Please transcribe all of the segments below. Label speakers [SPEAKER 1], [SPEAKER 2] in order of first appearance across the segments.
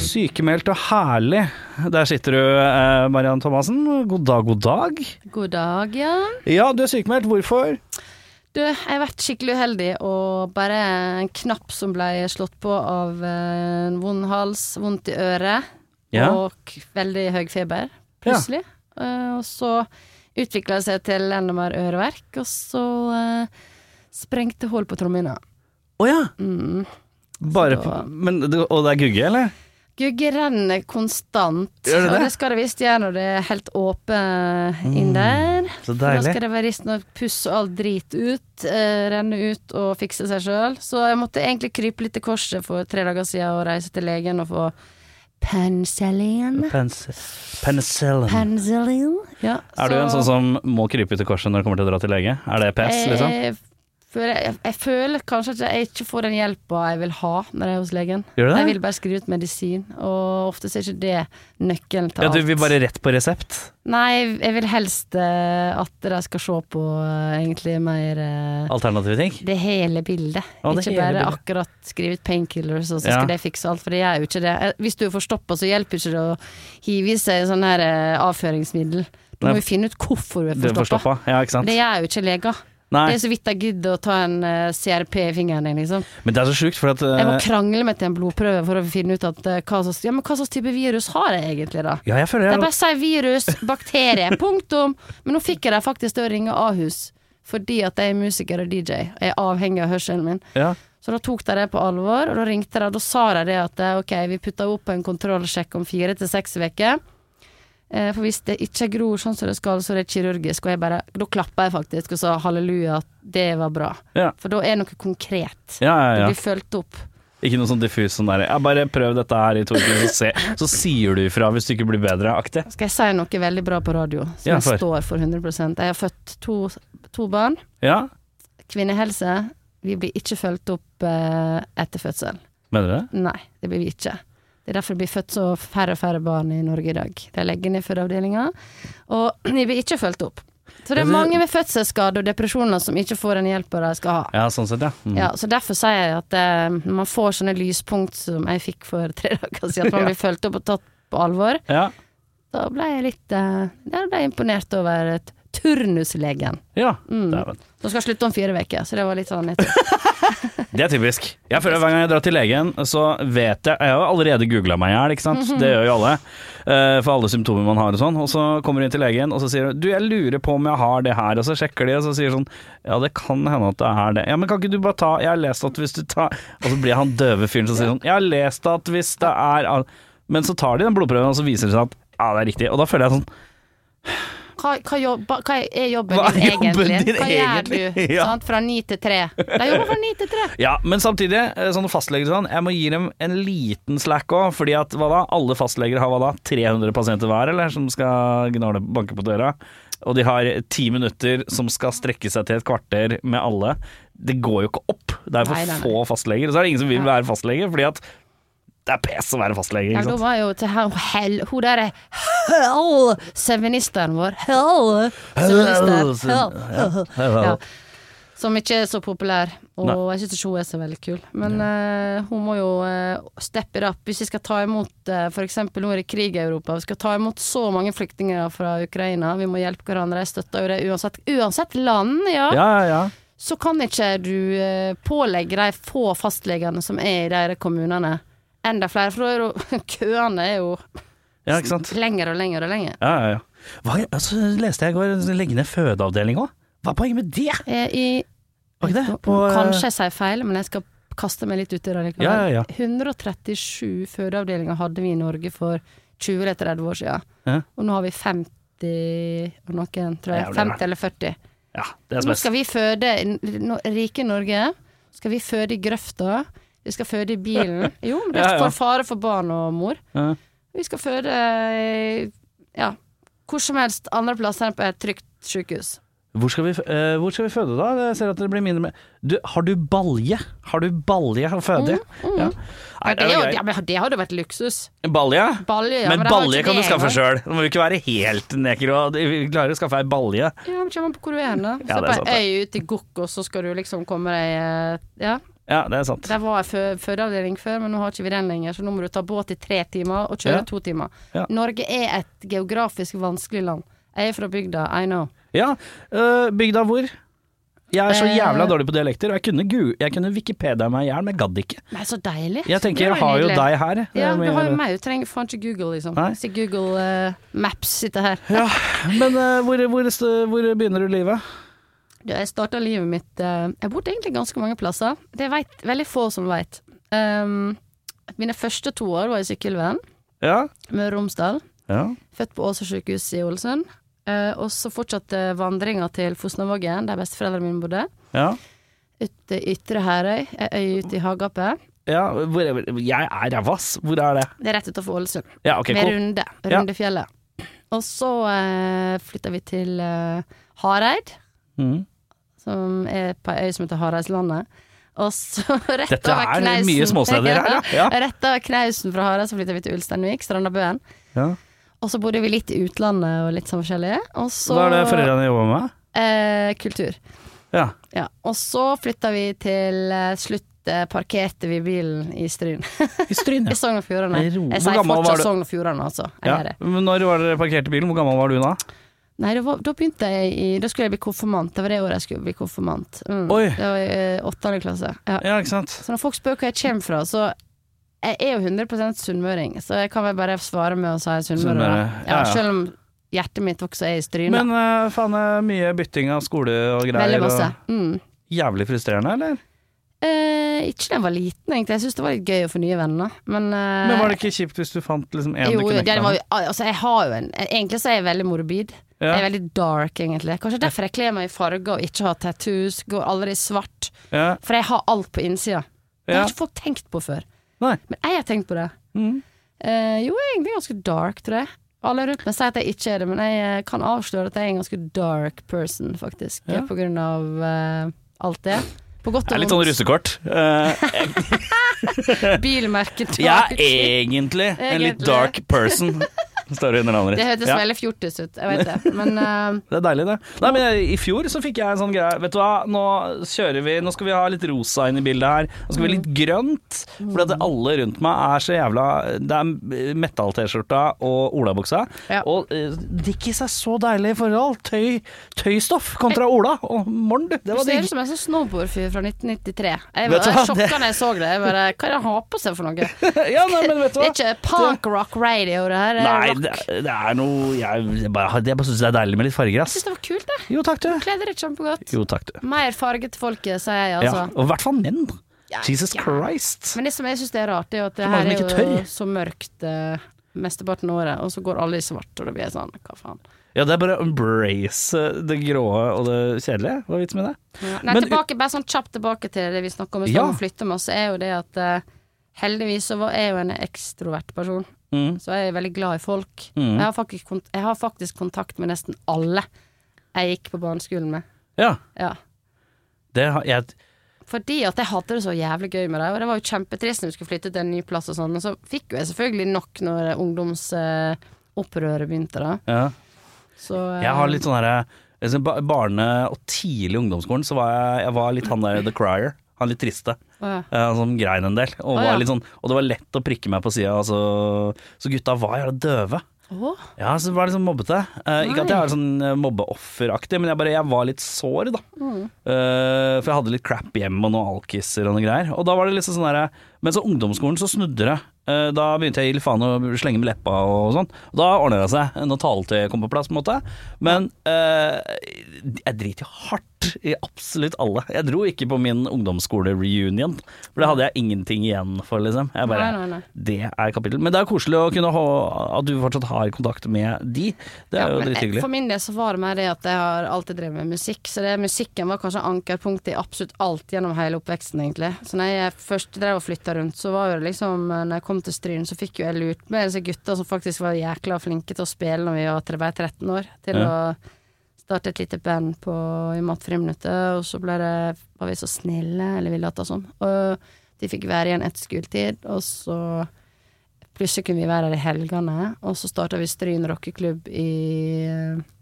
[SPEAKER 1] Sykemeldt og herlig. Der sitter du, eh, Marianne Thomassen. God dag, god dag.
[SPEAKER 2] God dag, ja.
[SPEAKER 1] Ja, du er sykemeldt. Hvorfor?
[SPEAKER 2] Du, jeg har vært skikkelig uheldig, og bare en knapp som ble slått på av eh, en vond hals, vondt i øret
[SPEAKER 1] Ja.
[SPEAKER 2] og k- veldig høy feber, plutselig. Eh, og så utvikla det seg til enda mer øreverk, og så eh, sprengte hull på trommehinna.
[SPEAKER 1] Å ja.
[SPEAKER 2] Mm.
[SPEAKER 1] Bare
[SPEAKER 2] Så
[SPEAKER 1] på,
[SPEAKER 2] da-
[SPEAKER 1] men, det- og det er gugge, eller?
[SPEAKER 2] Gugge renner konstant,
[SPEAKER 1] Gjør det Mm.
[SPEAKER 2] og
[SPEAKER 1] det?
[SPEAKER 2] det skal det visst gjøre når det er helt åpent inn der.
[SPEAKER 1] Så
[SPEAKER 2] For Da
[SPEAKER 1] deilig.
[SPEAKER 2] skal det være risten og puss og all drit ut, eh, renne ut og fikse seg sjøl. Så jeg måtte egentlig krype litt til korset for tre dager siden og reise til legen og få penicillin.
[SPEAKER 1] Pens- Penicillin.
[SPEAKER 2] Penicillin. Ja,
[SPEAKER 1] er du en sånn som må krype til korset når du kommer til å dra til lege? Er det
[SPEAKER 2] Eh,
[SPEAKER 1] PS, liksom?
[SPEAKER 2] Jeg, føler, jeg, jeg føler kanskje at jeg ikke får den hjelpa jeg vil ha når jeg er hos legen.
[SPEAKER 1] Gjør
[SPEAKER 2] Jeg
[SPEAKER 1] du det?
[SPEAKER 2] vil bare skrive ut medisin, og ofte så er ikke det nøkkelen til
[SPEAKER 1] Ja,
[SPEAKER 2] alt.
[SPEAKER 1] du vil bare rett på resept?
[SPEAKER 2] Nei, jeg vil helst eh, at de skal se på eh, egentlig mer eh,
[SPEAKER 1] Alternative ting?
[SPEAKER 2] Det hele bildet.
[SPEAKER 1] Ja, det
[SPEAKER 2] ikke
[SPEAKER 1] hele
[SPEAKER 2] bare
[SPEAKER 1] bildet.
[SPEAKER 2] akkurat skrive ut painkillers, og så
[SPEAKER 1] Ja.
[SPEAKER 2] skal det fikse alt, for det gjør jo ikke det. Eh, Hvis du er forstoppa, så hjelper ikke det å hive i seg sånn her eh, avføringsmiddel. Du
[SPEAKER 1] Nei.
[SPEAKER 2] må jo finne ut hvorfor du
[SPEAKER 1] Du
[SPEAKER 2] er
[SPEAKER 1] er
[SPEAKER 2] forstoppa.
[SPEAKER 1] forstoppa? Ja, ikke sant?
[SPEAKER 2] Det gjør jo ikke leger. Det
[SPEAKER 1] Nei,
[SPEAKER 2] er så vidt jeg gidder å ta en eh, CRP i fingeren din, liksom.
[SPEAKER 1] men det er så sjukt, for at
[SPEAKER 2] Jeg må
[SPEAKER 1] eh,
[SPEAKER 2] krangle meg til en blodprøve for å finne ut at, eh, hva, slags, ja, men hva slags type virus har jeg egentlig, da?
[SPEAKER 1] Ja, jeg føler jeg
[SPEAKER 2] De
[SPEAKER 1] har
[SPEAKER 2] bare sier virus, bakterie, punktum. Men nå fikk jeg dem faktisk til å ringe Ahus, fordi at jeg er musiker og DJ. Jeg er avhengig av hørselen min.
[SPEAKER 1] ja.
[SPEAKER 2] Så da tok de det på alvor, og da ringte de. Da sa de det at eh, ok, vi putter opp en kontrollsjekk om fire til seks uker. Eh, For hvis det ikke gror sånn som det skal, så er det kirurgisk. Og jeg bare, da klappa jeg faktisk og sa halleluja, det var bra.
[SPEAKER 1] Ja.
[SPEAKER 2] For da er noe konkret.
[SPEAKER 1] Ja, ja,
[SPEAKER 2] Det
[SPEAKER 1] ja.
[SPEAKER 2] blir fulgt opp.
[SPEAKER 1] Ikke noe sånn diffus sånn der ja, Bare prøv dette her i to uker, så, se. så sier du ifra hvis du ikke blir bedre-aktig.
[SPEAKER 2] Skal jeg si noe veldig bra på radio, som
[SPEAKER 1] Ja, for.
[SPEAKER 2] jeg står for 100 Jeg har født to, to barn.
[SPEAKER 1] Ja,
[SPEAKER 2] Kvinnehelse. Vi blir ikke fulgt opp eh, etter fødsel.
[SPEAKER 1] mener du det?
[SPEAKER 2] Nei, det blir vi ikke. Det er derfor det blir født så færre og færre barn i Norge i dag. De legger ned fødeavdelinga, og de blir ikke fulgt opp. Så det
[SPEAKER 1] Ja,
[SPEAKER 2] er
[SPEAKER 1] det-
[SPEAKER 2] mange med fødselsskade og depresjoner som ikke får den hjelpa de skal ha.
[SPEAKER 1] Ja, sånn sett, ja. Mm.
[SPEAKER 2] Ja, så derfor sier jeg at eh, man får sånne lyspunkt som jeg fikk for tre dager siden, at man
[SPEAKER 1] Ja.
[SPEAKER 2] blir fulgt opp og tatt på alvor.
[SPEAKER 1] ja.
[SPEAKER 2] Da ble jeg litt eh, Da ble jeg imponert over et turnuslegen.
[SPEAKER 1] Ja,
[SPEAKER 2] Mm.
[SPEAKER 1] dæven.
[SPEAKER 2] Som skal slutte om fire uker, så det var litt sånn
[SPEAKER 1] Det er typisk. Jeg føler at Hver gang jeg drar til legen, så vet jeg Jeg har jo allerede googla meg i hjel, ikke sant. Det gjør jo alle. eh, For alle symptomer man har og sånn. Og så kommer du inn til legen, og så sier du Du, jeg lurer på om jeg har det her. Og så sjekker de, og så sier sånn Ja, det kan hende at det er det. Ja, men kan ikke du bare ta Jeg har lest at hvis du tar Og så blir han døve fyren som sier sånn Jeg har lest at hvis det er al-" Men så tar de den blodprøven, og så viser det seg at ja, det er riktig. Og da føler jeg sånn
[SPEAKER 2] Hva, hva, jobba, hva er jobben
[SPEAKER 1] Hva
[SPEAKER 2] din
[SPEAKER 1] er jobben
[SPEAKER 2] egentlig?
[SPEAKER 1] din
[SPEAKER 2] hva gjør
[SPEAKER 1] egentlig?
[SPEAKER 2] du?
[SPEAKER 1] Ja.
[SPEAKER 2] Sant? Fra ni til tre. De jobber fra ni til tre.
[SPEAKER 1] Ja, men samtidig, eh, sånne fastleger og sånn, jeg må gi dem en liten slack òg, fordi at hva da? Alle fastleger har hva da? 300 pasienter hver, eller? Som skal gnale, banke på døra. Og de har ti minutter som skal strekke seg til et kvarter med alle. Det går jo ikke opp. Det er for
[SPEAKER 2] Nei, nei, nei.
[SPEAKER 1] få fastleger. Og så er det ingen som vil være fastlege, fordi at det er pes å være fastlege,
[SPEAKER 2] Ja,
[SPEAKER 1] ikke
[SPEAKER 2] da
[SPEAKER 1] sant.
[SPEAKER 2] var jo til her, hell, hun der er hell, Søvnisteren vår. Hell!
[SPEAKER 1] Hell,
[SPEAKER 2] Søvnisteren.
[SPEAKER 1] søvn-
[SPEAKER 2] Hell.
[SPEAKER 1] Hell.
[SPEAKER 2] Ja. Som ikke er så populær, og
[SPEAKER 1] Nei.
[SPEAKER 2] jeg syns ikke hun er så veldig kul. Men eh, hun må jo eh, steppe it up. Hvis vi skal ta imot eh, For f.eks. nå er det krig i Europa, vi skal ta imot så mange flyktninger fra Ukraina, vi må hjelpe hverandre, jeg støtter jo det uansett, uansett land, ja.
[SPEAKER 1] Ja, ja, ja.
[SPEAKER 2] så kan ikke du eh, pålegge de få fastlegene som er i de kommunene, enda flere. For da er jo køene er jo
[SPEAKER 1] Ja, ikke sant.
[SPEAKER 2] lenger og lenger og lenger.
[SPEAKER 1] Ja, ja, ja. Hva, altså, leste jeg i går legge ned fødeavdeling òg. Hva er poenget med det?
[SPEAKER 2] Eh, I,
[SPEAKER 1] Var ikke det? eh,
[SPEAKER 2] kanskje jeg sier feil, men jeg skal kaste meg litt uti det likevel.
[SPEAKER 1] Ja, ja, ja.
[SPEAKER 2] 137 fødeavdelinger hadde vi i Norge for 20 eller 30 år siden.
[SPEAKER 1] Ja.
[SPEAKER 2] Og nå har vi 50 og noen, tror jeg.
[SPEAKER 1] Jævlig bra.
[SPEAKER 2] 50 eller 40.
[SPEAKER 1] Ja, det er
[SPEAKER 2] Nå
[SPEAKER 1] spes.
[SPEAKER 2] skal vi føde i n- no- rike Norge. Skal vi føde i grøfta. Vi Vi skal føde i bilen. Jo, men det
[SPEAKER 1] Ja,
[SPEAKER 2] er
[SPEAKER 1] ja.
[SPEAKER 2] for fare for barn og mor.
[SPEAKER 1] Ja.
[SPEAKER 2] Vi skal føde eh, ja, hvor som helst andre plasser enn på et trygt sykehus.
[SPEAKER 1] Hvor skal, vi, f- eh, hvor skal vi føde da? Jeg ser at det blir mindre med du, Har du balje? Har du balje å føde? Ja. Nei,
[SPEAKER 2] Mm, Ja, det, er jo,
[SPEAKER 1] greit.
[SPEAKER 2] ja, men det hadde jo vært luksus.
[SPEAKER 1] Balje?
[SPEAKER 2] Balje, ja,
[SPEAKER 1] men
[SPEAKER 2] men det var
[SPEAKER 1] balje
[SPEAKER 2] ikke
[SPEAKER 1] kan du
[SPEAKER 2] det
[SPEAKER 1] skaffe
[SPEAKER 2] engang.
[SPEAKER 1] sjøl. Du må jo ikke være helt neker og vi klarer å skaffe ei balje.
[SPEAKER 2] Ja, men Kommer an på hvor du er hen, da. Hvis
[SPEAKER 1] Ja, det er
[SPEAKER 2] du er på
[SPEAKER 1] sant,
[SPEAKER 2] ei øy ute i Gokk, og så skal du liksom komme deg eh, Ja.
[SPEAKER 1] Ja, det er sant.
[SPEAKER 2] Der var jeg fø fødeavdeling før, men nå har ikke vi den lenger, så nå må du ta båt i tre timer og kjøre
[SPEAKER 1] Ja.
[SPEAKER 2] to timer.
[SPEAKER 1] Ja.
[SPEAKER 2] Norge er et geografisk vanskelig land. Jeg er fra bygda, I know.
[SPEAKER 1] Ja, øh, bygda hvor? Jeg er så
[SPEAKER 2] Eh.
[SPEAKER 1] jævla dårlig på dialekter, og jeg kunne, gu- jeg kunne Wikipedia meg i hjel, men jeg gadd ikke.
[SPEAKER 2] Nei, så deilig.
[SPEAKER 1] Jeg tenker,
[SPEAKER 2] Det
[SPEAKER 1] jeg
[SPEAKER 2] var
[SPEAKER 1] har jo
[SPEAKER 2] nydelig.
[SPEAKER 1] deg her.
[SPEAKER 2] Ja,
[SPEAKER 1] jeg må
[SPEAKER 2] du har jo
[SPEAKER 1] gjøre-
[SPEAKER 2] meg, du trenger faen ikke Google, liksom.
[SPEAKER 1] Nei.
[SPEAKER 2] Se Google eh, Maps sitter her.
[SPEAKER 1] Ja, men øh, hvor, hvor, st- hvor begynner du livet?
[SPEAKER 2] Du, Jeg starta livet mitt eh, Jeg bodde egentlig ganske mange plasser. Det vet veldig få som veit. Um, mine første to år var i Sykkylven,
[SPEAKER 1] Ja.
[SPEAKER 2] Møre og Romsdal.
[SPEAKER 1] ja.
[SPEAKER 2] Født på Åsa sykehus i Ålesund. Eh, og så fortsatte vandringa til Fosnavågen, der besteforeldrene mine bodde.
[SPEAKER 1] ja.
[SPEAKER 2] Ute i Ytre Herøy, ei øy ute i Hagapet.
[SPEAKER 1] Ja, hvor er, jeg er ræva, ass. Hvor er det?
[SPEAKER 2] Det er rett utafor Ålesund,
[SPEAKER 1] Ja, ok,
[SPEAKER 2] med
[SPEAKER 1] cool.
[SPEAKER 2] Runde.
[SPEAKER 1] Ja.
[SPEAKER 2] Rundefjellet. Og så eh, flytta vi til eh, Hareid,
[SPEAKER 1] Mhm.
[SPEAKER 2] som er på ei øy som heter Hareidslandet. Og så rett
[SPEAKER 1] Dette
[SPEAKER 2] over
[SPEAKER 1] er
[SPEAKER 2] Kneisen.
[SPEAKER 1] mye småsteder her, ja. Ja.
[SPEAKER 2] Rett over Knausen fra Hareid, så flytta vi til Ulsteinvik, Strandabøen.
[SPEAKER 1] ja.
[SPEAKER 2] Og så bodde vi litt i utlandet og litt sånn forskjellig. Og så
[SPEAKER 1] Hva er det foreldrene jobber med?
[SPEAKER 2] eh, kultur.
[SPEAKER 1] Ja.
[SPEAKER 2] Ja, og så flytta vi til eh, slutt eh, parkerte vi bilen i Stryn.
[SPEAKER 1] I Stryn,
[SPEAKER 2] I
[SPEAKER 1] ja.
[SPEAKER 2] Sogn og Fjordane.
[SPEAKER 1] Nei, ro.
[SPEAKER 2] Jeg
[SPEAKER 1] Hvor
[SPEAKER 2] sier
[SPEAKER 1] gammel var
[SPEAKER 2] fortsatt
[SPEAKER 1] du?
[SPEAKER 2] Sogn og Fjordane, altså. Jeg
[SPEAKER 1] ja.
[SPEAKER 2] er det.
[SPEAKER 1] Men når var dere parkerte bilen? Hvor gammel var du da?
[SPEAKER 2] Nei, det var, da begynte jeg i Da skulle jeg bli konfirmant. Det var det året jeg skulle bli konfirmant. Mm.
[SPEAKER 1] Oi.
[SPEAKER 2] Det var i eh, åttende klasse. Ja.
[SPEAKER 1] Ja, ikke sant.
[SPEAKER 2] Så når folk spør hvor jeg kommer fra, så jeg er jo 100 sunnmøring, så jeg kan vel bare svare med å si sunnmøre. da.
[SPEAKER 1] Sunnmøre,
[SPEAKER 2] Ja,
[SPEAKER 1] ja, ja.
[SPEAKER 2] selv om hjertet mitt også er i Stryn. da.
[SPEAKER 1] Men øh, faen, øh, mye bytting av skole og greier.
[SPEAKER 2] Veldig masse.
[SPEAKER 1] og-
[SPEAKER 2] Mm.
[SPEAKER 1] Jævlig frustrerende, eller?
[SPEAKER 2] Eh, ikke da jeg var liten, egentlig. Jeg syns det var litt gøy å få nye venner. Men, eh,
[SPEAKER 1] Men var det ikke kjipt hvis du fant liksom en
[SPEAKER 2] jo,
[SPEAKER 1] du kunne
[SPEAKER 2] det
[SPEAKER 1] knagge?
[SPEAKER 2] var, jo- altså, jeg har jo en Egentlig så er jeg veldig morbid.
[SPEAKER 1] Ja.
[SPEAKER 2] Jeg er veldig dark, egentlig. Kanskje derfor jeg kler meg i farger og ikke har tattoos, går aldri i svart.
[SPEAKER 1] ja.
[SPEAKER 2] For jeg har alt på innsida. Det
[SPEAKER 1] Ja.
[SPEAKER 2] har ikke folk tenkt på før.
[SPEAKER 1] Nei.
[SPEAKER 2] Men jeg har tenkt på det.
[SPEAKER 1] Mm.
[SPEAKER 2] Eh, jo, jeg er egentlig ganske dark, tror jeg. Alle rundt meg sier at jeg ikke er det, men jeg eh, kan avsløre at jeg er en ganske dark person, faktisk.
[SPEAKER 1] Ja.
[SPEAKER 2] På grunn av eh, alt det. På godt
[SPEAKER 1] Det er
[SPEAKER 2] og
[SPEAKER 1] litt sånn
[SPEAKER 2] vondt.
[SPEAKER 1] russekort. Eh,
[SPEAKER 2] Bilmerket
[SPEAKER 1] jeg er egentlig en litt
[SPEAKER 2] Egentlig.
[SPEAKER 1] dark person, står det under navnet
[SPEAKER 2] Det
[SPEAKER 1] ditt.
[SPEAKER 2] hørtes
[SPEAKER 1] Ja.
[SPEAKER 2] veldig fjortis ut, jeg vet det. Men eh,
[SPEAKER 1] Det er deilig, det. Nei, men jeg, I fjor så fikk jeg en sånn greie Vet du hva, nå kjører vi Nå skal vi ha litt rosa inn i bildet her. Nå skal vi
[SPEAKER 2] Mm.
[SPEAKER 1] litt grønt. Fordi at alle rundt meg er så jævla Det er metal-T-skjorta og olabuksa.
[SPEAKER 2] Ja.
[SPEAKER 1] Og eh, drikk i seg så deilig forhold. Tøy, tøystoff kontra ola. Å, morn, du. Det
[SPEAKER 2] du
[SPEAKER 1] var
[SPEAKER 2] ser
[SPEAKER 1] digg.
[SPEAKER 2] ut som en sånn snowboardfyr fra 1993.
[SPEAKER 1] Vet du
[SPEAKER 2] Jeg var
[SPEAKER 1] hva, det-
[SPEAKER 2] sjokka da jeg så det. Jeg bare, Hva er det han har på seg for noe? Det
[SPEAKER 1] Ja, nei, men vet du
[SPEAKER 2] er
[SPEAKER 1] hva.
[SPEAKER 2] ikke punk rock radio, det her. Det er
[SPEAKER 1] Nei,
[SPEAKER 2] rock.
[SPEAKER 1] det, det er noe Jeg, jeg bare, jeg bare syns det er deilig med litt farger,
[SPEAKER 2] Jeg
[SPEAKER 1] ass.
[SPEAKER 2] syns det var kult, det.
[SPEAKER 1] Jo takk, du.
[SPEAKER 2] Kledde dere kjempegodt.
[SPEAKER 1] Jo takk, du.
[SPEAKER 2] Mer farge til folket, sier jeg,
[SPEAKER 1] Ja,
[SPEAKER 2] altså.
[SPEAKER 1] og i hvert fall menn.
[SPEAKER 2] Ja,
[SPEAKER 1] Jesus
[SPEAKER 2] ja.
[SPEAKER 1] Christ.
[SPEAKER 2] Men det som jeg syns er rart, det er jo at det
[SPEAKER 1] Så mange
[SPEAKER 2] her
[SPEAKER 1] som ikke
[SPEAKER 2] er jo
[SPEAKER 1] tør.
[SPEAKER 2] så mørkt eh, mesteparten av året, og så går alle i svart, og da blir jeg sånn, hva faen.
[SPEAKER 1] Ja, det er bare å embrace eh, det grå og det kjedelige. Hva er vitsen med det?
[SPEAKER 2] Nei,
[SPEAKER 1] Men-
[SPEAKER 2] tilbake, bare sånn kjapt tilbake til det vi snakka om i stad,
[SPEAKER 1] Ja.
[SPEAKER 2] om å flytte masse, er jo det at eh, heldigvis så var, er jeg jo en ekstrovert person,
[SPEAKER 1] Mm.
[SPEAKER 2] så jeg er veldig glad i folk.
[SPEAKER 1] Mm.
[SPEAKER 2] Jeg, har faktisk, kont- jeg har faktisk kontakt med nesten alle jeg gikk på barneskolen med.
[SPEAKER 1] Ja,
[SPEAKER 2] Ja.
[SPEAKER 1] det har jeg
[SPEAKER 2] Fordi at jeg hadde det så jævlig gøy med det, og det var jo kjempetrist når vi skulle flytte til en ny plass og sånn, og så fikk jo jeg selvfølgelig nok når ungdomsopprøret begynte, da.
[SPEAKER 1] ja.
[SPEAKER 2] Så eh,
[SPEAKER 1] Jeg har litt sånn herre liksom, ba- Barne- og tidlig i ungdomsskolen så var jeg, jeg var litt han der the crier. Han litt triste.
[SPEAKER 2] å, ja.
[SPEAKER 1] eh, Som grein en del. Og,
[SPEAKER 2] Å, ja.
[SPEAKER 1] var litt sånn, og det var lett å prikke meg på sida. Altså. Så gutta var jævla døve.
[SPEAKER 2] Å,
[SPEAKER 1] Ja, så var det sånn mobbete. Eh, ikke at jeg er sånn eh, mobbeofferaktig, men jeg, bare, jeg var litt sår, da. Eh, for jeg hadde litt crap hjemme og noen alkiser og noe greier. Og da var det liksom sånn derre Men så ungdomsskolen så snudde det. Eh, Da begynte jeg å gi litt faen og slenge med leppa og sånn. Da ordner det seg når taletøyet kom på plass, på en måte. Men eh, jeg driter jo hardt i absolutt alle. Jeg dro ikke på min ungdomsskole-reunion, for det hadde jeg ingenting igjen for, liksom. Jeg bare,
[SPEAKER 2] Nei, nei, nei.
[SPEAKER 1] Det er kapittel. Men det er koselig å kunne ha at du fortsatt har kontakt med de. Det er
[SPEAKER 2] Ja,
[SPEAKER 1] jo
[SPEAKER 2] men, eh,
[SPEAKER 1] drithyggelig.
[SPEAKER 2] For min del så var det mer det at jeg har alltid drevet med musikk, så det, musikken var kanskje ankerpunktet i absolutt alt gjennom hele oppveksten, egentlig. Så når jeg først drev og flytta rundt, så var jo det liksom eh, Når jeg kom til Stryn, så fikk jo jeg lurt med disse gutta som faktisk var jækla flinke til å spille når vi var tre- var 13 år, til å starte et lite band på, i matfriminuttet, og så ble det Var vi så snille, eller vi lata som. Og de fikk være igjen etter skoletid, og så Plutselig kunne vi være her i helgene, og så starta vi Stryn rockeklubb i eh,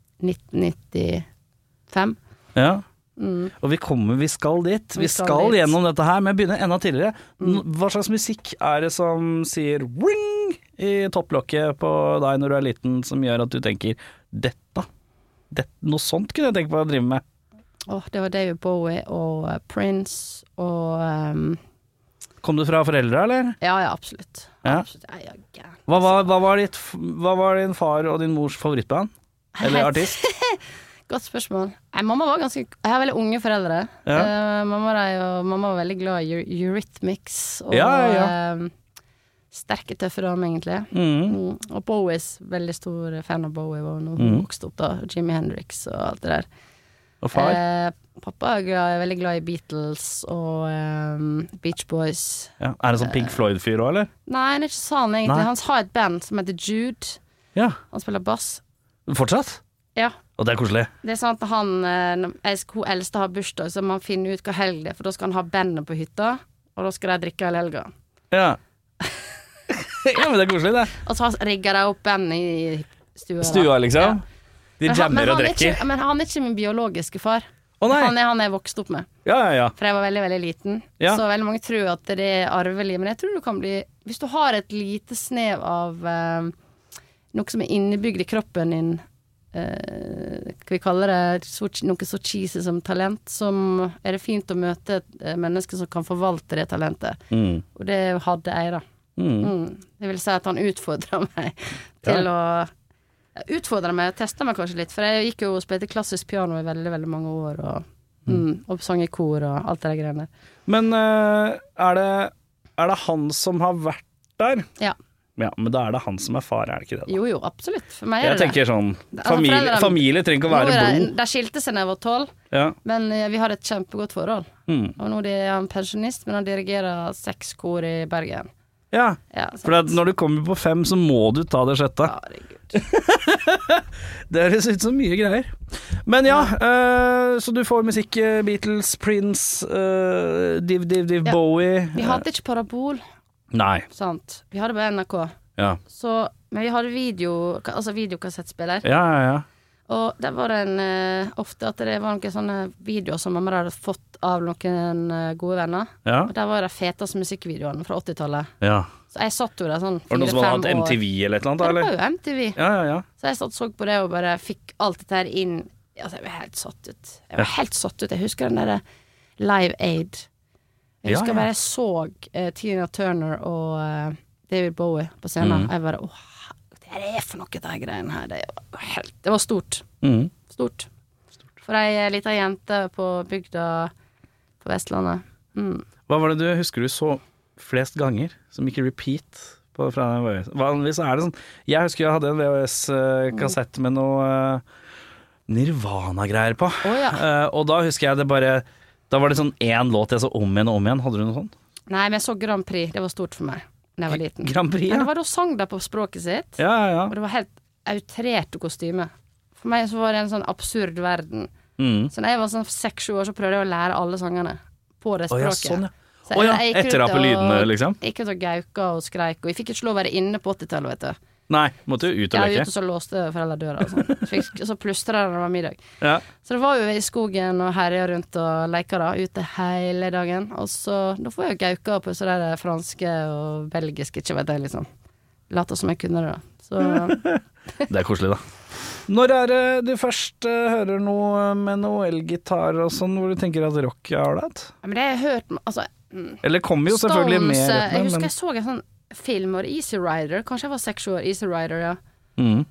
[SPEAKER 2] 1995.
[SPEAKER 1] Ja.
[SPEAKER 2] Mm.
[SPEAKER 1] Og vi kommer, vi skal dit. Vi,
[SPEAKER 2] Vi
[SPEAKER 1] skal,
[SPEAKER 2] skal dit. Mm.
[SPEAKER 1] gjennom dette her, men jeg begynner enda tidligere. N- Hva slags musikk er det som sier ring i topplokket på deg når du er liten, som gjør at du tenker dette? Det, noe sånt kunne jeg tenke på å drive med.
[SPEAKER 2] Åh, det var David Bowie og eh, Prince og ehm,
[SPEAKER 1] Kom du fra foreldra, eller?
[SPEAKER 2] Ja, ja, absolutt.
[SPEAKER 1] Ja.
[SPEAKER 2] absolutt. Jeg er gæren.
[SPEAKER 1] Hva var, hva, var ditt, f- hva var din far og din mors favorittband? Eller artist?
[SPEAKER 2] Godt spørsmål. Nei, mamma var ganske Jeg har veldig unge foreldre.
[SPEAKER 1] Ja.
[SPEAKER 2] Eh, mamma, er jo, mamma var veldig glad i Eu- Eurythmics og
[SPEAKER 1] Ja, ja, ja.
[SPEAKER 2] ehm, sterke, tøffe damer, egentlig.
[SPEAKER 1] Mm.
[SPEAKER 2] Mm. Og Bowies, veldig stor fan av Bowie var når hun
[SPEAKER 1] Mm.
[SPEAKER 2] vokste opp, da. Jimmy Hendrix og alt det der.
[SPEAKER 1] Og far?
[SPEAKER 2] Eh, pappa er, glad, er veldig glad i Beatles og ehm, Beach Boys.
[SPEAKER 1] Ja. Er det sånn
[SPEAKER 2] eh.
[SPEAKER 1] Pink Floyd-fyr òg, eller?
[SPEAKER 2] Nei, han er ikke sånn egentlig.
[SPEAKER 1] Nei.
[SPEAKER 2] Han har et band som heter Jude.
[SPEAKER 1] Ja.
[SPEAKER 2] Han spiller bass.
[SPEAKER 1] Fortsatt?
[SPEAKER 2] Ja.
[SPEAKER 1] Og det er koselig.
[SPEAKER 2] Det er sånn at han, eh, når jeg- hun eldste har bursdag, så må han finne ut hva helg det er, for da skal han ha bandet på hytta, og da skal de drikke hele helga.
[SPEAKER 1] Ja. ja, men det er koselig, det.
[SPEAKER 2] Og så har- rigger de opp bandet i stua. da.
[SPEAKER 1] Stua, liksom.
[SPEAKER 2] Ja.
[SPEAKER 1] De
[SPEAKER 2] Men han- men
[SPEAKER 1] jammer og
[SPEAKER 2] han er
[SPEAKER 1] drikker.
[SPEAKER 2] ikke- Men han er ikke min biologiske far.
[SPEAKER 1] Å nei!
[SPEAKER 2] Han er han jeg vokste opp med.
[SPEAKER 1] Ja, ja, ja.
[SPEAKER 2] For jeg var veldig, veldig liten.
[SPEAKER 1] Ja.
[SPEAKER 2] Så veldig mange tror at det er arvelig, men jeg tror du kan bli Hvis du har et lite snev av eh, noe som er innebygd i kroppen din, eh, skal vi kalle det så, noe så cheesy som talent, som er det fint å møte et eh, menneske som kan forvalte det talentet.
[SPEAKER 1] Mm.
[SPEAKER 2] Og det hadde jeg, da.
[SPEAKER 1] Mm.
[SPEAKER 2] Mm. Det vil si at han utfordra meg til å Utfordra meg, testa meg kanskje litt, for jeg gikk jo og spilte klassisk piano i veldig, veldig mange år, og, mm, og sang i kor og alt det der greiene der.
[SPEAKER 1] Men eh, er, det, er det han som har vært der?
[SPEAKER 2] Ja.
[SPEAKER 1] Ja, men da er det han som er far, er det ikke det? da?
[SPEAKER 2] Jo, jo, absolutt. For meg er
[SPEAKER 1] Jeg
[SPEAKER 2] det
[SPEAKER 1] tenker sånn
[SPEAKER 2] Altså,
[SPEAKER 1] Familie,
[SPEAKER 2] foreldrene-
[SPEAKER 1] familie trenger ikke å
[SPEAKER 2] Nå
[SPEAKER 1] være
[SPEAKER 2] er det.
[SPEAKER 1] blod.
[SPEAKER 2] De skilte seg da jeg var tolv,
[SPEAKER 1] Ja.
[SPEAKER 2] men eh, vi har et kjempegodt forhold.
[SPEAKER 1] Mm.
[SPEAKER 2] Og nå er han pensjonist, men han dirigerer seks kor i Bergen.
[SPEAKER 1] ja.
[SPEAKER 2] Ja, sant.
[SPEAKER 1] For at når du kommer på fem, så må du ta det sjette.
[SPEAKER 2] Herregud.
[SPEAKER 1] Det høres ut som mye greier. Men ja, eh, så du får musikk eh, Beatles, Prince, eh, Div Div Div
[SPEAKER 2] Ja.
[SPEAKER 1] Bowie
[SPEAKER 2] Vi hadde ikke parabol,
[SPEAKER 1] Nei.
[SPEAKER 2] sant. Vi hadde bare NRK.
[SPEAKER 1] Ja.
[SPEAKER 2] Så, men vi hadde video, altså videokassettspiller.
[SPEAKER 1] ja, ja, ja.
[SPEAKER 2] Og der var det en, eh, ofte at det var noen sånne videoer som mamma hadde fått av noen eh, gode venner.
[SPEAKER 1] Ja.
[SPEAKER 2] Og der var de feteste musikkvideoene fra 80-tallet.
[SPEAKER 1] ja.
[SPEAKER 2] Så jeg satt jo der sånn
[SPEAKER 1] Var det noen som hadde
[SPEAKER 2] fire-fem
[SPEAKER 1] hatt
[SPEAKER 2] år.
[SPEAKER 1] MTV eller et eller annet?
[SPEAKER 2] Ja,
[SPEAKER 1] da,
[SPEAKER 2] det
[SPEAKER 1] Eller?
[SPEAKER 2] var jo MTV.
[SPEAKER 1] Ja, ja, ja.
[SPEAKER 2] Så jeg satt og så på det og bare fikk alt dette her inn. Altså, jeg ble helt satt ut. Jeg var helt satt ut. Jeg husker den derre Live Aid.
[SPEAKER 1] Ja,
[SPEAKER 2] Jeg husker
[SPEAKER 1] ja.
[SPEAKER 2] bare jeg så eh, Tina Turner og eh, David Bowie på scenen.
[SPEAKER 1] Mm.
[SPEAKER 2] Jeg bare åh, hva er det for noe, de greiene her? Det var, helt, det var stort.
[SPEAKER 1] Mm.
[SPEAKER 2] Stort. For ei eh, lita jente på bygda på Vestlandet. Mm.
[SPEAKER 1] Hva var det du husker du så flest ganger, som ikke repeat? På, fra den VHS? Vanligvis er det sånn Jeg husker jeg hadde en VHS-kassett med noe eh, Nirvana-greier på.
[SPEAKER 2] Å, ja.
[SPEAKER 1] Eh, og da husker jeg det bare Da var det sånn én låt jeg så om igjen og om igjen. Hadde du noe sånn? sånt?
[SPEAKER 2] Nei, men jeg så Grand Prix. Det var stort for meg da jeg var liten.
[SPEAKER 1] Grand Prix,
[SPEAKER 2] Men
[SPEAKER 1] ja.
[SPEAKER 2] det var da sang de på språket sitt.
[SPEAKER 1] Ja, ja,
[SPEAKER 2] Og
[SPEAKER 1] ja.
[SPEAKER 2] det var helt outrerte kostymer. For meg så var det en sånn absurd verden.
[SPEAKER 1] Mm.
[SPEAKER 2] Så da jeg var sånn seks-sju år, så prøvde jeg å lære alle sangene på det
[SPEAKER 1] Å ja,
[SPEAKER 2] språket.
[SPEAKER 1] sånn, ja.
[SPEAKER 2] Så
[SPEAKER 1] Å ja,
[SPEAKER 2] jeg gikk
[SPEAKER 1] etter
[SPEAKER 2] ut
[SPEAKER 1] da på lydene,
[SPEAKER 2] og-
[SPEAKER 1] liksom?
[SPEAKER 2] Gikk ut og gauka og skreik, og jeg fikk ikke lov å være inne på 80-tallet, vet du.
[SPEAKER 1] Nei, måtte jo ut
[SPEAKER 2] Jeg
[SPEAKER 1] og
[SPEAKER 2] var ute,
[SPEAKER 1] leke.
[SPEAKER 2] og så låste foreldre døra, og sånn. Så fikk- og så plystra det når det var middag.
[SPEAKER 1] Ja.
[SPEAKER 2] Så det var jo i skogen og herja rundt og leika da, ute hele dagen. Og så Da får jeg jo gauka på sånne der franske og belgiske, ikke vet jeg, liksom. Lata som jeg kunne det, da. Så
[SPEAKER 1] Det er koselig, da. Når er det du først eh, hører noe med noe elgitar og sånn, hvor du tenker at rock er ålreit?
[SPEAKER 2] Men det har jeg hørt Altså,
[SPEAKER 1] Eller kommer jo selvfølgelig
[SPEAKER 2] Stones
[SPEAKER 1] med
[SPEAKER 2] eh, Jeg
[SPEAKER 1] rytmen,
[SPEAKER 2] husker
[SPEAKER 1] men
[SPEAKER 2] jeg så en sånn film og Easy Rider. Kanskje jeg var seks år, Easy Rider, ja.
[SPEAKER 1] Mm.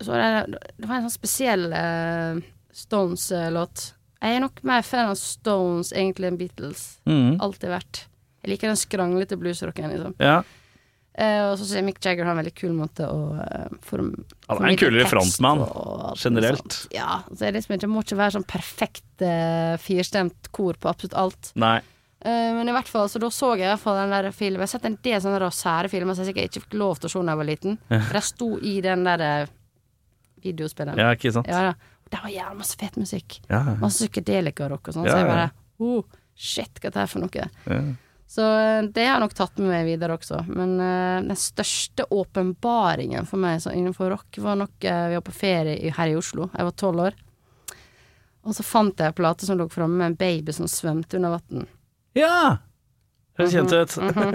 [SPEAKER 2] Så var det, det var en sånn spesiell eh, Stones-låt. Jeg er nok mer fan av Stones egentlig enn Beatles.
[SPEAKER 1] Mm.
[SPEAKER 2] Alltid vært. Jeg liker den skranglete bluesrocken, liksom.
[SPEAKER 1] Ja.
[SPEAKER 2] Eh, og så syns jeg Mick Jagger har en veldig kul måte å eh, form...
[SPEAKER 1] Han er en
[SPEAKER 2] formidle
[SPEAKER 1] kulere
[SPEAKER 2] tekst
[SPEAKER 1] frontmann,
[SPEAKER 2] og alt
[SPEAKER 1] generelt.
[SPEAKER 2] sånt. Ja. Så det er liksom ikke, må ikke være sånn perfekt eh, firstemt kor på absolutt alt.
[SPEAKER 1] Nei.
[SPEAKER 2] Eh, men i hvert fall, så da så jeg i hvert fall den der filmen. Jeg har sett en del sånne der sære filmer som jeg sikkert ikke fikk lov til å se da jeg var liten. For jeg sto i den der eh, videospilleren.
[SPEAKER 1] Ja, ikke sant?
[SPEAKER 2] Ja, da. Og Det var jævlig masse fet musikk.
[SPEAKER 1] Ja.
[SPEAKER 2] Masse psykedelika-rock og sånn.
[SPEAKER 1] Ja,
[SPEAKER 2] Så jeg
[SPEAKER 1] ja.
[SPEAKER 2] bare oh, Shit, hva er det her for noe?
[SPEAKER 1] ja.
[SPEAKER 2] Så eh, det har jeg nok tatt med meg videre også. Men eh, den største åpenbaringen for meg så innenfor rock var nok eh, Vi var på ferie i- her i Oslo. Jeg var tolv år. Og så fant jeg en plate som lå framme med en baby som svømte under vann.
[SPEAKER 1] ja. Høres kjent ut.
[SPEAKER 2] Mhm,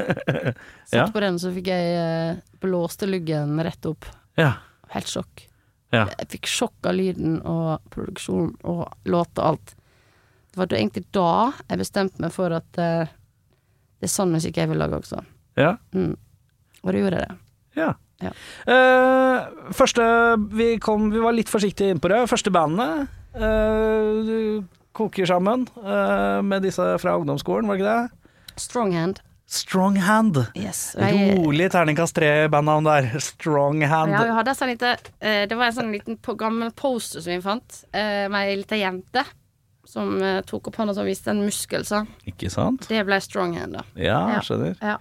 [SPEAKER 2] Satt
[SPEAKER 1] Ja.
[SPEAKER 2] på den, så fikk jeg eh, blåste luggen rett opp.
[SPEAKER 1] Ja.
[SPEAKER 2] Helt sjokk.
[SPEAKER 1] Ja.
[SPEAKER 2] Jeg fikk sjokk av lyden og produksjonen og låt og alt. Det var da egentlig da jeg bestemte meg for at eh, det er sånn musikk jeg vil lage også.
[SPEAKER 1] Ja.
[SPEAKER 2] Mm. Og da gjorde jeg det.
[SPEAKER 1] Ja.
[SPEAKER 2] Ja.
[SPEAKER 1] Eh, første vi, kom, vi var litt forsiktige innpå det. Første bandet eh, du koker sammen eh, med disse fra ungdomsskolen, var det ikke det?
[SPEAKER 2] Stronghand.
[SPEAKER 1] Strong Hand.
[SPEAKER 2] Yes. og Jeg,
[SPEAKER 1] Rolig terningkast tre-bandnavn der. Strong Hand.
[SPEAKER 2] ja, vi hadde en sånn lite, eh, det var en sånn liten po gammel poster som vi fant, eh, med ei lita jente som eh, tok opp hånda og viste en muskel. Så.
[SPEAKER 1] Ikke sant?
[SPEAKER 2] Det ble stronghand, da.
[SPEAKER 1] Ja,
[SPEAKER 2] Ja.
[SPEAKER 1] skjønner.
[SPEAKER 2] Ja.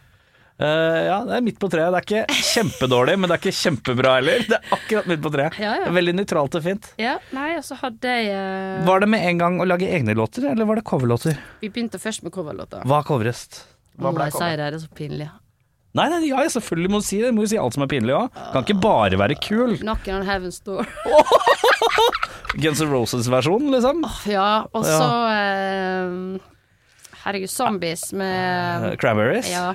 [SPEAKER 1] Eh, ja, det er midt på treet. Det er ikke kjempedårlig, men det er ikke kjempebra heller. Det er akkurat midt på treet.
[SPEAKER 2] Ja, ja.
[SPEAKER 1] Det er Veldig nøytralt og fint.
[SPEAKER 2] ja nei, og så hadde jeg eh,
[SPEAKER 1] Var det med en gang å lage egne låter, eller var det coverlåter?
[SPEAKER 2] Vi begynte først med coverlåter.
[SPEAKER 1] Hva covres? Hva
[SPEAKER 2] Må
[SPEAKER 1] ble
[SPEAKER 2] jeg si
[SPEAKER 1] coveret?
[SPEAKER 2] det, det er så pinlig.
[SPEAKER 1] Nei, nei, ja, selvfølgelig må du si det. Du må jo si alt som er pinlig òg. Kan ikke bare være kul.
[SPEAKER 2] Knocking on Heaven's Door.
[SPEAKER 1] Guns N' Roses-versjonen, liksom.
[SPEAKER 2] ja, og så eh, Herregud, Zombies med
[SPEAKER 1] Eh, Cranberries.
[SPEAKER 2] Ja.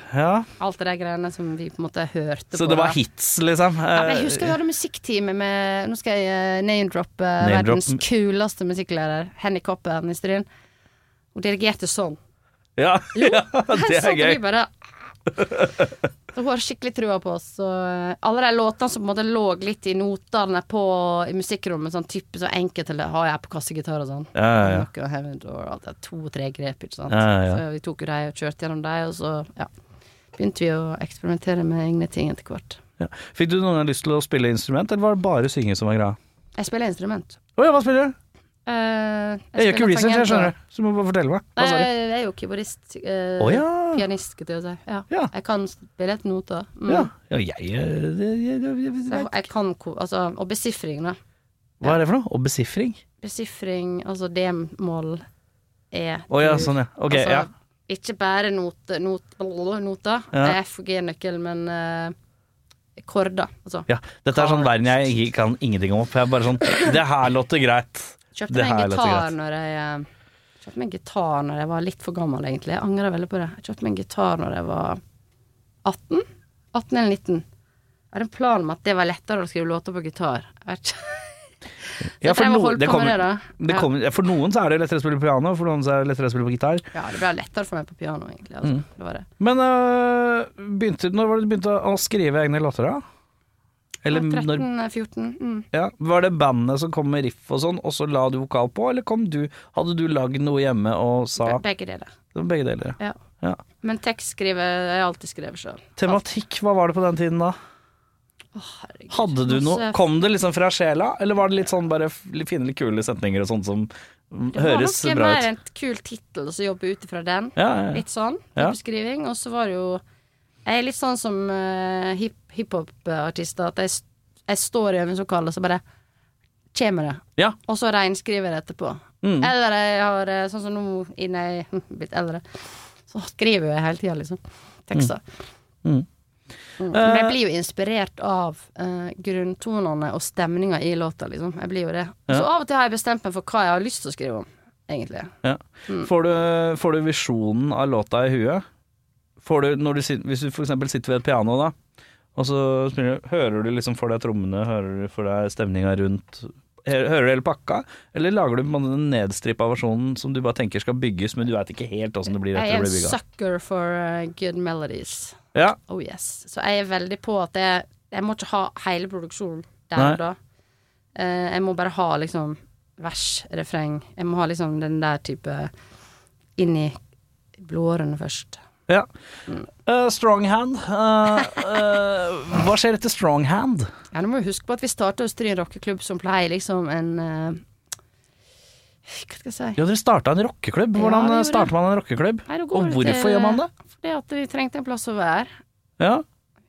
[SPEAKER 2] alt det der greiene som vi på en måte hørte på.
[SPEAKER 1] Eh. Så det var
[SPEAKER 2] da.
[SPEAKER 1] hits, liksom.
[SPEAKER 2] Ja, men jeg husker vi hadde musikktime med Nå skal jeg eh, name-droppe eh,
[SPEAKER 1] Name-drop.
[SPEAKER 2] verdens kuleste musikklærer, Henny Koppen i Stryn. Hun dirigerte sånn.
[SPEAKER 1] Eh, Ja, ja, det
[SPEAKER 2] Så
[SPEAKER 1] er gøy.
[SPEAKER 2] vi bare Så Hun har skikkelig trua på oss. Så eh, alle de låtene som på en måte lå litt i notene på, i musikkrommet, sånn type så enkelte eller har jeg på kassegitar og sånn.
[SPEAKER 1] Ja, ja, ja.
[SPEAKER 2] Knock on Heaven Door, alt det To-tre grep, ikke sant.
[SPEAKER 1] Ja, ja.
[SPEAKER 2] Så vi tok jo de og kjørte gjennom de, og så ja, begynte vi å eksperimentere med egne ting etter hvert.
[SPEAKER 1] Ja. Fikk du noen gang lyst til å spille instrument, eller var det bare synge som var greia?
[SPEAKER 2] Jeg spiller instrument.
[SPEAKER 1] Å ja, hva spiller du?
[SPEAKER 2] Eh,
[SPEAKER 1] Jeg gjør ikke research,
[SPEAKER 2] spiller
[SPEAKER 1] jeg
[SPEAKER 2] tangent,
[SPEAKER 1] skjønner det. Så du må bare fortelle meg. Hva
[SPEAKER 2] Nei,
[SPEAKER 1] sa du?
[SPEAKER 2] jeg er jo keyboardist. eh,
[SPEAKER 1] Å ja.
[SPEAKER 2] Pianist, skulle jeg til å si. Ja.
[SPEAKER 1] Ja.
[SPEAKER 2] Jeg kan spille et noter. Mm.
[SPEAKER 1] Ja, ja jeg, eh, det- jeg, jeg, jeg,
[SPEAKER 2] Så jeg, jeg kan ko- altså, Og besifring, da.
[SPEAKER 1] Hva er det for noe? Og besifring?
[SPEAKER 2] Besifring, altså d-moll, e
[SPEAKER 1] Å ja, sånn ja. Ok,
[SPEAKER 2] altså,
[SPEAKER 1] ja.
[SPEAKER 2] Ikke bare note, not, blablabla, noter.
[SPEAKER 1] Ja.
[SPEAKER 2] Det er FG-nøkkel, men uh, korder. Altså.
[SPEAKER 1] ja. Dette er sånn
[SPEAKER 2] Cards.
[SPEAKER 1] verden jeg ikke kan ingenting om. Jeg er bare sånn Det her låter greit.
[SPEAKER 2] Kjøpte
[SPEAKER 1] Det
[SPEAKER 2] meg
[SPEAKER 1] her
[SPEAKER 2] en
[SPEAKER 1] låter
[SPEAKER 2] gitar
[SPEAKER 1] greit.
[SPEAKER 2] når jeg eh, Kjøpte meg en gitar når jeg var litt for gammel, egentlig. Jeg angrer veldig på det. Jeg kjøpte meg en gitar når jeg var 18. 18 eller 19. Jeg hadde en plan om at det var lettere å skrive låter på gitar. Jeg vet ikke.
[SPEAKER 1] Ja,
[SPEAKER 2] jeg
[SPEAKER 1] for,
[SPEAKER 2] drev og
[SPEAKER 1] no,
[SPEAKER 2] holdt
[SPEAKER 1] det
[SPEAKER 2] på
[SPEAKER 1] kommer,
[SPEAKER 2] med det, da.
[SPEAKER 1] det
[SPEAKER 2] Ja.
[SPEAKER 1] kommer, ja, for noen så er det lettere å spille piano, for noen så er det lettere å spille på gitar.
[SPEAKER 2] Ja, det ble lettere for meg på piano, egentlig. Altså.
[SPEAKER 1] Mm.
[SPEAKER 2] Det var det.
[SPEAKER 1] Men øh, begynte, når var det du begynte å skrive egne låter, da? Eller
[SPEAKER 2] Jeg var
[SPEAKER 1] når,
[SPEAKER 2] 13-14. Mm.
[SPEAKER 1] ja, Var det bandet som kom med riff og sånn, og så la du vokal på, eller kom du, hadde du lagd noe hjemme og sa
[SPEAKER 2] Be- Begge deler.
[SPEAKER 1] Det var begge deler.
[SPEAKER 2] Ja.
[SPEAKER 1] Ja.
[SPEAKER 2] Men tekst skriver jeg har alltid skrevet sjøl.
[SPEAKER 1] Tematikk, hva var det på den tiden da? Hadde du noe? Kom det liksom fra sjela, eller var det litt sånn bare f- finne litt kule setninger og sånt som mm, høres
[SPEAKER 2] Det var
[SPEAKER 1] bra
[SPEAKER 2] nok mer
[SPEAKER 1] ut?
[SPEAKER 2] en kul tittel, og så jobbe ut ifra den.
[SPEAKER 1] Ja, ja,
[SPEAKER 2] Litt sånn
[SPEAKER 1] Ja.
[SPEAKER 2] beskriving. Og så var det jo Jeg er litt sånn som uh, hip, hiphop-artister, at jeg, s- jeg står i øvingslokalet, og så bare kommer det.
[SPEAKER 1] ja. ja.
[SPEAKER 2] Og så reinskriver jeg det etterpå.
[SPEAKER 1] Mm.
[SPEAKER 2] Eller jeg har eh, Sånn som nå, innen jeg er blitt eldre, så skriver jeg hele tida, liksom. Tekster.
[SPEAKER 1] Mm. Eh. Mm.
[SPEAKER 2] Mm. Men jeg blir jo inspirert av eh, grunntonene og stemninga i låta, liksom. Jeg blir jo det. Så
[SPEAKER 1] Ja.
[SPEAKER 2] av og til har jeg bestemt meg for hva jeg har lyst til å skrive om, egentlig.
[SPEAKER 1] Ja. Får, du, får du visjonen av låta i huet? Får du, når du, sit- hvis du f.eks. sitter ved et piano, da, og så spiller, du- hører du liksom for deg trommene, hører du for deg stemninga rundt hø- Hører du hele pakka, eller lager du på en måte den nedstrippa versjonen som du bare tenker skal bygges, men du veit ikke helt åssen det blir
[SPEAKER 2] Jeg
[SPEAKER 1] etter
[SPEAKER 2] er
[SPEAKER 1] å
[SPEAKER 2] en
[SPEAKER 1] bli bygga?
[SPEAKER 2] sucker for eh, good melodies.
[SPEAKER 1] Ja.
[SPEAKER 2] Oh yes. Så jeg er veldig på at jeg, jeg må ikke ha hele produksjonen der
[SPEAKER 1] Nei.
[SPEAKER 2] og da. Eh, jeg må bare ha liksom vers, refreng. Jeg må ha liksom den der type inn i blodårene først.
[SPEAKER 1] ja. Eh, Stronghand. Eh, eh, hva skjer etter Stronghand?
[SPEAKER 2] Ja, du må jo huske på at vi starta hos Stryn rockeklubb som pleier liksom en eh, Hva skal jeg si?
[SPEAKER 1] Ja, dere starta en rockeklubb.
[SPEAKER 2] Ja,
[SPEAKER 1] Hvordan
[SPEAKER 2] vi
[SPEAKER 1] eh,
[SPEAKER 2] gjorde
[SPEAKER 1] starter man en rockeklubb?
[SPEAKER 2] Nei, da går
[SPEAKER 1] Og
[SPEAKER 2] det
[SPEAKER 1] hvorfor
[SPEAKER 2] til-
[SPEAKER 1] gjør man det?
[SPEAKER 2] Fordi at vi trengte en plass å være.
[SPEAKER 1] Ja.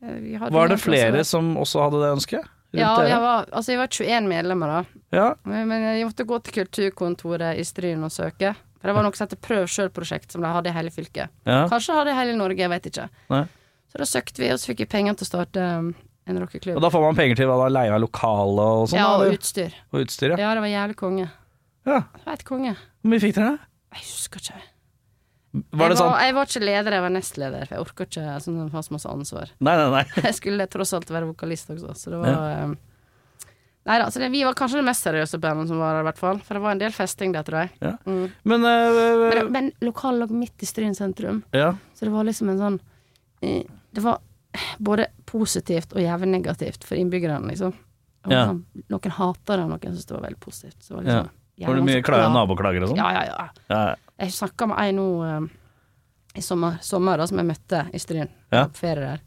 [SPEAKER 2] Eh, vi hadde
[SPEAKER 1] Var
[SPEAKER 2] ingen
[SPEAKER 1] det flere
[SPEAKER 2] plass å være.
[SPEAKER 1] som også hadde det ønsket? Rundt
[SPEAKER 2] Ja,
[SPEAKER 1] dere?
[SPEAKER 2] jeg var, altså jeg var 21 medlemmer da.
[SPEAKER 1] ja.
[SPEAKER 2] Men men jeg måtte gå til kulturkontoret i Stryn og søke. For det var noe som heter Prøv sjøl-prosjekt, som de hadde i hele fylket.
[SPEAKER 1] Ja.
[SPEAKER 2] Kanskje de hadde i hele Norge, jeg vet ikke.
[SPEAKER 1] Nei.
[SPEAKER 2] Så da søkte vi, og så fikk vi penger til å starte um, en rockeklubb.
[SPEAKER 1] Og da får man penger til hva da? Leie av lokale og sånn?
[SPEAKER 2] ja,
[SPEAKER 1] da,
[SPEAKER 2] og
[SPEAKER 1] eller?
[SPEAKER 2] utstyr.
[SPEAKER 1] og utstyr, ja.
[SPEAKER 2] Ja, det var jævlig konge.
[SPEAKER 1] ja.
[SPEAKER 2] Det var et konge.
[SPEAKER 1] Hvor mye fikk dere?
[SPEAKER 2] Jeg husker ikke.
[SPEAKER 1] Var det
[SPEAKER 2] jeg,
[SPEAKER 1] sånn
[SPEAKER 2] var, jeg var ikke leder, jeg var nestleder, for jeg orka ikke sånn ha så masse ansvar.
[SPEAKER 1] Nei, nei, nei.
[SPEAKER 2] Jeg skulle tross alt være vokalist også, så det var um, Nei da, så det, vi var kanskje det mest seriøse bandet som var der, i hvert fall. For det var en del festing der, tror jeg.
[SPEAKER 1] Ja.
[SPEAKER 2] Mm.
[SPEAKER 1] Men, eh,
[SPEAKER 2] Men, men lokalet lå midt i Stryn sentrum.
[SPEAKER 1] ja.
[SPEAKER 2] Så det var liksom en sånn eh, Det var både positivt og jævlig negativt for innbyggerne, liksom. Og
[SPEAKER 1] Ja.
[SPEAKER 2] sånn, Noen hater det, og noen syntes det var veldig positivt. Så det var liksom, jævlig
[SPEAKER 1] Var det mye
[SPEAKER 2] masse
[SPEAKER 1] klare
[SPEAKER 2] klag-
[SPEAKER 1] naboklager og sånn?
[SPEAKER 2] Ja, ja, ja.
[SPEAKER 1] Ja.
[SPEAKER 2] Jeg snakka med ei nå eh, i sommer, sommer da, som jeg møtte i Stryn,
[SPEAKER 1] Ja.
[SPEAKER 2] på ferie der.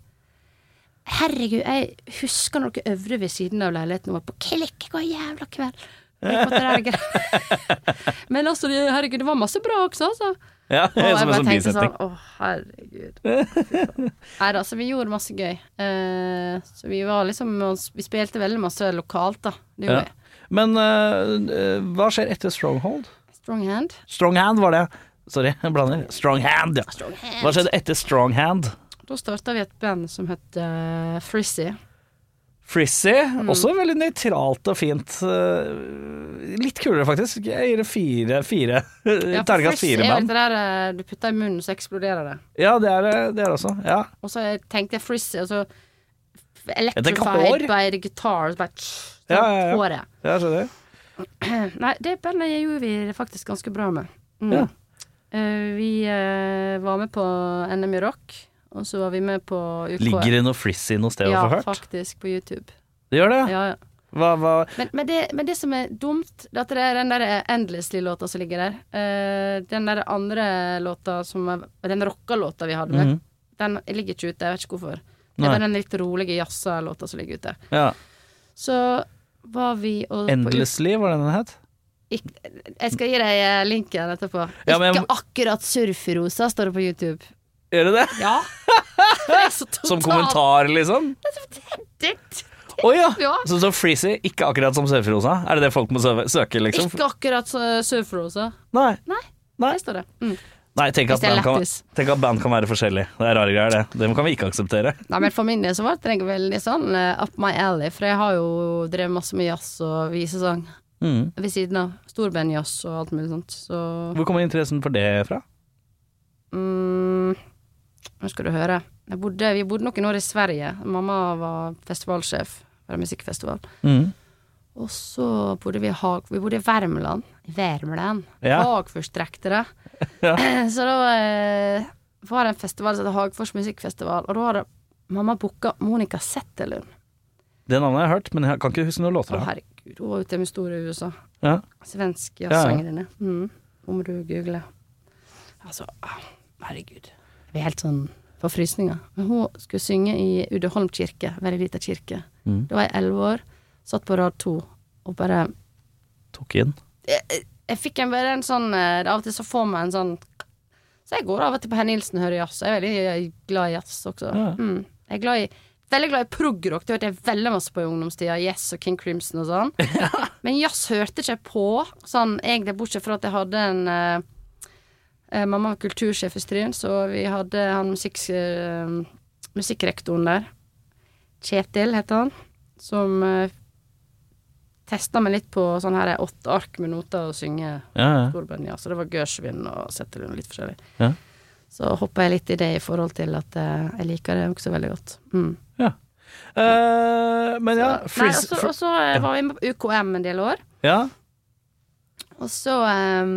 [SPEAKER 2] Herregud, jeg husker når dere øvde ved siden av leiligheten og var på klikk hver jævla kveld. Og jeg måtte der, gre- Men altså, det- herregud, det var masse bra også, altså.
[SPEAKER 1] ja.
[SPEAKER 2] Og jeg
[SPEAKER 1] Som en
[SPEAKER 2] bare
[SPEAKER 1] sånn
[SPEAKER 2] tenkte sånn
[SPEAKER 1] bisetting.
[SPEAKER 2] Å, herregud. Nei da, så vi gjorde masse gøy. Eh, så vi var liksom Vi spilte veldig masse lokalt, da. Det
[SPEAKER 1] Ja.
[SPEAKER 2] gjorde vi.
[SPEAKER 1] Men eh, eh, hva skjer etter Stronghold?
[SPEAKER 2] Strong hand.
[SPEAKER 1] Stronghand var det. Sorry, jeg blander. Stronghand, ja. Hva skjedde etter Stronghand?
[SPEAKER 2] Da starta vi et band som het eh, Frizzy.
[SPEAKER 1] Frizzy,
[SPEAKER 2] Mm.
[SPEAKER 1] også veldig nøytralt og fint. Eh, Litt kulere, faktisk. Jeg gir det fire. fire.
[SPEAKER 2] Ja, for
[SPEAKER 1] Terningkast
[SPEAKER 2] Frizzy
[SPEAKER 1] fire
[SPEAKER 2] er sånn-
[SPEAKER 1] band.
[SPEAKER 2] det der eh, du putter i munnen, så eksploderer det.
[SPEAKER 1] Ja, det er det- det er det også. Ja.
[SPEAKER 2] Og så tenkte jeg Frizzy, og så
[SPEAKER 1] tenker hår.
[SPEAKER 2] Electrified by the guitar. Så bare tss,
[SPEAKER 1] Ja, ja, ja.
[SPEAKER 2] Håret.
[SPEAKER 1] Jeg skjønner.
[SPEAKER 2] Nei, det bandet gjorde vi faktisk ganske bra med. Mm.
[SPEAKER 1] Ja.
[SPEAKER 2] Eh, vi eh, var med på NM i rock, og så var vi med på UK.
[SPEAKER 1] Ligger det noe frizzy noe sted å
[SPEAKER 2] ja,
[SPEAKER 1] få hørt?
[SPEAKER 2] faktisk, på YouTube.
[SPEAKER 1] Det gjør det?
[SPEAKER 2] Ja, ja.
[SPEAKER 1] Hva, hva?
[SPEAKER 2] Men, men, det, men det som er dumt, det er at det er den der Endlessly-låta som ligger der. Eh, den der andre låta som er, Den rocka-låta vi hadde med,
[SPEAKER 1] Mhm.
[SPEAKER 2] den ligger ikke ute, jeg vet ikke hvorfor. Det
[SPEAKER 1] Nei.
[SPEAKER 2] var den litt rolige jazza-låta som ligger ute.
[SPEAKER 1] Ja.
[SPEAKER 2] Så var vi og Sånn på
[SPEAKER 1] Endlessly, var det den het?
[SPEAKER 2] Ik jeg skal gi deg eh, linken etterpå.
[SPEAKER 1] Ja, men jeg
[SPEAKER 2] Ikke akkurat surferosa, står det på YouTube.
[SPEAKER 1] Gjør det det?
[SPEAKER 2] Ja. det er så totalt
[SPEAKER 1] Som kommentar, liksom?
[SPEAKER 2] dritt.
[SPEAKER 1] Å ja!
[SPEAKER 2] Ja.
[SPEAKER 1] Så, så frizzy, ikke akkurat som surferosa? Er det det folk må søve- søke, liksom?
[SPEAKER 2] Ikke akkurat eh, surferosa.
[SPEAKER 1] Nei.
[SPEAKER 2] Nei,
[SPEAKER 1] Nei.
[SPEAKER 2] det står det. Mm.
[SPEAKER 1] Nei, tenk at,
[SPEAKER 2] Hvis det er
[SPEAKER 1] band kan,
[SPEAKER 2] lættis.
[SPEAKER 1] tenk at band kan være forskjellige. Det er rare greier, det. Det kan vi ikke akseptere.
[SPEAKER 2] Nei, men For min del så ble det veldig sånn eh, up my alley, for jeg har jo drevet masse med jazz og visesang
[SPEAKER 1] Mm.
[SPEAKER 2] ved siden av. Storbandjazz og alt mulig sånt. Så
[SPEAKER 1] Hvor kommer interessen for det fra?
[SPEAKER 2] mm, Nå skal du høre. Jeg bodde, vi bodde noen år i Sverige. Mamma var festivalsjef for en musikkfestival.
[SPEAKER 1] Mm.
[SPEAKER 2] Og så bodde vi i Hag... Vi bodde i Värmland. I Värmland.
[SPEAKER 1] Ja.
[SPEAKER 2] Hagfors drekte det.
[SPEAKER 1] Ja.
[SPEAKER 2] Så da eh, var det en festival som het Hagfors musikkfestival, og da hadde mamma booka Monica Zetterlund.
[SPEAKER 1] Det navnet har jeg hørt, men jeg kan ikke huske noen låter av
[SPEAKER 2] Å,
[SPEAKER 1] det.
[SPEAKER 2] herregud, hun var ute med store i USA.
[SPEAKER 1] Ja.
[SPEAKER 2] Svensk
[SPEAKER 1] ja.
[SPEAKER 2] jazzsangerinne. Mm. Hun må du google. Altså, ah, herregud. Jeg blir helt sånn på frysninger. Men hun skulle synge i Udeholm kirke, veldig lita kirke.
[SPEAKER 1] Mm.
[SPEAKER 2] Da var jeg elleve år, satt på rad to og bare
[SPEAKER 1] Tok inn.
[SPEAKER 2] jeg, jeg fikk en, bare en sånn eh, Av og til så får man en sånn Så jeg går av og til på Herr Nilsen og hører jazz. Jeg er veldig eh, glad i jazz også.
[SPEAKER 1] Ja.
[SPEAKER 2] Mm. Jeg er glad i, veldig glad i progrock. Det hørte jeg veldig masse på i ungdomstida. Yes og King Crimson og sånn. Men jazz hørte ikke jeg på, sånn egentlig, bortsett fra at jeg hadde en eh, eh, Mamma var kultursjef i Stryn, så vi hadde han musikk, eh, musikkrektoren der. Kjetil heter han. Som eh, testa meg litt på sånn her åtte ark med noter og synge
[SPEAKER 1] Ja, ja.
[SPEAKER 2] storband, ja. Så det var Gershwin og Zetterlund og litt forskjellig.
[SPEAKER 1] Ja.
[SPEAKER 2] Så hoppa jeg litt i det i forhold til at eh, jeg liker det også veldig godt. Mm.
[SPEAKER 1] ja. Eh, men ja,
[SPEAKER 2] Nei,
[SPEAKER 1] frizz...
[SPEAKER 2] og så- og så eh, var vi med på UKM en del år,
[SPEAKER 1] ja.
[SPEAKER 2] og så eh,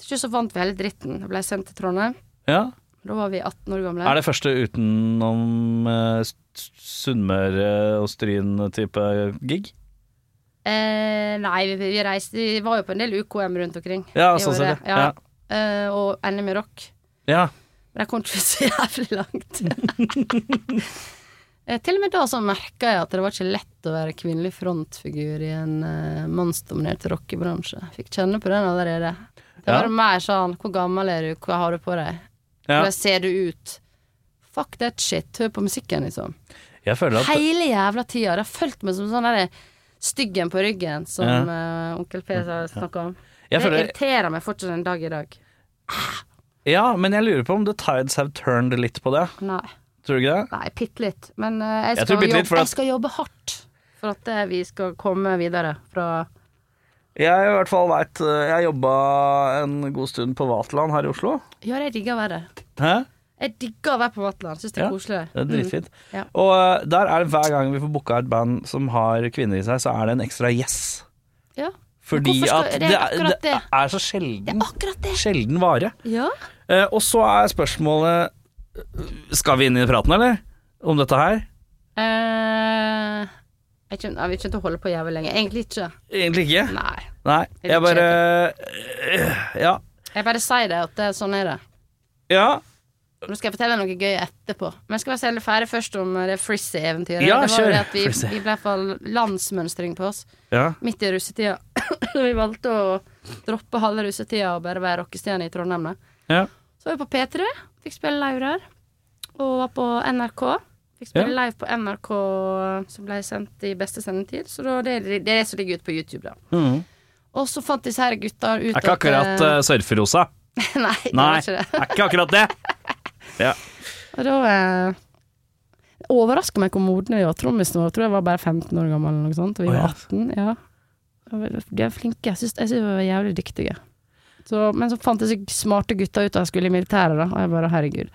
[SPEAKER 2] Til slutt så vant vi hele dritten og ble sendt til Trondheim.
[SPEAKER 1] Ja.
[SPEAKER 2] Da var vi 18 år gamle.
[SPEAKER 1] Er det første utenom eh, S- Sunnmøre og Stryn-type gig?
[SPEAKER 2] Eh, nei, vi, vi reiste Vi var jo på en del UKM rundt omkring.
[SPEAKER 1] Ja,
[SPEAKER 2] i
[SPEAKER 1] sånn ser
[SPEAKER 2] året.
[SPEAKER 1] det. Ja.
[SPEAKER 2] Eh, og NM i rock.
[SPEAKER 1] Ja.
[SPEAKER 2] Men jeg kom ikke så jævlig langt. Eh, Til og med da så merka jeg at det var ikke lett å være kvinnelig frontfigur i en eh, mannsdominert rockebransje. Fikk kjenne på den allerede. Det
[SPEAKER 1] Ja.
[SPEAKER 2] var mer sånn Hvor gammel er du? Hva har du på deg?
[SPEAKER 1] ja.
[SPEAKER 2] Hvordan ser du ut? Fuck that shit. Hør på musikken, liksom.
[SPEAKER 1] Jeg føler at
[SPEAKER 2] Hele jævla tida. Det har fulgt meg som sånn derre styggen på ryggen, som eh, onkel P har snakka om.
[SPEAKER 1] jeg
[SPEAKER 2] det
[SPEAKER 1] føler,
[SPEAKER 2] irriterer meg fortsatt en dag i dag.
[SPEAKER 1] Ja, men jeg lurer på om the tides have turned litt på det.
[SPEAKER 2] Nei.
[SPEAKER 1] Tror du ikke det?
[SPEAKER 2] Nei, bitte litt. Men eh, jeg,
[SPEAKER 1] Jeg
[SPEAKER 2] skal
[SPEAKER 1] tror bitte litt,
[SPEAKER 2] jobbe,
[SPEAKER 1] for at-
[SPEAKER 2] jeg skal jobbe hardt for at eh, vi skal komme videre fra
[SPEAKER 1] Jeg i hvert fall veit Jeg jobba en god stund på Vaterland her i Oslo.
[SPEAKER 2] Ja, jeg digger å være der.
[SPEAKER 1] Hæ?
[SPEAKER 2] Jeg digger å være på Vatland. Syns det er
[SPEAKER 1] Ja,
[SPEAKER 2] koselig.
[SPEAKER 1] Det er dritfint.
[SPEAKER 2] Mm. Ja.
[SPEAKER 1] Og eh, der er det hver gang vi får booka et band som har kvinner i seg, så er det en ekstra yes.
[SPEAKER 2] Ja.
[SPEAKER 1] Fordi
[SPEAKER 2] Hvorfor skal-
[SPEAKER 1] at
[SPEAKER 2] det
[SPEAKER 1] det
[SPEAKER 2] er
[SPEAKER 1] er,
[SPEAKER 2] akkurat
[SPEAKER 1] det
[SPEAKER 2] det.
[SPEAKER 1] er så
[SPEAKER 2] Det
[SPEAKER 1] sjelden,
[SPEAKER 2] er akkurat det.
[SPEAKER 1] sjelden vare.
[SPEAKER 2] Ja.
[SPEAKER 1] Eh, og så er spørsmålet eh, Skal vi inn i praten, eller? Om dette her?
[SPEAKER 2] Eh, jeg kjem- jeg vil ikke til å holde på jævlig lenge. Egentlig ikke.
[SPEAKER 1] Egentlig ikke.
[SPEAKER 2] Nei.
[SPEAKER 1] Nei.
[SPEAKER 2] Det er
[SPEAKER 1] Jeg
[SPEAKER 2] litt
[SPEAKER 1] bare eh, Ja.
[SPEAKER 2] Jeg bare sier det, at det, er- sånn er det.
[SPEAKER 1] Ja,
[SPEAKER 2] Nå skal jeg fortelle noe gøy etterpå. Men jeg skal være så jævlig ferdig først om eh, det frizzy-eventyret.
[SPEAKER 1] Ja,
[SPEAKER 2] det var
[SPEAKER 1] kjør.
[SPEAKER 2] jo det at vi,
[SPEAKER 1] Frizzy.
[SPEAKER 2] vi ble i hvert fall landsmønstring på oss.
[SPEAKER 1] ja.
[SPEAKER 2] midt i russetida. Så vi valgte å droppe halve russetida og bare være rockestjerne i Trondheim. da.
[SPEAKER 1] ja.
[SPEAKER 2] Så var vi på P3, fikk spille live der. Og var på NRK. Fikk spille
[SPEAKER 1] Ja.
[SPEAKER 2] live på NRK som ble sendt i beste sendetid. Så da, det, er- det er det som ligger ute på YouTube, da.
[SPEAKER 1] Mhm.
[SPEAKER 2] Og så fant disse her gutta ut
[SPEAKER 1] Er ikke akkurat eh, surferosa.
[SPEAKER 2] Nei, det
[SPEAKER 1] Nei,
[SPEAKER 2] var ikke det.
[SPEAKER 1] er ikke akkurat det. Ja.
[SPEAKER 2] Og da eh, det overrasker meg hvor modne de var. Trommisen vår tror jeg var bare 15 år gammel, eller noe sånt. Og vi
[SPEAKER 1] Å, ja.
[SPEAKER 2] var 18. Ja. Og De er flinke. Jeg syns jeg synes de var jævlig dyktige. Så, men så fant jeg så smarte gutter ut at jeg skulle i militæret, da. Og jeg bare herregud.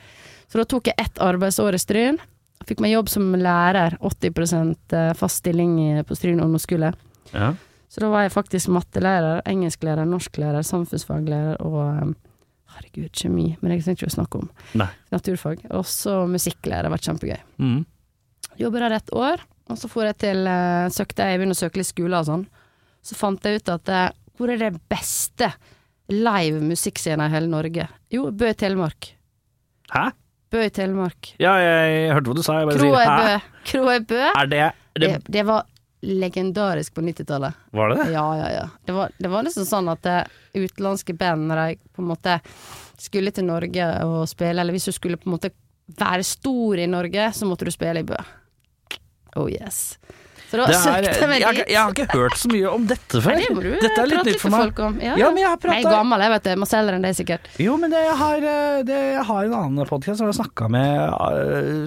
[SPEAKER 2] Så da tok jeg ett arbeidsår i Stryn. Fikk meg jobb som lærer, 80 fast stilling i- på Stryn ungdomsskole.
[SPEAKER 1] Ja.
[SPEAKER 2] Så da var jeg faktisk mattelærer, engelsklærer, norsklærer, samfunnsfaglærer og eh, herregud, kjemi. Men det trenger jeg ikke å snakke om
[SPEAKER 1] Nei.
[SPEAKER 2] naturfag. Og så musikklærer, det har vært kjempegøy.
[SPEAKER 1] Mhm.
[SPEAKER 2] Jobber der et år, og så for jeg til eh, søkte jeg begynte å søke litt skoler og sånn. Så fant jeg ut at eh, hvor er det beste live musikkscenen i hele Norge? Jo, Bø i Telemark.
[SPEAKER 1] Hæ?
[SPEAKER 2] Bø i Telemark.
[SPEAKER 1] Ja, jeg hørte hva du sa. Jeg bare
[SPEAKER 2] Kroa i
[SPEAKER 1] sier hæ?
[SPEAKER 2] Bø. Kroa i Bø.
[SPEAKER 1] Er det,
[SPEAKER 2] Det,
[SPEAKER 1] det
[SPEAKER 2] det var legendarisk på 90-tallet.
[SPEAKER 1] Var det det?
[SPEAKER 2] Ja, ja, ja. Det var, det var nesten sånn at eh, utenlandske band, når de på en måte skulle til Norge og spille, eller hvis du skulle på en måte være stor i Norge, så måtte du spille i Bø. Oh yes. Så da
[SPEAKER 1] det er,
[SPEAKER 2] søkte
[SPEAKER 1] jeg,
[SPEAKER 2] jeg meg
[SPEAKER 1] har ikke-
[SPEAKER 2] dit.
[SPEAKER 1] jeg har ikke hørt så mye om dette før.
[SPEAKER 2] Nei, det må du eh,
[SPEAKER 1] dette er
[SPEAKER 2] prate
[SPEAKER 1] litt nytt for
[SPEAKER 2] med
[SPEAKER 1] meg.
[SPEAKER 2] folk om. Ja,
[SPEAKER 1] Ja, men jeg har
[SPEAKER 2] jeg er
[SPEAKER 1] prata
[SPEAKER 2] gammel, jeg vet det. Jeg må selge den, det er sikkert.
[SPEAKER 1] Jo, men det, jeg, har, eh, det, jeg har en annen podkast hvor jeg har snakka med eh,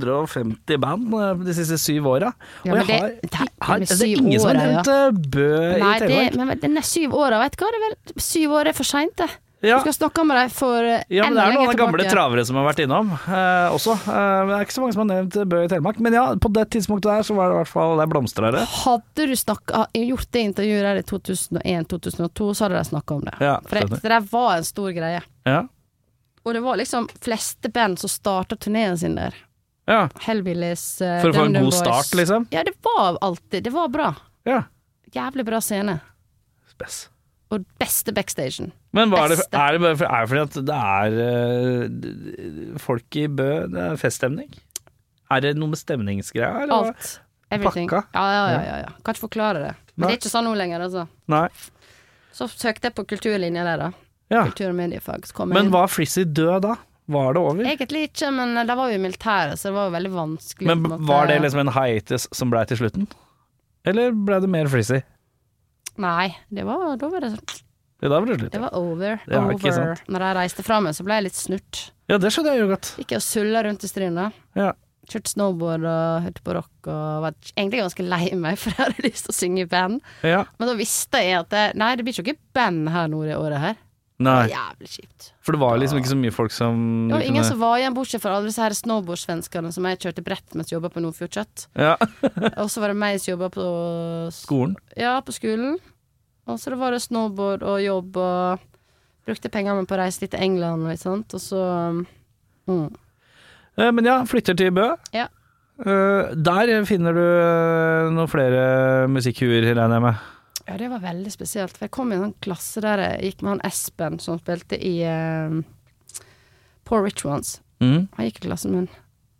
[SPEAKER 1] 250 band eh, de siste syv åra.
[SPEAKER 2] Ja,
[SPEAKER 1] og
[SPEAKER 2] men
[SPEAKER 1] jeg
[SPEAKER 2] det-
[SPEAKER 1] har,
[SPEAKER 2] det-
[SPEAKER 1] har, altså,
[SPEAKER 2] med
[SPEAKER 1] det, er
[SPEAKER 2] syv
[SPEAKER 1] ingen som har
[SPEAKER 2] åra, ja.
[SPEAKER 1] nevnt eh, Bø
[SPEAKER 2] Nei,
[SPEAKER 1] i
[SPEAKER 2] det,
[SPEAKER 1] Telemark.
[SPEAKER 2] men den er syv åra, vet du hva. Det er vel syv år er for seint, det.
[SPEAKER 1] Ja.
[SPEAKER 2] Du skal snakke med dem for eh,
[SPEAKER 1] Ja, men Det
[SPEAKER 2] enda
[SPEAKER 1] er noen
[SPEAKER 2] lenger
[SPEAKER 1] av gamle
[SPEAKER 2] tilbake.
[SPEAKER 1] travere som har vært innom eh, også. Eh, men det er ikke så mange som har nevnt eh, Bø i Telemark. Men ja, på det tidspunktet der så var det i hvert fall der blomstra det.
[SPEAKER 2] Hadde du snakka, gjort det intervjuet der i 2001-2002, så hadde de snakka om det.
[SPEAKER 1] Ja,
[SPEAKER 2] For det,
[SPEAKER 1] skjønner.
[SPEAKER 2] det der var en stor greie.
[SPEAKER 1] Ja.
[SPEAKER 2] Og det var liksom fleste band som starta turneen sin der.
[SPEAKER 1] ja.
[SPEAKER 2] Hellbillies, eh,
[SPEAKER 1] For å få en
[SPEAKER 2] DumDum
[SPEAKER 1] god
[SPEAKER 2] Boys.
[SPEAKER 1] start, liksom.
[SPEAKER 2] Ja, det var alltid Det var bra.
[SPEAKER 1] Ja.
[SPEAKER 2] Jævlig bra scene.
[SPEAKER 1] Spes.
[SPEAKER 2] Og beste backstagen.
[SPEAKER 1] Men hva er, det,
[SPEAKER 2] Beste.
[SPEAKER 1] er det bare for, er det fordi at det er eh, folk i Bø Det er feststemning? Er det noe med stemningsgreia, eller? hva?
[SPEAKER 2] Alt. Everything.
[SPEAKER 1] Pakka.
[SPEAKER 2] Ja, ja, ja, ja, ja. Kan ikke forklare det. Men
[SPEAKER 1] Nei.
[SPEAKER 2] det er ikke sånn nå lenger, altså.
[SPEAKER 1] Nei.
[SPEAKER 2] Så søkte jeg på kulturlinja der, da.
[SPEAKER 1] Ja.
[SPEAKER 2] Kultur- og mediefag. Så kom jeg
[SPEAKER 1] Men
[SPEAKER 2] inn.
[SPEAKER 1] var Frizzy død da? Var det over?
[SPEAKER 2] Egentlig ikke, men eh, da var vi i militæret, så det var jo veldig vanskelig.
[SPEAKER 1] Men
[SPEAKER 2] på en måte.
[SPEAKER 1] var det liksom en hiatus som blei til slutten? Eller blei det mer Frizzy?
[SPEAKER 2] Nei, det var, da var det sånn
[SPEAKER 1] Ja, da var det slutt.
[SPEAKER 2] Det
[SPEAKER 1] Ja,
[SPEAKER 2] var over.
[SPEAKER 1] Ja, ikke
[SPEAKER 2] over.
[SPEAKER 1] sant.
[SPEAKER 2] Når jeg reiste fra meg, så ble jeg litt snurt.
[SPEAKER 1] ja det skjønner jeg jo godt.
[SPEAKER 2] Gikk jeg og sulla rundt i Stryn, da.
[SPEAKER 1] Ja.
[SPEAKER 2] Kjørte snowboard og hørte på rock og var egentlig ganske lei meg, for jeg hadde lyst til å synge i band.
[SPEAKER 1] ja.
[SPEAKER 2] Men da visste jeg at det, nei, det blir ikke noe band her nå det året her. Det var
[SPEAKER 1] Nei,
[SPEAKER 2] jævlig kjipt.
[SPEAKER 1] for det var liksom ikke så mye folk som
[SPEAKER 2] Det var
[SPEAKER 1] du
[SPEAKER 2] ingen
[SPEAKER 1] kunne-
[SPEAKER 2] som var igjen, bortsett fra alle disse her snowboardsvenskene som jeg kjørte brett mens jeg jobba på Nordfjordkjøtt.
[SPEAKER 1] Ja,
[SPEAKER 2] Og så var det meg som jobba på
[SPEAKER 1] skolen.
[SPEAKER 2] Ja, på skolen. Og så det var det snowboard og jobb og Brukte pengene mine på å reise litt til England og litt sånt. Og så um, Mm.
[SPEAKER 1] Eh, Men ja, flytter til Bø.
[SPEAKER 2] Ja.
[SPEAKER 1] Eh, Der finner du eh, noen flere musikkhuer, regner jeg med.
[SPEAKER 2] Ja, det var veldig spesielt. For jeg kom i en sånn klasse der jeg gikk med han Espen, som spilte i eh, Poor Rich Ones.
[SPEAKER 1] Mm.
[SPEAKER 2] Han gikk i klassen min.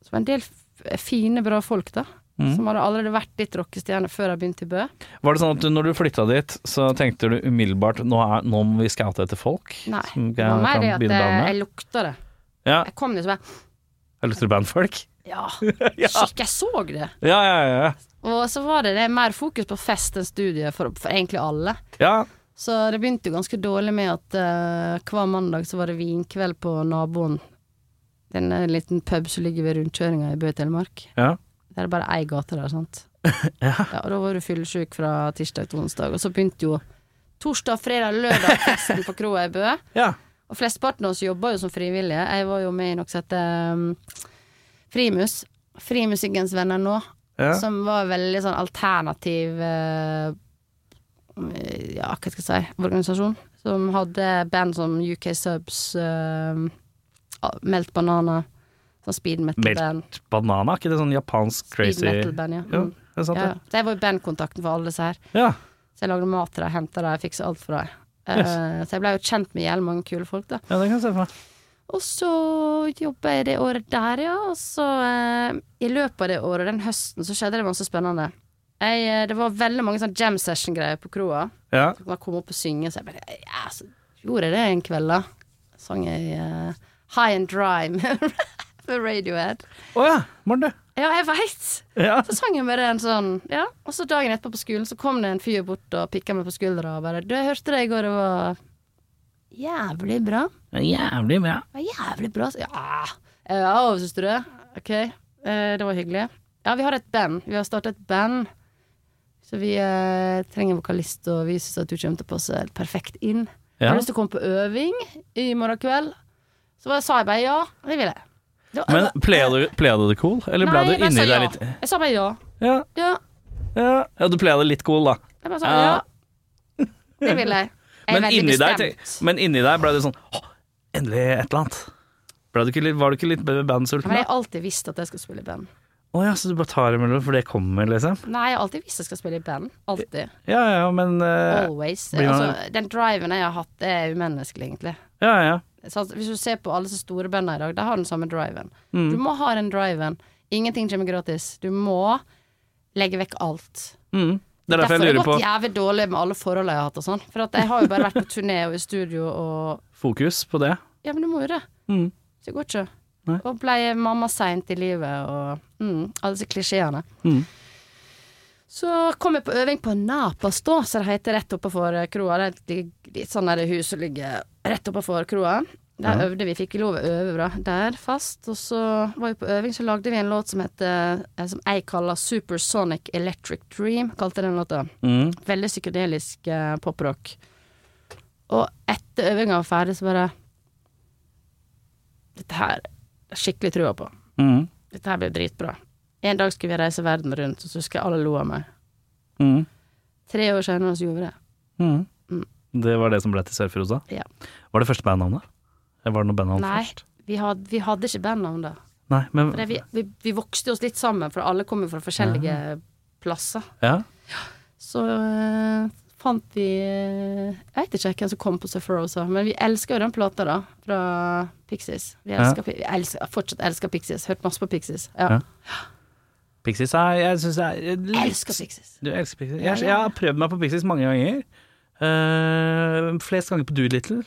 [SPEAKER 2] Så det var en del f fine, bra folk, da.
[SPEAKER 1] Mm.
[SPEAKER 2] Som hadde allerede vært litt rockestjerne før jeg begynte i Bø.
[SPEAKER 1] Var det sånn at du, når du flytta dit, så tenkte du umiddelbart nå, er, nå må vi scoute etter folk?
[SPEAKER 2] Nei.
[SPEAKER 1] som
[SPEAKER 2] Det var mer det at
[SPEAKER 1] begynne å
[SPEAKER 2] jeg,
[SPEAKER 1] danne?
[SPEAKER 2] jeg lukta det.
[SPEAKER 1] Ja,
[SPEAKER 2] Jeg kom liksom bare
[SPEAKER 1] jeg lukter bandfolk?
[SPEAKER 2] Ja,
[SPEAKER 1] Ja.
[SPEAKER 2] skikk, jeg så det.
[SPEAKER 1] Ja, ja, ja.
[SPEAKER 2] Og så var det, det mer fokus på fest enn studie for, for egentlig alle.
[SPEAKER 1] ja.
[SPEAKER 2] Så det begynte jo ganske dårlig med at eh, hver mandag så var det vinkveld på naboen. Det er en eh, liten pub som ligger ved rundkjøringa i Bø i Telemark.
[SPEAKER 1] ja.
[SPEAKER 2] Det er bare ei gate der, sant. Ja, og da var du fyllesyk fra tirsdag til onsdag. Og så begynte jo torsdag, fredag, lørdag festen på kroa i Bø.
[SPEAKER 1] ja.
[SPEAKER 2] Og flesteparten av oss jobba jo som frivillige. Jeg var jo med i noe som heter um, Frimus. Frimusikkens venner nå.
[SPEAKER 1] ja.
[SPEAKER 2] Som var veldig sånn alternativ eh, Ja, hva skal jeg si organisasjon. Som hadde band som UK Subs, eh, Melt Banana, sånn speed metal-band.
[SPEAKER 1] Banana, er ikke det sånn japansk
[SPEAKER 2] Speed
[SPEAKER 1] crazy
[SPEAKER 2] metal-band, ja.
[SPEAKER 1] Jo,
[SPEAKER 2] Mm.
[SPEAKER 1] det er sant,
[SPEAKER 2] Ja, ja. Så jeg var jo bandkontakten for alle disse her.
[SPEAKER 1] det. Ja.
[SPEAKER 2] Så jeg lagde mat til dem, henta dem, fiksa alt for dem. Eh, Så jeg ble jo kjent med jævlig mange kule folk, da.
[SPEAKER 1] ja, det kan jeg se for meg.
[SPEAKER 2] Og så jobba jeg det året der, ja. Og så eh, i løpet av det året, den høsten, så skjedde det masse spennende. Jeg, eh, det var veldig mange sånn jam session-greier på kroa.
[SPEAKER 1] Ja.
[SPEAKER 2] Folk bare kom opp og synge, så jeg bare ja, så gjorde jeg det en kveld, da. Sang jeg eh, High and Dry med med Radiohead.
[SPEAKER 1] Å ja, Marte.
[SPEAKER 2] Ja, jeg veit!
[SPEAKER 1] Ja.
[SPEAKER 2] Så sang jeg bare en sånn, ja. Og så dagen etterpå på skolen så kom det en fyr bort og pikka meg på skuldra og bare 'Du, jeg hørte det i går, det var jævlig bra'.
[SPEAKER 1] Jævlig bra.
[SPEAKER 2] Det var jævlig bra. Så, ja, Eh, ja syns du det? OK, eh, det var hyggelig. Ja, vi har et band. Vi har startet et band. Så vi eh, trenger en vokalist, og vi syns at du kommer til å passe helt perfekt inn.
[SPEAKER 1] Ja.
[SPEAKER 2] Har du lyst til å komme på øving i morgen kveld? Så bare sa jeg bare ja, det vil jeg. Det var-
[SPEAKER 1] Men playa du, playa du det cool, eller ble
[SPEAKER 2] Nei,
[SPEAKER 1] du
[SPEAKER 2] jeg bare sa
[SPEAKER 1] inni deg
[SPEAKER 2] ja.
[SPEAKER 1] litt
[SPEAKER 2] Jeg sa bare ja.
[SPEAKER 1] ja,
[SPEAKER 2] Ja.
[SPEAKER 1] ja. ja, du playa det litt cool, da.
[SPEAKER 2] Jeg bare sa
[SPEAKER 1] Ja.
[SPEAKER 2] ja. Det vil jeg. Jeg er
[SPEAKER 1] Men
[SPEAKER 2] veldig
[SPEAKER 1] inni, deg,
[SPEAKER 2] bestemt.
[SPEAKER 1] tenk- men inni deg ble det sånn Å, endelig et eller annet. Ble du ikke litt, var du ikke litt bandsulten?
[SPEAKER 2] Men jeg
[SPEAKER 1] da?
[SPEAKER 2] har alltid visst at jeg skal spille i band.
[SPEAKER 1] Å ja, så du bare tar imellom, for det kommer, liksom?
[SPEAKER 2] Nei, jeg har alltid visst jeg skal spille i band. Alltid.
[SPEAKER 1] Ja ja, men eh,
[SPEAKER 2] Always.
[SPEAKER 1] blir man-
[SPEAKER 2] Altså, den driven jeg har hatt, det er umenneskelig, egentlig.
[SPEAKER 1] Ja ja.
[SPEAKER 2] Så at hvis du ser på alle disse store bandene i dag, de har den samme driven.
[SPEAKER 1] Mm,
[SPEAKER 2] Du må ha den driven. Ingenting kommer gratis. Du må legge vekk alt.
[SPEAKER 1] Mm. Det er derfor
[SPEAKER 2] har
[SPEAKER 1] jeg
[SPEAKER 2] det
[SPEAKER 1] lurer på
[SPEAKER 2] gått jævlig dårlig med alle forholdene jeg har hatt og sånn. For at jeg har jo bare vært på turné og i studio og
[SPEAKER 1] fokus på det.
[SPEAKER 2] Ja, men du må jo det.
[SPEAKER 1] Mm.
[SPEAKER 2] Så det går ikke.
[SPEAKER 1] Nei.
[SPEAKER 2] Og ble mamma seint i livet, og mm, alle disse klisjeene.
[SPEAKER 1] Mm.
[SPEAKER 2] Så kom jeg på øving på Napas, da, som det heter rett oppefor kroa. Det er et lig- litt sånn der hus som ligger rett oppefor kroa. Der øvde vi, fikk lov å øve bra der, fast. Og så var vi på øving, så lagde vi en låt som heter eh, Som jeg kaller Supersonic Electric Dream, kalte den låta.
[SPEAKER 1] Mm.
[SPEAKER 2] Veldig psykedelisk eh, poprock. Og etter øvinga var ferdig, så bare Dette her har jeg skikkelig trua på.
[SPEAKER 1] Mm.
[SPEAKER 2] Dette her blir dritbra. En dag skulle vi reise verden rundt, og så husker jeg alle lo av meg.
[SPEAKER 1] Mm.
[SPEAKER 2] Tre år senere så gjorde vi det.
[SPEAKER 1] Mm.
[SPEAKER 2] Mm.
[SPEAKER 1] Det var det som ble til Sør-Furosa?
[SPEAKER 2] Ja.
[SPEAKER 1] Var det første bandnavnet? Eller var det noe bandnavn
[SPEAKER 2] Nei,
[SPEAKER 1] først?
[SPEAKER 2] vi hadde, vi hadde ikke bandnavn da.
[SPEAKER 1] Nei, men
[SPEAKER 2] For det, vi, vi, vi vokste oss litt sammen, for alle kom jo fra forskjellige plasser.
[SPEAKER 1] ja.
[SPEAKER 2] Så eh, fant vi eh, Jeg vet ikke hvem som kom på Sephirosa, men vi elsker jo den plata, da, fra Pixies. Vi elsker, Pi- vi elsker, fortsatt elsker Pixies. Hørt masse på Pixies.
[SPEAKER 1] Ja.
[SPEAKER 2] Ja.
[SPEAKER 1] Pixies er Jeg syns det er litt
[SPEAKER 2] Elsker Pixies.
[SPEAKER 1] Du elsker Pixies.
[SPEAKER 2] Ja,
[SPEAKER 1] Jeg,
[SPEAKER 2] ja.
[SPEAKER 1] jeg har prøvd meg på Pixies mange ganger. Eh, flest ganger på Doolittle.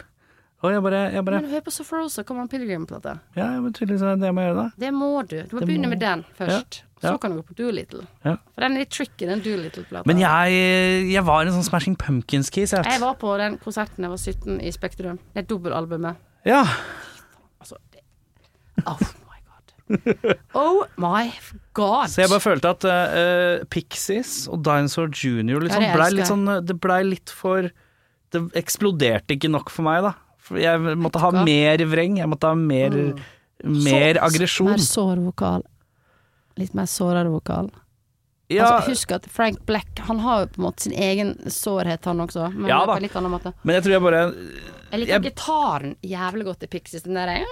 [SPEAKER 1] Og jeg bare, jeg bare
[SPEAKER 2] Men hør på Sephirosa, kommer en Pilgrim-plate.
[SPEAKER 1] Ja, men tydeligvis er det det jeg må gjøre, da.
[SPEAKER 2] Det må du. Du må
[SPEAKER 1] Det
[SPEAKER 2] begynne
[SPEAKER 1] må-
[SPEAKER 2] med den først.
[SPEAKER 1] Ja.
[SPEAKER 2] Så kan du gå på Doolittle.
[SPEAKER 1] Ja.
[SPEAKER 2] For den er litt tricky, den Doolittle-plata.
[SPEAKER 1] Men jeg, jeg var en sånn Smashing Pumpkins-kis. Jeg, vet.
[SPEAKER 2] Jeg var på den konserten jeg var 17 i Spektrum. Det dobbelalbumet.
[SPEAKER 1] Ja.
[SPEAKER 2] Altså, det Oh my god. Oh my god.
[SPEAKER 1] Så jeg bare følte at eh, Pixies og Dinosaur Junior liksom
[SPEAKER 2] Ja, det
[SPEAKER 1] blei
[SPEAKER 2] elsker
[SPEAKER 1] litt sånn Det blei litt for Det eksploderte ikke nok for meg, da. For jeg måtte ha
[SPEAKER 2] hva? Mm.
[SPEAKER 1] mer vreng. Jeg måtte ha mer, mer aggresjon.
[SPEAKER 2] Mer sår vokal. Litt mer sårere vokal.
[SPEAKER 1] Ja,
[SPEAKER 2] Altså, husk at Frank Black Han har jo på en måte sin egen sårhet, han også. Men
[SPEAKER 1] Ja
[SPEAKER 2] på
[SPEAKER 1] da.
[SPEAKER 2] en litt annen måte.
[SPEAKER 1] men jeg tror jeg bare
[SPEAKER 2] Jeg liker
[SPEAKER 1] Jeg-
[SPEAKER 2] gitaren jævlig godt i Pixies. Den der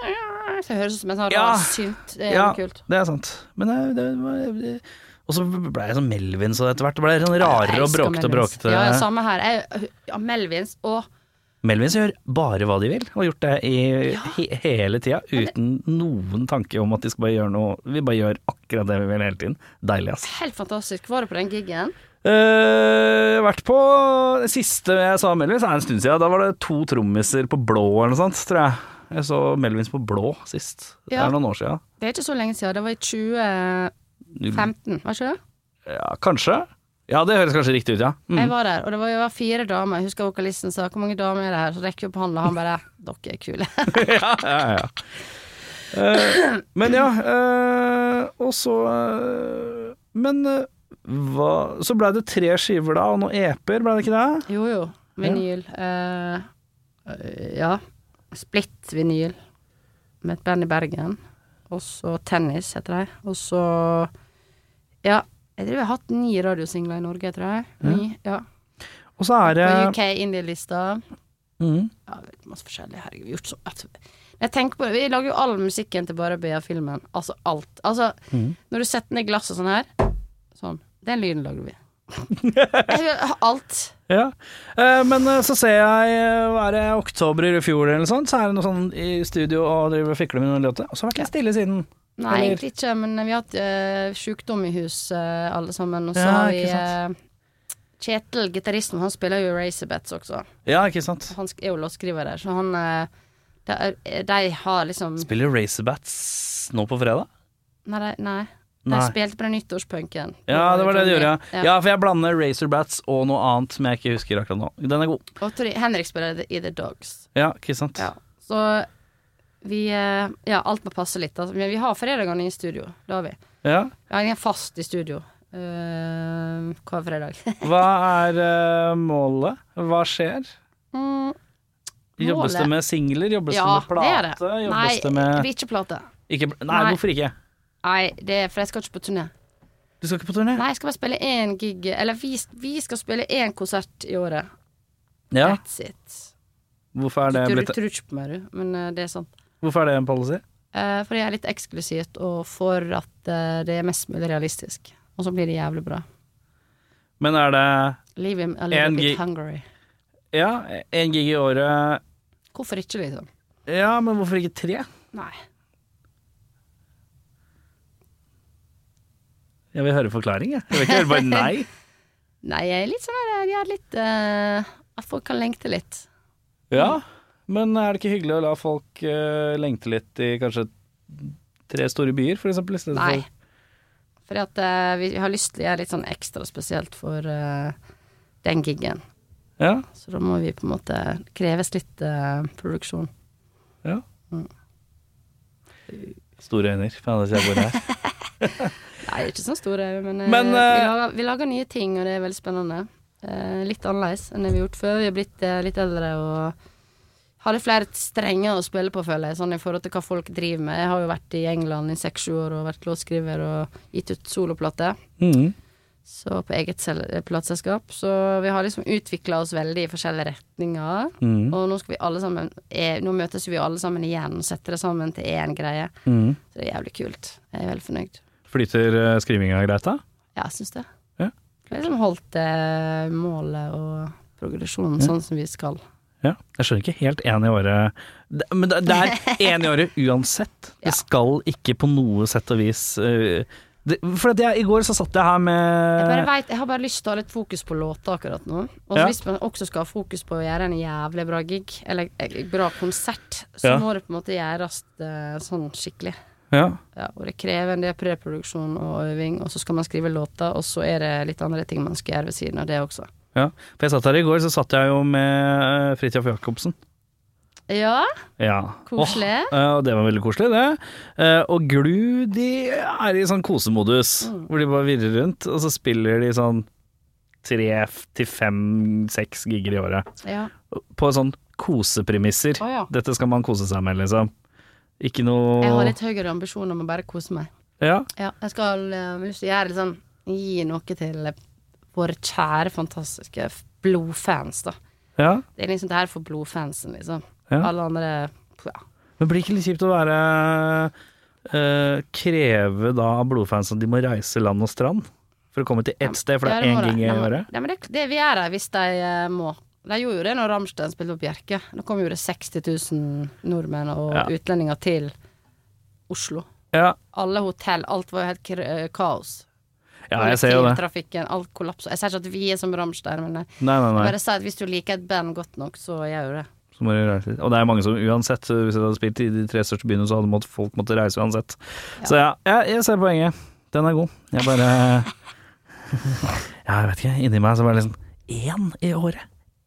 [SPEAKER 2] Så jeg høres ut som en sånn
[SPEAKER 1] Ja.
[SPEAKER 2] rar synt. Det er
[SPEAKER 1] Ja.
[SPEAKER 2] jævlig kult.
[SPEAKER 1] Det er sant. Men det, det, var- det Og så ble jeg sånn Melvin så etter hvert. Det ble sånn
[SPEAKER 2] Jeg
[SPEAKER 1] rarere og
[SPEAKER 2] elsker
[SPEAKER 1] bråkete og
[SPEAKER 2] Melvins.
[SPEAKER 1] bråkete.
[SPEAKER 2] Ja, ja, samme her. Jeg, ja, Melvins og
[SPEAKER 1] Melvins gjør bare hva de vil, og har gjort det i he hele tida uten noen tanke om at de skal bare gjøre noe Vi bare gjør akkurat det vi vil hele tiden. Deilig, ass.
[SPEAKER 2] Helt fantastisk. Var du på den gigen?
[SPEAKER 1] Eh, jeg har vært på Det siste jeg sa Melvins, er en stund siden. Da var det to trommiser på blå eller noe sånt, tror jeg. Jeg så Melvins på blå sist. Det
[SPEAKER 2] Ja.
[SPEAKER 1] er noen år siden.
[SPEAKER 2] Det er ikke så lenge siden. Det var i 2015,
[SPEAKER 1] Null-
[SPEAKER 2] var ikke det?
[SPEAKER 1] Ja, kanskje. Ja, det høres kanskje riktig ut, ja. Mm.
[SPEAKER 2] Jeg var der, og det var, det var fire damer. Jeg husker vokalisten sa 'hvor mange damer er det her?' Så rekker vi opp hånda, og han bare 'dere er kule'.
[SPEAKER 1] ja, ja, ja. Eh, men ja, eh, og så eh, Men eh, hva Så blei det tre skiver da, og noen EP-er, blei det ikke det?
[SPEAKER 2] Jo jo, vinyl. Eh, eh, ja. Splitt vinyl med et band i Bergen. Og så Tennis, heter de. Og så Ja. Jeg tror jeg har hatt ni radiosingler i Norge, tror jeg. Ni, ja.
[SPEAKER 1] Og så er det
[SPEAKER 2] På UK Indie-lista.
[SPEAKER 1] Mhm.
[SPEAKER 2] Ja, vet, masse forskjellig. Herregud, vi har gjort så at, jeg tenker på det, Vi lager jo all musikken til bare BA-filmen. Altså alt. Altså,
[SPEAKER 1] Mm.
[SPEAKER 2] når du setter ned glasset sånn her Sånn. Den lyden lager vi. jeg vil ha alt.
[SPEAKER 1] Ja. Eh, men eh, så ser jeg eh, hva er det, oktober i fjor eller noe sånt, så er det noe sånn i studio og driver og fikler med noen låter, og så har det vært litt stille siden.
[SPEAKER 2] Nei,
[SPEAKER 1] Eller-
[SPEAKER 2] egentlig ikke, men vi har hatt eh, sykdom i hus, eh, alle sammen. Og så
[SPEAKER 1] Ja,
[SPEAKER 2] har vi
[SPEAKER 1] ikke sant.
[SPEAKER 2] eh, Kjetil, gitaristen, han spiller jo Racerbets også.
[SPEAKER 1] Ja, ikke sant.
[SPEAKER 2] Han sk- er jo låtskriver der, så han eh, det er- De har liksom
[SPEAKER 1] Spiller Racerbats nå på fredag?
[SPEAKER 2] Nei, de- nei. De
[SPEAKER 1] Nei.
[SPEAKER 2] spilte på den nyttårspunken.
[SPEAKER 1] Ja, det var det de gjorde. Ja,
[SPEAKER 2] Ja.
[SPEAKER 1] ja for jeg blander Racerbats og noe annet som jeg ikke husker akkurat nå. Den er god.
[SPEAKER 2] Og Tori, Henrik spiller i The- i The Dogs.
[SPEAKER 1] Ja, ikke sant.
[SPEAKER 2] Så vi eh, Ja, alt må passe litt. Altså. Men vi har fredagene i studio. Det har vi.
[SPEAKER 1] Ja.
[SPEAKER 2] Ja, jeg er fast i studio eh, hver fredag.
[SPEAKER 1] Hva er eh, målet? Hva skjer?
[SPEAKER 2] Mm,
[SPEAKER 1] Jobbes det
[SPEAKER 2] Målet?
[SPEAKER 1] med singler? Jobbes
[SPEAKER 2] ja,
[SPEAKER 1] det med
[SPEAKER 2] det
[SPEAKER 1] plate?
[SPEAKER 2] er det. Nei,
[SPEAKER 1] Jobbes det
[SPEAKER 2] det
[SPEAKER 1] med
[SPEAKER 2] blir ikke plate.
[SPEAKER 1] ikke, Nei,
[SPEAKER 2] Nei.
[SPEAKER 1] hvorfor ikke?
[SPEAKER 2] Nei, det er, for jeg skal ikke på turné.
[SPEAKER 1] Du skal ikke på turné?
[SPEAKER 2] Nei, jeg skal bare spille én gig Eller vi, vi skal spille én konsert i året.
[SPEAKER 1] Ja,
[SPEAKER 2] That's it.
[SPEAKER 1] hvorfor er, det
[SPEAKER 2] du,
[SPEAKER 1] blitt,
[SPEAKER 2] du tror ikke på meg, du, men eh, det er sånn.
[SPEAKER 1] hvorfor er det en policy?
[SPEAKER 2] Eh, fordi jeg er litt eksklusivt, og for at eh, det er mest mulig realistisk. Og så blir det jævlig bra.
[SPEAKER 1] Men er det
[SPEAKER 2] Leave him a little
[SPEAKER 1] En
[SPEAKER 2] bit
[SPEAKER 1] gig-
[SPEAKER 2] hungry.
[SPEAKER 1] ja, én gig i året
[SPEAKER 2] Hvorfor ikke, liksom?
[SPEAKER 1] Ja, men hvorfor ikke tre?
[SPEAKER 2] Nei.
[SPEAKER 1] Jeg vil høre forklaring, jeg. Jeg vil ikke høre bare nei.
[SPEAKER 2] Nei, jeg er litt sånn her Jeg er litt eh, At folk kan lengte litt.
[SPEAKER 1] Ja, men er det ikke hyggelig å la folk eh, lengte litt i kanskje tre store byer, for eksempel? i stedet
[SPEAKER 2] Nei.
[SPEAKER 1] for-
[SPEAKER 2] Fordi at eh, vi har lyst til å gjøre litt sånn ekstra spesielt for eh, den giggen.
[SPEAKER 1] Ja,
[SPEAKER 2] Så da må vi på en måte kreves litt eh, produksjon.
[SPEAKER 1] ja. Store øyne, faen, jeg bor her.
[SPEAKER 2] Nei, ikke så store, men, eh,
[SPEAKER 1] Men, eh,
[SPEAKER 2] vi, lager, vi lager nye ting, og det er veldig spennende. Eh, litt annerledes enn det vi har gjort før. Vi er blitt eh, litt eldre og har litt flere strenger å spille på, føler jeg, sånn i forhold til hva folk driver med. Jeg har jo vært i England i seks-sju år og vært låtskriver og gitt ut soloplate.
[SPEAKER 1] Mhm.
[SPEAKER 2] Så på eget sel- eh, plateselskap. Så vi har liksom utvikla oss veldig i forskjellige retninger.
[SPEAKER 1] Mhm.
[SPEAKER 2] Og nå skal vi alle sammen eh, Nå møtes vi alle sammen igjen og setter det sammen til én greie.
[SPEAKER 1] Mhm.
[SPEAKER 2] Så det er jævlig kult. Jeg er veldig fornøyd.
[SPEAKER 1] Flyter eh, skrivinga greit, da?
[SPEAKER 2] Ja, jeg syns det.
[SPEAKER 1] Ja.
[SPEAKER 2] Vi har liksom holdt eh, målet og progresjonen sånn som vi skal.
[SPEAKER 1] Ja. Jeg skjønner ikke helt én i året Det- Men det det er én i året uansett.
[SPEAKER 2] Ja.
[SPEAKER 1] Det skal ikke på noe sett og vis eh, det, For at jeg, i går så satt jeg her
[SPEAKER 2] Jeg, bare
[SPEAKER 1] med
[SPEAKER 2] vet, jeg har bare lyst til å ha litt fokus på låter akkurat nå. Og
[SPEAKER 1] Ja.
[SPEAKER 2] hvis man også skal ha fokus på å gjøre en jævlig bra gig, eller en bra konsert, så
[SPEAKER 1] Ja.
[SPEAKER 2] må det på en måte gjøres eh, sånn skikkelig.
[SPEAKER 1] ja.
[SPEAKER 2] Ja, og det krever en del preproduksjon og øving, og så skal man skrive låter, og så er det litt andre ting man skal gjøre ved siden av det også.
[SPEAKER 1] ja. For jeg satt her i går, så satt jeg jo med eh, Fridtjof Jacobsen.
[SPEAKER 2] Ja,
[SPEAKER 1] Ja.
[SPEAKER 2] Koselig.
[SPEAKER 1] Åh, ja, og det var veldig koselig, det. Eh, og Glu de er i sånn kosemodus,
[SPEAKER 2] Mm.
[SPEAKER 1] hvor de bare virrer rundt, og så spiller de sånn tre f- til fem, seks gigger i året.
[SPEAKER 2] ja.
[SPEAKER 1] på sånn kosepremisser.
[SPEAKER 2] Å, ja.
[SPEAKER 1] Dette skal man kose seg med, liksom. Ikke noe
[SPEAKER 2] Jeg har litt høyere ambisjoner om å bare kose meg.
[SPEAKER 1] Ja,
[SPEAKER 2] Ja, jeg skal eh, har lyst til å gjøre litt sånn Gi noe til eh, våre kjære, fantastiske f- blodfans, da.
[SPEAKER 1] ja.
[SPEAKER 2] Det er liksom det her for blodfansen, liksom.
[SPEAKER 1] Ja.
[SPEAKER 2] Alle andre ja.
[SPEAKER 1] Men blir det ikke litt kjipt å være eh, Kreve da av blodfansen at de må reise land og strand for å komme til ett sted, for det
[SPEAKER 2] Ja,
[SPEAKER 1] er én
[SPEAKER 2] må
[SPEAKER 1] gang i
[SPEAKER 2] Ja, men-
[SPEAKER 1] året?
[SPEAKER 2] Ja, men det, det vil gjøre hvis de eh, må. De gjorde jo det når Ramstein spilte opp Bjerke. Da kom jo det 60 000 nordmenn og
[SPEAKER 1] Ja.
[SPEAKER 2] utlendinger til Oslo.
[SPEAKER 1] Ja,
[SPEAKER 2] Alle hotell, alt var jo helt kr- eh, kaos.
[SPEAKER 1] ja jeg ser jo det.
[SPEAKER 2] Kollektivtrafikken, alt kollapsa. Jeg sier ikke at vi er som Ramstein, men jeg
[SPEAKER 1] Nei, nei, nei.
[SPEAKER 2] bare sier at hvis du liker et band godt nok, så gjør du det.
[SPEAKER 1] Så må de reise dit. Og det er mange som uansett, hvis jeg hadde spilt i de tre største byene, så hadde mått, folk måtte reise uansett. Så ja, jeg, jeg ser poenget. Den er god. Jeg bare Ja, jeg vet ikke. Inni meg så var det liksom Én i året.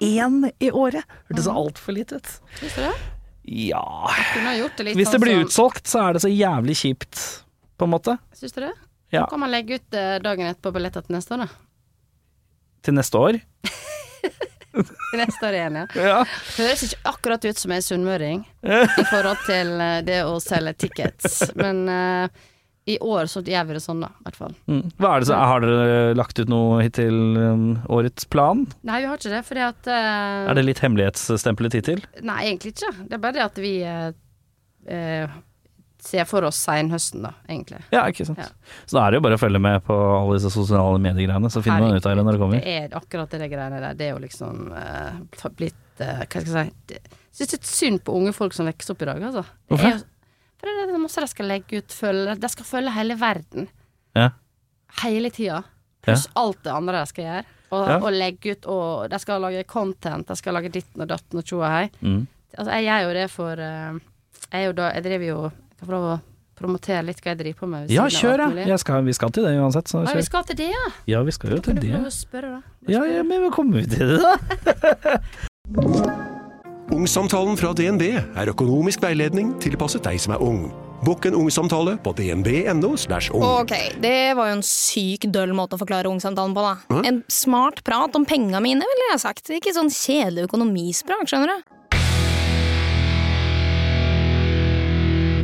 [SPEAKER 1] Én i året! Hørtes altfor lite ut.
[SPEAKER 2] Syns du det?
[SPEAKER 1] Ja
[SPEAKER 2] Kunne ha gjort det litt
[SPEAKER 1] Hvis det
[SPEAKER 2] sånn
[SPEAKER 1] blir
[SPEAKER 2] som-
[SPEAKER 1] utsolgt, så er det så jævlig kjipt, på en måte.
[SPEAKER 2] Syns du det?
[SPEAKER 1] Ja.
[SPEAKER 2] Så kan man legge ut eh, dagen etterpå billetter til neste år, da.
[SPEAKER 1] Til neste år.
[SPEAKER 2] Til neste år igjen, ja.
[SPEAKER 1] Ja.
[SPEAKER 2] Høres ikke akkurat ut som en sunnmøring i forhold til eh, det å selge tickets, men eh, i år så gjør vi det sånn, da, i hvert fall.
[SPEAKER 1] Mm. Hva er det så, har dere lagt ut noe hittil um, årets plan?
[SPEAKER 2] Nei, vi har ikke det, fordi at eh,
[SPEAKER 1] Er det litt hemmelighetsstemplet hittil?
[SPEAKER 2] Nei, egentlig ikke. Det er bare det at vi eh, eh, ser for oss senhøsten, da, egentlig.
[SPEAKER 1] Ja, ikke sant.
[SPEAKER 2] Ja.
[SPEAKER 1] Så da er det jo bare å følge med på alle disse sosiale mediegreiene, så finner man ut av det når det
[SPEAKER 2] Det
[SPEAKER 1] kommer.
[SPEAKER 2] er akkurat det greiene der. Det er jo liksom eh, ta- blitt eh, Hva skal jeg si det- Jeg syns det er synd på unge folk som vokser opp i dag, altså. Det
[SPEAKER 1] Hvorfor?
[SPEAKER 2] er jo- For det er det masse de skal legge ut, følge De skal følge hele verden.
[SPEAKER 1] Ja.
[SPEAKER 2] hele tida. Pluss alt det andre de skal gjøre. Og,
[SPEAKER 1] Ja.
[SPEAKER 2] og legge ut og De skal lage content, de skal lage ditten og datten og tjo og hei.
[SPEAKER 1] Mm.
[SPEAKER 2] Altså, jeg gjør jo det for eh, Jeg, er jo da, jeg driver jo Jeg kan få lov å promotere litt hva jeg driver på med. ved
[SPEAKER 1] ja,
[SPEAKER 2] siden av
[SPEAKER 1] kjør,
[SPEAKER 2] alt
[SPEAKER 1] ja.
[SPEAKER 2] mulig.
[SPEAKER 1] Jeg skal, vi skal til det uansett, så
[SPEAKER 2] Ja, vi
[SPEAKER 1] kjør.
[SPEAKER 2] skal til det, ja.
[SPEAKER 1] Ja, vi skal jo
[SPEAKER 2] Kan
[SPEAKER 1] til
[SPEAKER 2] du få
[SPEAKER 1] det.
[SPEAKER 2] lov å spørre, da?
[SPEAKER 1] Ja, ja, men vi kommer jo til det, da.
[SPEAKER 3] Ungsamtalen fra DNB er økonomisk veiledning tilpasset deg som er ung. Bokk en ungsamtale på dnb.no. slash ung.
[SPEAKER 4] Ok, det var jo en syk døll måte å forklare ungsamtalen på, da. En smart prat om penga mine, ville jeg sagt. Ikke sånn kjedelig økonomisprat, skjønner du.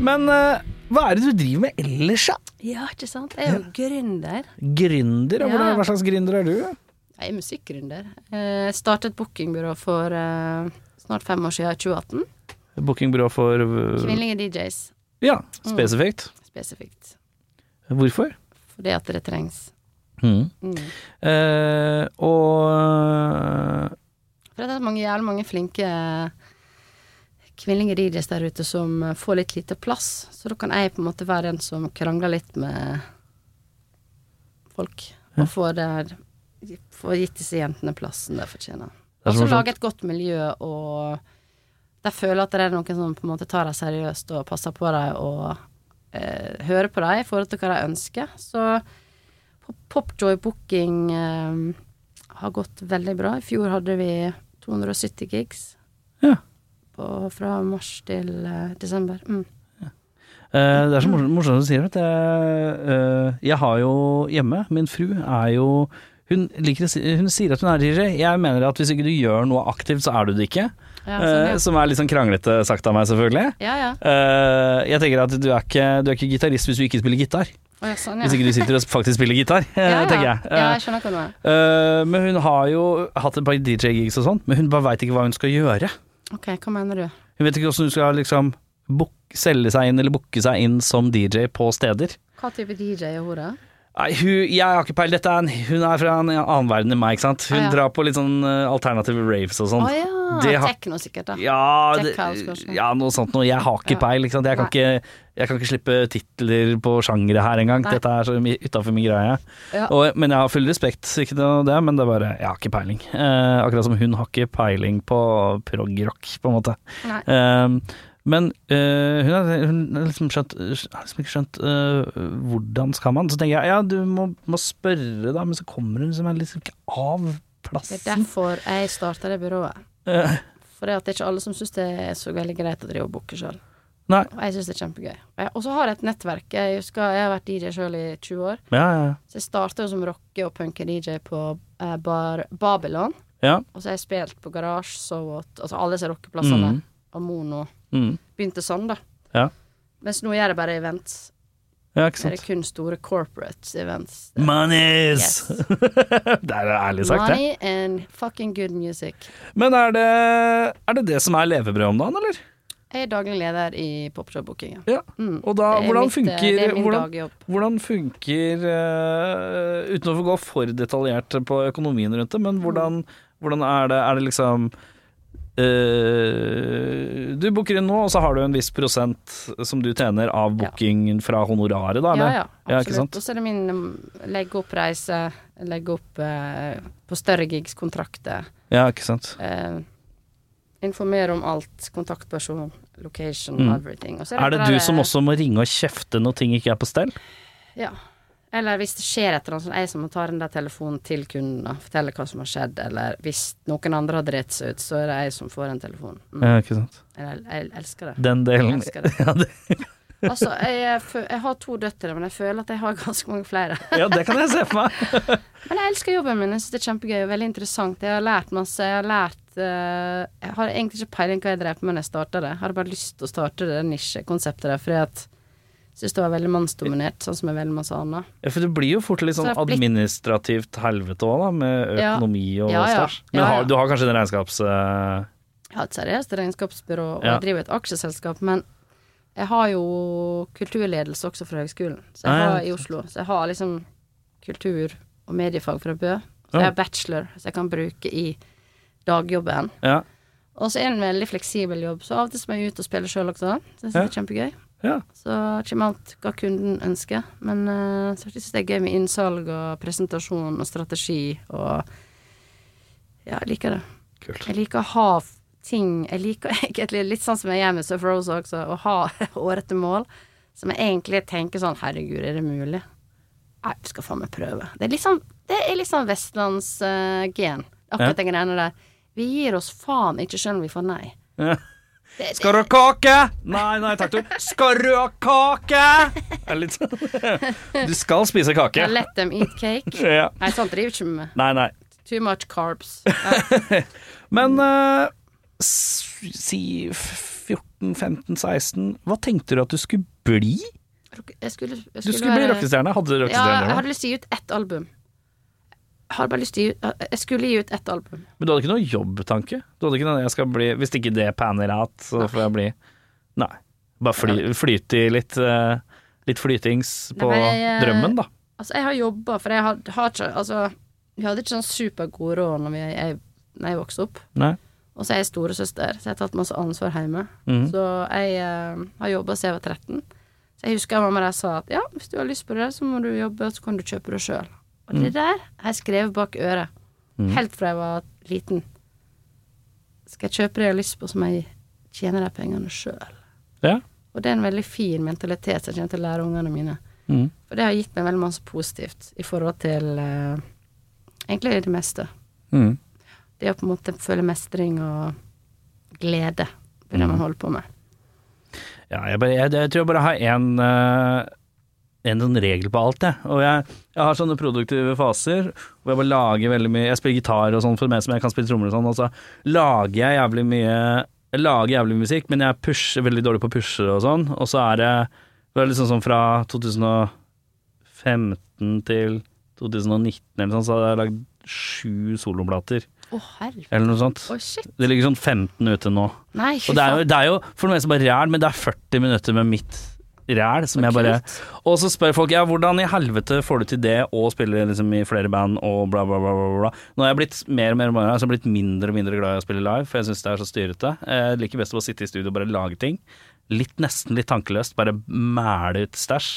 [SPEAKER 1] Men eh, hva er det du driver med ellers, da?
[SPEAKER 2] Ja, ikke sant? Jeg er jo gründer.
[SPEAKER 1] Gründer? og
[SPEAKER 2] Ja.
[SPEAKER 1] hvordan- Hva slags gründer er du?
[SPEAKER 2] Jeg er musikkgründer. Eh, Jeg startet bookingbyrå for eh, snart fem år siden, i 2018.
[SPEAKER 1] Bookingbyrå for øh,
[SPEAKER 2] Kvinnelige DJs
[SPEAKER 1] Ja,
[SPEAKER 2] Mm.
[SPEAKER 1] spesifikt.
[SPEAKER 2] spesifikt.
[SPEAKER 1] Hvorfor?
[SPEAKER 2] Fordi at det trengs. Mm.
[SPEAKER 1] Eh, og
[SPEAKER 2] For det er mange, jævlig mange flinke eh, kvinnelige DJs der ute som eh, får litt lite plass. Så da kan jeg på en måte være den som krangler litt med folk. Og får, det, får gitt disse jentene plassen de fortjener.
[SPEAKER 1] er sånn-
[SPEAKER 2] Og
[SPEAKER 1] så
[SPEAKER 2] så
[SPEAKER 1] morsomt.
[SPEAKER 2] lage Altså, et godt miljø og der føler at det er noen som på en måte tar dem seriøst og passer på dem og eh, hører på dem i forhold til hva de ønsker. Så Pop- Popjoy Booking eh, har gått veldig bra. I fjor hadde vi 270 gigs
[SPEAKER 1] Ja.
[SPEAKER 2] på, fra mars til eh, desember. Mm.
[SPEAKER 1] eh, det er så morsomt, morsomt at du sier at jeg, eh, jeg har jo hjemme Min fru er jo hun, liker, å si- hun sier at hun er DJ. Jeg mener at hvis ikke du gjør noe aktivt, så er du det ikke.
[SPEAKER 2] Ja, sånn,
[SPEAKER 1] Eh,
[SPEAKER 2] ja.
[SPEAKER 1] som er litt sånn kranglete sagt av meg, selvfølgelig.
[SPEAKER 2] ja, ja.
[SPEAKER 1] Eh, jeg tenker at du er ikke, du er ikke gitarist hvis du ikke spiller gitar.
[SPEAKER 2] Å, ja, sånn, ja.
[SPEAKER 1] Hvis ikke du sitter og faktisk spiller gitar, eh,
[SPEAKER 2] ja, ja.
[SPEAKER 1] tenker jeg.
[SPEAKER 2] Ja,
[SPEAKER 1] Eh,
[SPEAKER 2] jeg skjønner hva du mener.
[SPEAKER 1] Eh, men hun har jo hatt et par DJ-gigs og sånn, men hun bare veit ikke hva hun skal gjøre.
[SPEAKER 2] Ok, hva mener du?
[SPEAKER 1] Hun vet ikke hvordan hun skal liksom book, selge seg inn eller booke seg inn som DJ på steder.
[SPEAKER 2] Hva type DJ er hun, da?
[SPEAKER 1] Nei, hun, jeg har ikke peil. Dette er en, hun er fra en annen verden enn meg, ikke sant. Hun
[SPEAKER 2] Ah, ja.
[SPEAKER 1] drar på litt sånn eh, alternative raves og
[SPEAKER 2] Å
[SPEAKER 1] sånn. Det
[SPEAKER 2] ja,
[SPEAKER 1] har-
[SPEAKER 2] tekno sikkert, da.
[SPEAKER 1] Ja,
[SPEAKER 2] Tech
[SPEAKER 1] det,
[SPEAKER 2] house, kanskje.
[SPEAKER 1] ja, noe sånt noe. Jeg har ikke
[SPEAKER 2] Ja.
[SPEAKER 1] peil. Ikke sant? Jeg, kan
[SPEAKER 2] Nei.
[SPEAKER 1] ikke, jeg kan ikke slippe titler på sjangere her engang.
[SPEAKER 2] Nei.
[SPEAKER 1] Dette er så utafor min greie.
[SPEAKER 2] Ja.
[SPEAKER 1] Og, men jeg har full respekt, ikke noe det, men det er bare Jeg har ikke peiling. Eh, akkurat som hun har ikke peiling på prog-rock, på en måte.
[SPEAKER 2] Nei.
[SPEAKER 1] Eh, men eh, hun har hun har liksom, skjønt, har liksom ikke skjønt eh, hvordan skal man Så tenker jeg ja, du må, må spørre, da, men så kommer hun liksom, liksom ikke av
[SPEAKER 2] Det er
[SPEAKER 1] plassen.
[SPEAKER 2] derfor jeg starta det byrået.
[SPEAKER 1] Eh,
[SPEAKER 2] For det at det er ikke alle som syns det er så veldig greit å drive og booke sjøl.
[SPEAKER 1] nei.
[SPEAKER 2] Og jeg syns det er kjempegøy. Og jeg- Og så har jeg et nettverk. Jeg, husker, jeg har vært DJ sjøl i 20 år.
[SPEAKER 1] Ja, ja,
[SPEAKER 2] Så jeg starta jo som rocke- og punke-DJ på eh, bar Babylon.
[SPEAKER 1] ja.
[SPEAKER 2] Og så har jeg spilt på Garage, So What, altså alle disse rockeplassene.
[SPEAKER 1] Mhm.
[SPEAKER 2] Og Mono.
[SPEAKER 1] Mm.
[SPEAKER 2] Begynte sånn, da.
[SPEAKER 1] Ja.
[SPEAKER 2] Mens nå gjør jeg bare events.
[SPEAKER 1] ja, ikke
[SPEAKER 2] Nå
[SPEAKER 1] sant.
[SPEAKER 2] er det kun store corporate events.
[SPEAKER 1] Monies!
[SPEAKER 2] Yes.
[SPEAKER 1] det er ærlig sagt, det.
[SPEAKER 2] Money and fucking good music.
[SPEAKER 1] Men er det, er det det som er levebrødet om dagen, eller?
[SPEAKER 2] Jeg er daglig leder i popshop-bookingen.
[SPEAKER 1] Ja.
[SPEAKER 2] Mm.
[SPEAKER 1] Og da,
[SPEAKER 2] Det er
[SPEAKER 1] hvordan
[SPEAKER 2] mitt, eh, Det
[SPEAKER 1] funker
[SPEAKER 2] er min
[SPEAKER 1] hvordan,
[SPEAKER 2] dagjobb.
[SPEAKER 1] hvordan funker eh, Uten å gå for detaljert på økonomien rundt det, men hvordan, hvordan er det Er det liksom eh, Du booker inn nå, og så har du en viss prosent som du tjener av
[SPEAKER 2] Ja.
[SPEAKER 1] bookingen fra honoraret, da?
[SPEAKER 2] Ja,
[SPEAKER 1] Eller?
[SPEAKER 2] ja,
[SPEAKER 1] Ja,
[SPEAKER 2] absolutt.
[SPEAKER 1] ikke sant?
[SPEAKER 2] Og så er det min um, legge opp reise, legge opp eh, på større gigs, kontrakter.
[SPEAKER 1] Ja, ikke sant?
[SPEAKER 2] eh, informere om alt, kontaktperson, location,
[SPEAKER 1] Mm.
[SPEAKER 2] everything. Og så
[SPEAKER 1] Er det
[SPEAKER 2] der,
[SPEAKER 1] du
[SPEAKER 2] eh,
[SPEAKER 1] som også må ringe og kjefte når ting ikke er på stell?
[SPEAKER 2] Ja. Eller hvis det skjer et eller annet, så er det jeg som må ta den der telefonen til kunden og fortelle hva som har skjedd, eller hvis noen andre har dritt seg ut, så er det jeg som får den telefonen. Mm.
[SPEAKER 1] Ja, ikke sant?
[SPEAKER 2] Jeg, jeg elsker det.
[SPEAKER 1] Den
[SPEAKER 2] Jeg
[SPEAKER 1] delen
[SPEAKER 2] elsker det.
[SPEAKER 1] ja det,
[SPEAKER 2] Altså, jeg, er fø- jeg har to døtre, men jeg føler at jeg har ganske mange flere.
[SPEAKER 1] ja, det kan jeg se for meg.
[SPEAKER 2] Men jeg elsker jobben min. Jeg synes det er kjempegøy og veldig interessant. Jeg har lært masse. Jeg har lært eh, Jeg har egentlig ikke peiling hva jeg drev på med da jeg starta det. Jeg hadde bare lyst til å starte det nisjekonseptet der, fordi at jeg syns det var veldig mannsdominert, sånn som er veldig masse annet.
[SPEAKER 1] Ja, for det blir jo fort litt sånn
[SPEAKER 2] Så det har blitt-
[SPEAKER 1] administrativt helvete òg, da, med
[SPEAKER 2] Ja.
[SPEAKER 1] økonomi og
[SPEAKER 2] Ja, ja.
[SPEAKER 1] stæsj. Men
[SPEAKER 2] Ja, ja.
[SPEAKER 1] har, du har kanskje en regnskaps... eh,
[SPEAKER 2] Jeg har et seriøst regnskapsbyrå, og
[SPEAKER 1] Ja.
[SPEAKER 2] jeg driver et aksjeselskap, men jeg har jo kulturledelse også fra høgskolen, så
[SPEAKER 1] Ah,
[SPEAKER 2] jeg
[SPEAKER 1] ja,
[SPEAKER 2] har i Oslo. Så jeg har liksom kultur og mediefag fra Bø.
[SPEAKER 1] Ja.
[SPEAKER 2] Så jeg har bachelor, så jeg kan bruke i dagjobben.
[SPEAKER 1] eh, ja.
[SPEAKER 2] Og så er det en veldig fleksibel jobb, så av og til så må jeg ut og spille sjøl også. Så jeg synes det er kjempegøy.
[SPEAKER 1] Ja.
[SPEAKER 2] Så kommer alt hva kunden ønsker. Men uh, så syns jeg det er gøy med innsalg og presentasjon og strategi og Ja, jeg liker det.
[SPEAKER 1] Kult.
[SPEAKER 2] Jeg liker å ha f- ting Jeg liker egentlig litt sånn som jeg gjør med Surf Rose også, å ha hårete mål som jeg egentlig tenker sånn Herregud, er det mulig? Nei, vi skal faen meg prøve. Det er litt sånn, det er litt sånn vestlandsgen,
[SPEAKER 1] Ja.
[SPEAKER 2] akkurat den greiene der. Vi gir oss faen ikke selv om vi får nei.
[SPEAKER 1] Ja.
[SPEAKER 2] Det-
[SPEAKER 1] Skal du ha kake? Nei, nei takk, du. Skal du ha kake? Det er litt sånn Du skal spise kake.
[SPEAKER 2] I Let them eat cake.
[SPEAKER 1] Ja.
[SPEAKER 2] Nei, sånt driver ikke vi med.
[SPEAKER 1] Nei, nei.
[SPEAKER 2] Too much carbs.
[SPEAKER 1] Men eh, s- si 14-15-16 Hva tenkte du at du skulle bli?
[SPEAKER 2] Jeg skulle, jeg
[SPEAKER 1] Du skulle bli
[SPEAKER 2] være-
[SPEAKER 1] rockestjerne. Hadde du
[SPEAKER 2] Ja, jeg
[SPEAKER 1] rockestjerne?
[SPEAKER 2] hadde lyst til å gi ut ett album. Jeg hadde bare lyst til å gi ut Jeg skulle gi ut ett album.
[SPEAKER 1] Men du hadde ikke noen jobbtanke? Du hadde ikke noen, jeg skal bli, Hvis ikke det panner out, så får jeg bli Nei. Bare fly, flyte i litt, eh, litt flytings på
[SPEAKER 2] Nei, men jeg, eh,
[SPEAKER 1] drømmen, da.
[SPEAKER 2] Altså, jeg har jobba, for jeg har, har ikke Altså, vi hadde ikke sånn supergod råd når vi- jeg, når jeg vokste opp.
[SPEAKER 1] Nei.
[SPEAKER 2] Og så er jeg storesøster, så jeg har tatt masse ansvar hjemme.
[SPEAKER 1] Mhm.
[SPEAKER 2] Så jeg eh, har jobba siden jeg var 13. Så jeg husker mamma der sa at ja, hvis du har lyst på det, så må du jobbe, og så kan du kjøpe det sjøl. Og det der har jeg skrevet bak øret. Helt fra jeg var liten. Skal jeg kjøpe det jeg har lyst på, så må jeg tjene de pengene sjøl.
[SPEAKER 1] Ja.
[SPEAKER 2] Og det er en veldig fin mentalitet som jeg kommer til å lære ungene mine.
[SPEAKER 1] Mm.
[SPEAKER 2] For det har gitt meg veldig masse positivt i forhold til eh, egentlig det meste.
[SPEAKER 1] Mm.
[SPEAKER 2] Det å på en måte føle mestring og glede ved
[SPEAKER 1] Mm.
[SPEAKER 2] det man holder på med.
[SPEAKER 1] Ja, jeg, bare, jeg, jeg tror jeg bare har en, eh, en sånn regel på alt, jeg. Og jeg, jeg har sånne produktive faser hvor jeg bare lager veldig mye Jeg spiller gitar og sånn for meg som jeg kan spille trommer og sånn, og så lager jeg jævlig mye Jeg lager jævlig mye musikk, men jeg pusher veldig dårlig på pusher og sånn, og så er det det er liksom sånn fra 2015 til 2019 eller sånn, så hadde jeg lagd sju soloplater,
[SPEAKER 2] Å, herregud.
[SPEAKER 1] eller noe sånt.
[SPEAKER 2] Å, shit.
[SPEAKER 1] Det ligger sånn 15 ute nå.
[SPEAKER 2] Nei, fy
[SPEAKER 1] Og det er, jo,
[SPEAKER 2] faen.
[SPEAKER 1] det er jo for noen som bare ræl, men det er 40 minutter med mitt ræl som jeg bare
[SPEAKER 2] kult.
[SPEAKER 1] Og så spør folk ja, hvordan i helvete får du til det og spiller liksom i flere band og bla, bla, bla. bla, bla. Nå har jeg blitt mer og mer, mer altså, jeg har blitt mindre og mindre glad i å spille live, for jeg syns det er så styrete. Jeg liker best å bare sitte i studio og bare lage ting. Litt, nesten litt tankeløst, bare mæle ut stæsj.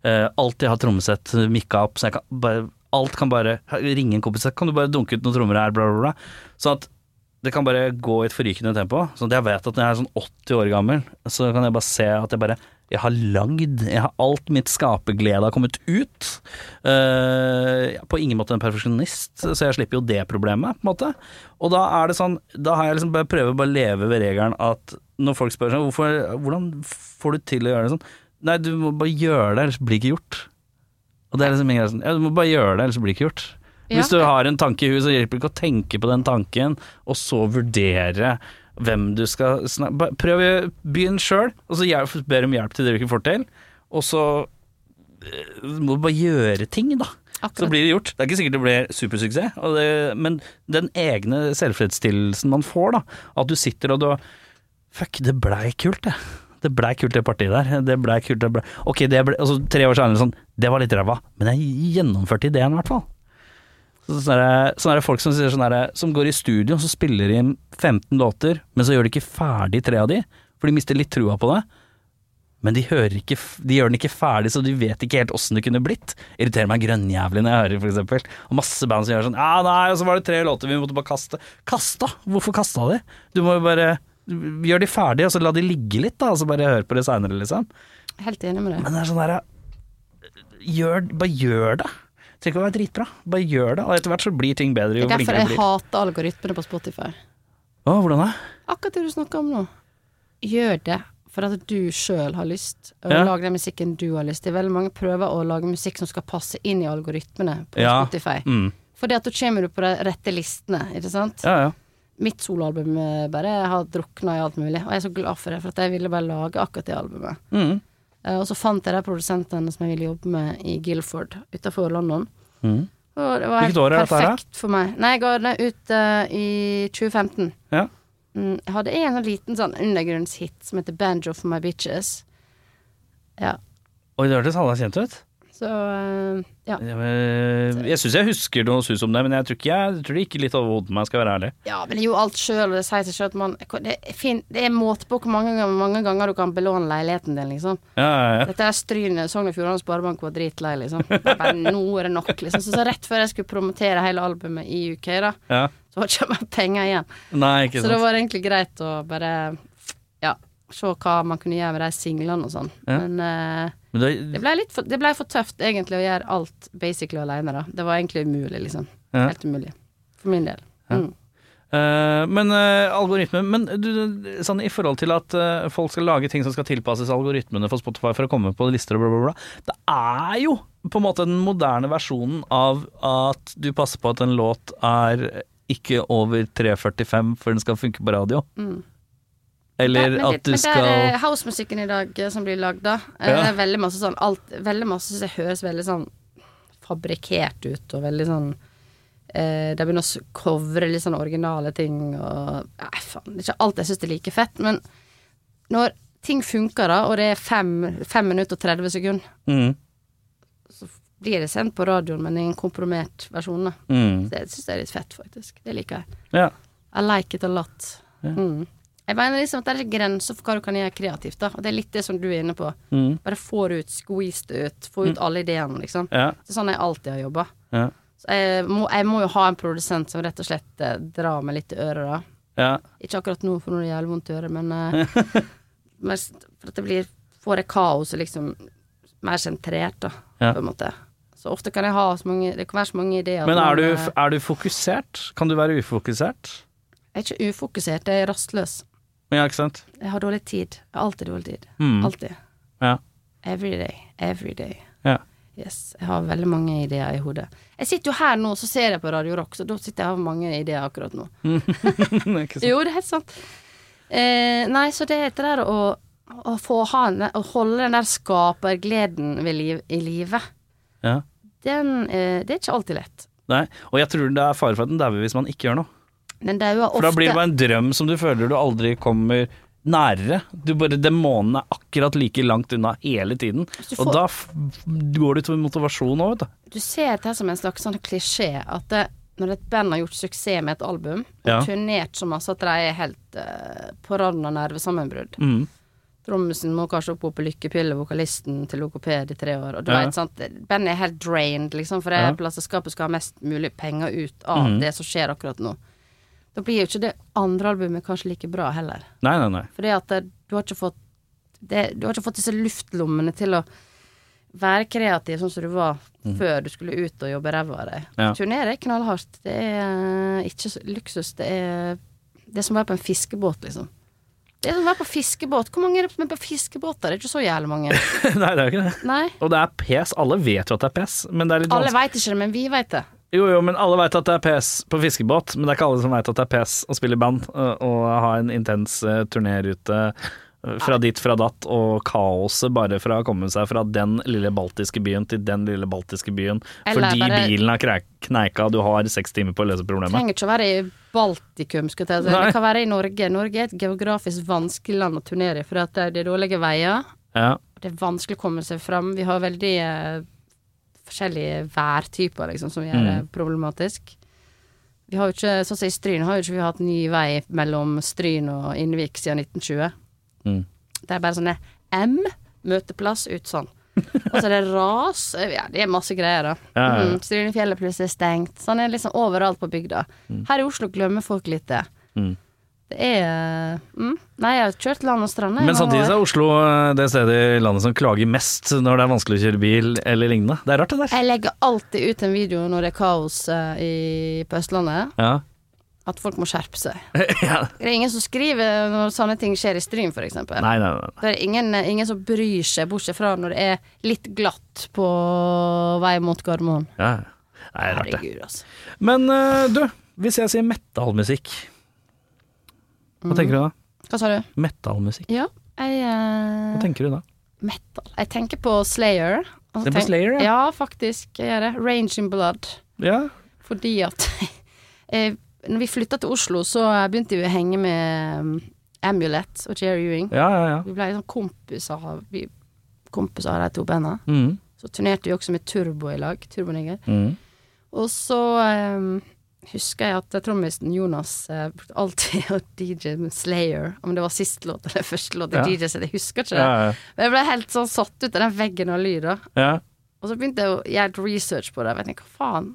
[SPEAKER 1] Eh, alltid ha trommesett mikka opp, så jeg kan bare Alt kan bare Ringe en kompis, kan du bare dunke ut noen trommer her, bla, bla, bla. Sånn at det kan bare gå i et forrykende tempo. Så jeg vet at når jeg er sånn 80 år gammel, så kan jeg bare se at jeg bare Jeg har lagd. Jeg har alt mitt skaperglede har kommet ut. Eh, jeg er på ingen måte en perfeksjonist, så jeg slipper jo det problemet, på en måte. Og da er det sånn Da har jeg liksom bare prøver bare å leve ved regelen at når folk spør sånn hvorfor, Hvordan får du til å gjøre det sånn? Nei, du må bare gjøre det, ellers blir det ikke gjort. Og det er liksom min greie sånn Ja, du må bare gjøre det, ellers blir det ikke gjort.
[SPEAKER 2] Ja.
[SPEAKER 1] Hvis du har en tanke i huet, så hjelper det ikke å tenke på den tanken, og så vurdere hvem du skal snakke Bare Prøv å begynne sjøl, og så hjelp, ber om hjelp til det du ikke får til. Og så eh, må du bare gjøre ting, da. Så
[SPEAKER 2] Akkurat.
[SPEAKER 1] blir det gjort. Det er ikke sikkert det blir supersuksess, og det, men den egne selvfredsstillelsen man får, da. At du sitter og du Fuck, det blei kult, det. Det blei kult, det partiet der. Det blei kult, det blei Ok, det ble, altså, tre år senere sånn, det var litt ræva, men jeg gjennomførte ideen i hvert fall. Så Sånn derre- sånn er det folk som, sier sånn derre- som går i studio og så spiller inn 15 låter, men så gjør de ikke ferdig tre av de, for de mister litt trua på det. Men de, hører ikke, f- de gjør den ikke ferdig, så de vet ikke helt åssen det kunne blitt. Irriterer meg grønnjævlig når jeg hører, for eksempel. Og masse band som gjør sånn Ja, nei, og så var det tre låter vi måtte bare kaste. Kasta? Hvorfor kasta de? Du må jo bare Gjør de ferdig, og så la de ligge litt, da, og så bare hør på det seinere, liksom.
[SPEAKER 2] Helt enig med deg.
[SPEAKER 1] Men det er sånn derre Gjør Bare gjør det. Det trenger ikke å være dritbra. Bare gjør det. Og etter hvert så blir ting bedre
[SPEAKER 2] Det
[SPEAKER 1] jo
[SPEAKER 2] er derfor
[SPEAKER 1] flinkere du
[SPEAKER 2] jeg
[SPEAKER 1] blir.
[SPEAKER 2] hater algoritmene på Spotify.
[SPEAKER 1] Å, hvordan da?
[SPEAKER 2] Akkurat det du snakker om nå. Gjør det for at du sjøl har lyst, og
[SPEAKER 1] Ja.
[SPEAKER 2] lag den musikken du har lyst til. Veldig mange prøver å lage musikk som skal passe inn i algoritmene på
[SPEAKER 1] Ja.
[SPEAKER 2] Spotify.
[SPEAKER 1] Mm.
[SPEAKER 2] Fordi at da kommer du på de rette listene, ikke sant.
[SPEAKER 1] Ja, ja.
[SPEAKER 2] Mitt soloalbum eh, bare har drukna i alt mulig, og jeg er så glad for det, for at jeg ville bare lage akkurat det albumet.
[SPEAKER 1] Mm.
[SPEAKER 2] Eh, Og så fant jeg de produsentene som jeg ville jobbe med i Guilford, utafor London.
[SPEAKER 1] Mm.
[SPEAKER 2] Og det var
[SPEAKER 1] Hvilket år er dette her, da?
[SPEAKER 2] perfekt for meg. Nei, jeg ga den ut eh, i 2015.
[SPEAKER 1] Ja.
[SPEAKER 2] Mm, jeg hadde en sånn liten sånn undergrunnshit som heter 'Banjo for my bitches'. Ja,
[SPEAKER 1] Oi, det hørtes halvveis kjent ut.
[SPEAKER 2] så eh, ja.
[SPEAKER 1] Ja, men, Jeg syns jeg husker noe sus om det, men jeg tror, ikke jeg, jeg tror det gikk litt over hodet på meg, skal jeg være ærlig.
[SPEAKER 2] ja, men det er jo alt sjøl, og det sier seg sjøl at man det er, fin, det er måte på hvor mange ganger, mange ganger du kan belåne leiligheten din, liksom.
[SPEAKER 1] Ja, ja, ja.
[SPEAKER 2] Dette er Stryn, Sogn og Fjordane Sparebank var dritlei, liksom. Bare, nå er det nok, liksom. Så, så rett før jeg skulle promotere hele albumet i UK, da,
[SPEAKER 1] ja.
[SPEAKER 2] så var det ikke mer penger igjen.
[SPEAKER 1] Nei, ikke
[SPEAKER 2] Så det
[SPEAKER 1] sant.
[SPEAKER 2] var egentlig greit å bare ja, se hva man kunne gjøre med de singlene og sånn.
[SPEAKER 1] Ja.
[SPEAKER 2] Men eh,
[SPEAKER 1] Men det,
[SPEAKER 2] det ble litt for, det ble for tøft egentlig å gjøre alt basically alene, da. Det var egentlig umulig, liksom.
[SPEAKER 1] Ja.
[SPEAKER 2] Helt umulig. For min del.
[SPEAKER 1] Ja.
[SPEAKER 2] Mm.
[SPEAKER 1] Eh, men eh, algoritmen Men du, du, sånn i forhold til at eh, folk skal lage ting som skal tilpasses algoritmene for Spotify for å komme på lister og bla, bla, bla. Det er jo på en måte den moderne versjonen av at du passer på at en låt er ikke over 3.45 for den skal funke på radio.
[SPEAKER 2] Mm.
[SPEAKER 1] Eller
[SPEAKER 2] Nei, men
[SPEAKER 1] at
[SPEAKER 2] det-
[SPEAKER 1] du
[SPEAKER 2] Men det er eh,
[SPEAKER 1] skal
[SPEAKER 2] housemusikken i dag eh, som blir lagd, da. Eh,
[SPEAKER 1] Ja.
[SPEAKER 2] Det er veldig masse sånn alt Veldig masse som høres veldig sånn fabrikkert ut, og veldig sånn eh, De begynner å s- covre litt sånn originale ting og Nei, faen. Det er ikke alt jeg syns er like fett, men når ting funker, da, og det er 5 minutter og 30 sekunder,
[SPEAKER 1] mm,
[SPEAKER 2] blir det sendt på radioen, men i en komprimert versjon, da.
[SPEAKER 1] mm,
[SPEAKER 2] Det syns jeg er litt fett, faktisk. Det liker jeg.
[SPEAKER 1] Ja.
[SPEAKER 2] I like it a lot. Mm. Jeg mener liksom at det er ikke grenser for hva du kan gjøre kreativt. da Og Det er litt det som du er inne på.
[SPEAKER 1] Mm,
[SPEAKER 2] Bare få det ut, squeeze det ut, få ut alle ideene, liksom.
[SPEAKER 1] ja,
[SPEAKER 2] Det er sånn jeg alltid har jobba.
[SPEAKER 1] ja,
[SPEAKER 2] Jeg, må- jeg må jo ha en produsent som rett og slett eh, drar meg litt i øret, da.
[SPEAKER 1] ja.
[SPEAKER 2] Ikke akkurat nå, for nå er det jævlig vondt i øret, men eh, men s- For at det blir Får jeg kaoset liksom mer sentrert, da,
[SPEAKER 1] Ja.
[SPEAKER 2] på en måte. Så ofte kan jeg ha så mange Det kan være så mange ideer. at
[SPEAKER 1] Men
[SPEAKER 2] man,
[SPEAKER 1] er du,
[SPEAKER 2] eh,
[SPEAKER 1] er du fokusert? Kan du være ufokusert?
[SPEAKER 2] Jeg er ikke ufokusert, jeg er rastløs.
[SPEAKER 1] Ja, ikke sant?
[SPEAKER 2] Jeg har dårlig tid. Jeg har alltid dårlig tid.
[SPEAKER 1] Mm.
[SPEAKER 2] Alltid.
[SPEAKER 1] Ja.
[SPEAKER 2] Every day. Every day.
[SPEAKER 1] Ja.
[SPEAKER 2] Yes. Jeg har veldig mange ideer i hodet. Jeg sitter jo her nå, så ser jeg på Radio Rock, så da sitter jeg og har mange ideer akkurat nå.
[SPEAKER 1] ikke sant?
[SPEAKER 2] Jo, det er helt sant. Eh, nei, så det heter det der å, å få ha en, å holde den der skapergleden ved liv, i live.
[SPEAKER 1] Ja.
[SPEAKER 2] Den eh, Det er ikke alltid lett.
[SPEAKER 1] Nei, og jeg tror det er fare for at den dauer hvis man ikke gjør noe.
[SPEAKER 2] Den dauer ofte.
[SPEAKER 1] For da blir det bare en drøm som du føler du aldri kommer nærere. Du bare, Demonene er akkurat like langt unna hele tiden.
[SPEAKER 2] du får-
[SPEAKER 1] Og da f går du til motivasjon òg, vet du.
[SPEAKER 2] du ser dette som en slags sånn klisjé, at det, når et band har gjort suksess med et album, og
[SPEAKER 1] Ja.
[SPEAKER 2] turnert så masse at de er helt eh, på randen av nervesammenbrudd
[SPEAKER 1] Mm.
[SPEAKER 2] Trommisen må kanskje opp på lykkepille, vokalisten til logoped i tre år, og du
[SPEAKER 1] Ja.
[SPEAKER 2] vet, sant, bandet er helt drained, liksom, for det
[SPEAKER 1] Ja. Mhm.
[SPEAKER 2] er plateselskapet skal ha mest mulig penger ut av det som skjer akkurat nå. Da blir jo ikke det andre albumet kanskje like bra heller.
[SPEAKER 1] Nei, nei, nei.
[SPEAKER 2] Fordi at det, du har ikke fått det, Du har ikke fått disse luftlommene til å være kreativ sånn som du var før du skulle ut og jobbe ræva av deg.
[SPEAKER 1] Mhm. Ja.
[SPEAKER 2] Turnere er knallhardt. Det er eh, ikke så- luksus. Det er det er som å være på en fiskebåt, liksom. Det er som å være på fiskebåt. Hvor mange er det som er på fiskebåter? Det er ikke så jævlig mange.
[SPEAKER 1] nei, det er jo ikke det.
[SPEAKER 2] Nei.
[SPEAKER 1] Og det er pes. Alle vet jo at det er pes, men det er litt
[SPEAKER 2] Alle
[SPEAKER 1] vanskelig.
[SPEAKER 2] veit ikke det, men vi veit det.
[SPEAKER 1] Jo, jo, men alle veit at det er pes på fiskebåt, men det er ikke alle som veit at det er pes å spille i band øh, og ha en intens uh, turné ute eh, fra ditt, fra datt, og kaoset bare fra å komme seg fra den lille baltiske byen til den lille baltiske byen
[SPEAKER 2] Eller
[SPEAKER 1] fordi
[SPEAKER 2] bare-
[SPEAKER 1] bilen har kre- kneika, du har seks timer på å løse problemet.
[SPEAKER 2] Trenger ikke å være i Baltikum, skulle jeg til å si.
[SPEAKER 1] Nei.
[SPEAKER 2] Det kan være i Norge. Norge er et geografisk vanskelig land å turnere i, for at det er dårlige veier.
[SPEAKER 1] Ja.
[SPEAKER 2] Det er vanskelig å komme seg fram. Vi har veldig eh, forskjellige værtyper, liksom, som gjør det
[SPEAKER 1] Mm.
[SPEAKER 2] problematisk. Vi har jo ikke, sånn som i Stryn har jo ikke vi hatt ny vei mellom Stryn og Innvik siden 1920.
[SPEAKER 1] Mm.
[SPEAKER 2] Det er bare sånne M, møteplass, ut sånn. Og så er det ras. Ja, det er masse greier, da.
[SPEAKER 1] Ja, ja, ja.
[SPEAKER 2] Mm, Strynefjellet plutselig er stengt. Sånn er det liksom overalt på bygda. Her i Oslo glemmer folk litt det.
[SPEAKER 1] Mm.
[SPEAKER 2] Det er mm. Nei, jeg har kjørt land og strand. jeg,
[SPEAKER 1] Men
[SPEAKER 2] i mange
[SPEAKER 1] samtidig så
[SPEAKER 2] år.
[SPEAKER 1] er Oslo eh, det stedet i landet som klager mest når det er vanskelig å kjøre bil eller lignende. Det er rart, det der.
[SPEAKER 2] Jeg legger alltid ut en video når det er kaos eh, i, på Østlandet,
[SPEAKER 1] Ja.
[SPEAKER 2] at folk må skjerpe seg.
[SPEAKER 1] ja.
[SPEAKER 2] Det er ingen som skriver når sånne ting skjer i Stryn, for eksempel.
[SPEAKER 1] Nei, nei, nei.
[SPEAKER 2] Det er ingen, eh, ingen som bryr seg, bortsett fra når det er litt glatt på vei mot Gardermoen.
[SPEAKER 1] Ja. Nei, det er rart,
[SPEAKER 2] Herregud, altså.
[SPEAKER 1] det. Men eh, du, hvis jeg sier metalmusikk,
[SPEAKER 2] Mm.
[SPEAKER 1] hva tenker du da?
[SPEAKER 2] Hva sa du?
[SPEAKER 1] Metalmusikk,
[SPEAKER 2] Ja, jeg eh,
[SPEAKER 1] hva tenker du da?
[SPEAKER 2] Metal. Jeg tenker på Slayer. Og så
[SPEAKER 1] Det er på
[SPEAKER 2] tenk-
[SPEAKER 1] Slayer, ja.
[SPEAKER 2] ja. faktisk. Jeg gjør det. Range in Blood.
[SPEAKER 1] Ja,
[SPEAKER 2] Fordi at eh, Når vi flytta til Oslo, så begynte vi å henge med um, Amulet og Jerry Ewing.
[SPEAKER 1] ja, ja. ja.
[SPEAKER 2] Vi ble sånn kompiser av vi, kompiser av de to bandene.
[SPEAKER 1] Mm.
[SPEAKER 2] Så turnerte vi også med Turbo i lag. Turbo Niger.
[SPEAKER 1] Mm.
[SPEAKER 2] Og så eh, husker jeg at trommisen Jonas eh, brukte alltid å DJ med Slayer. Om det var siste låt eller første låt.
[SPEAKER 1] Ja.
[SPEAKER 2] Ja. DJ set, jeg husker ikke det.
[SPEAKER 1] Ja, ja,
[SPEAKER 2] Men jeg ble helt sånn satt ut av den veggen av lyd. da.
[SPEAKER 1] ja.
[SPEAKER 2] Og så begynte jeg å gjøre litt research på det. Jeg tenkte, hva faen?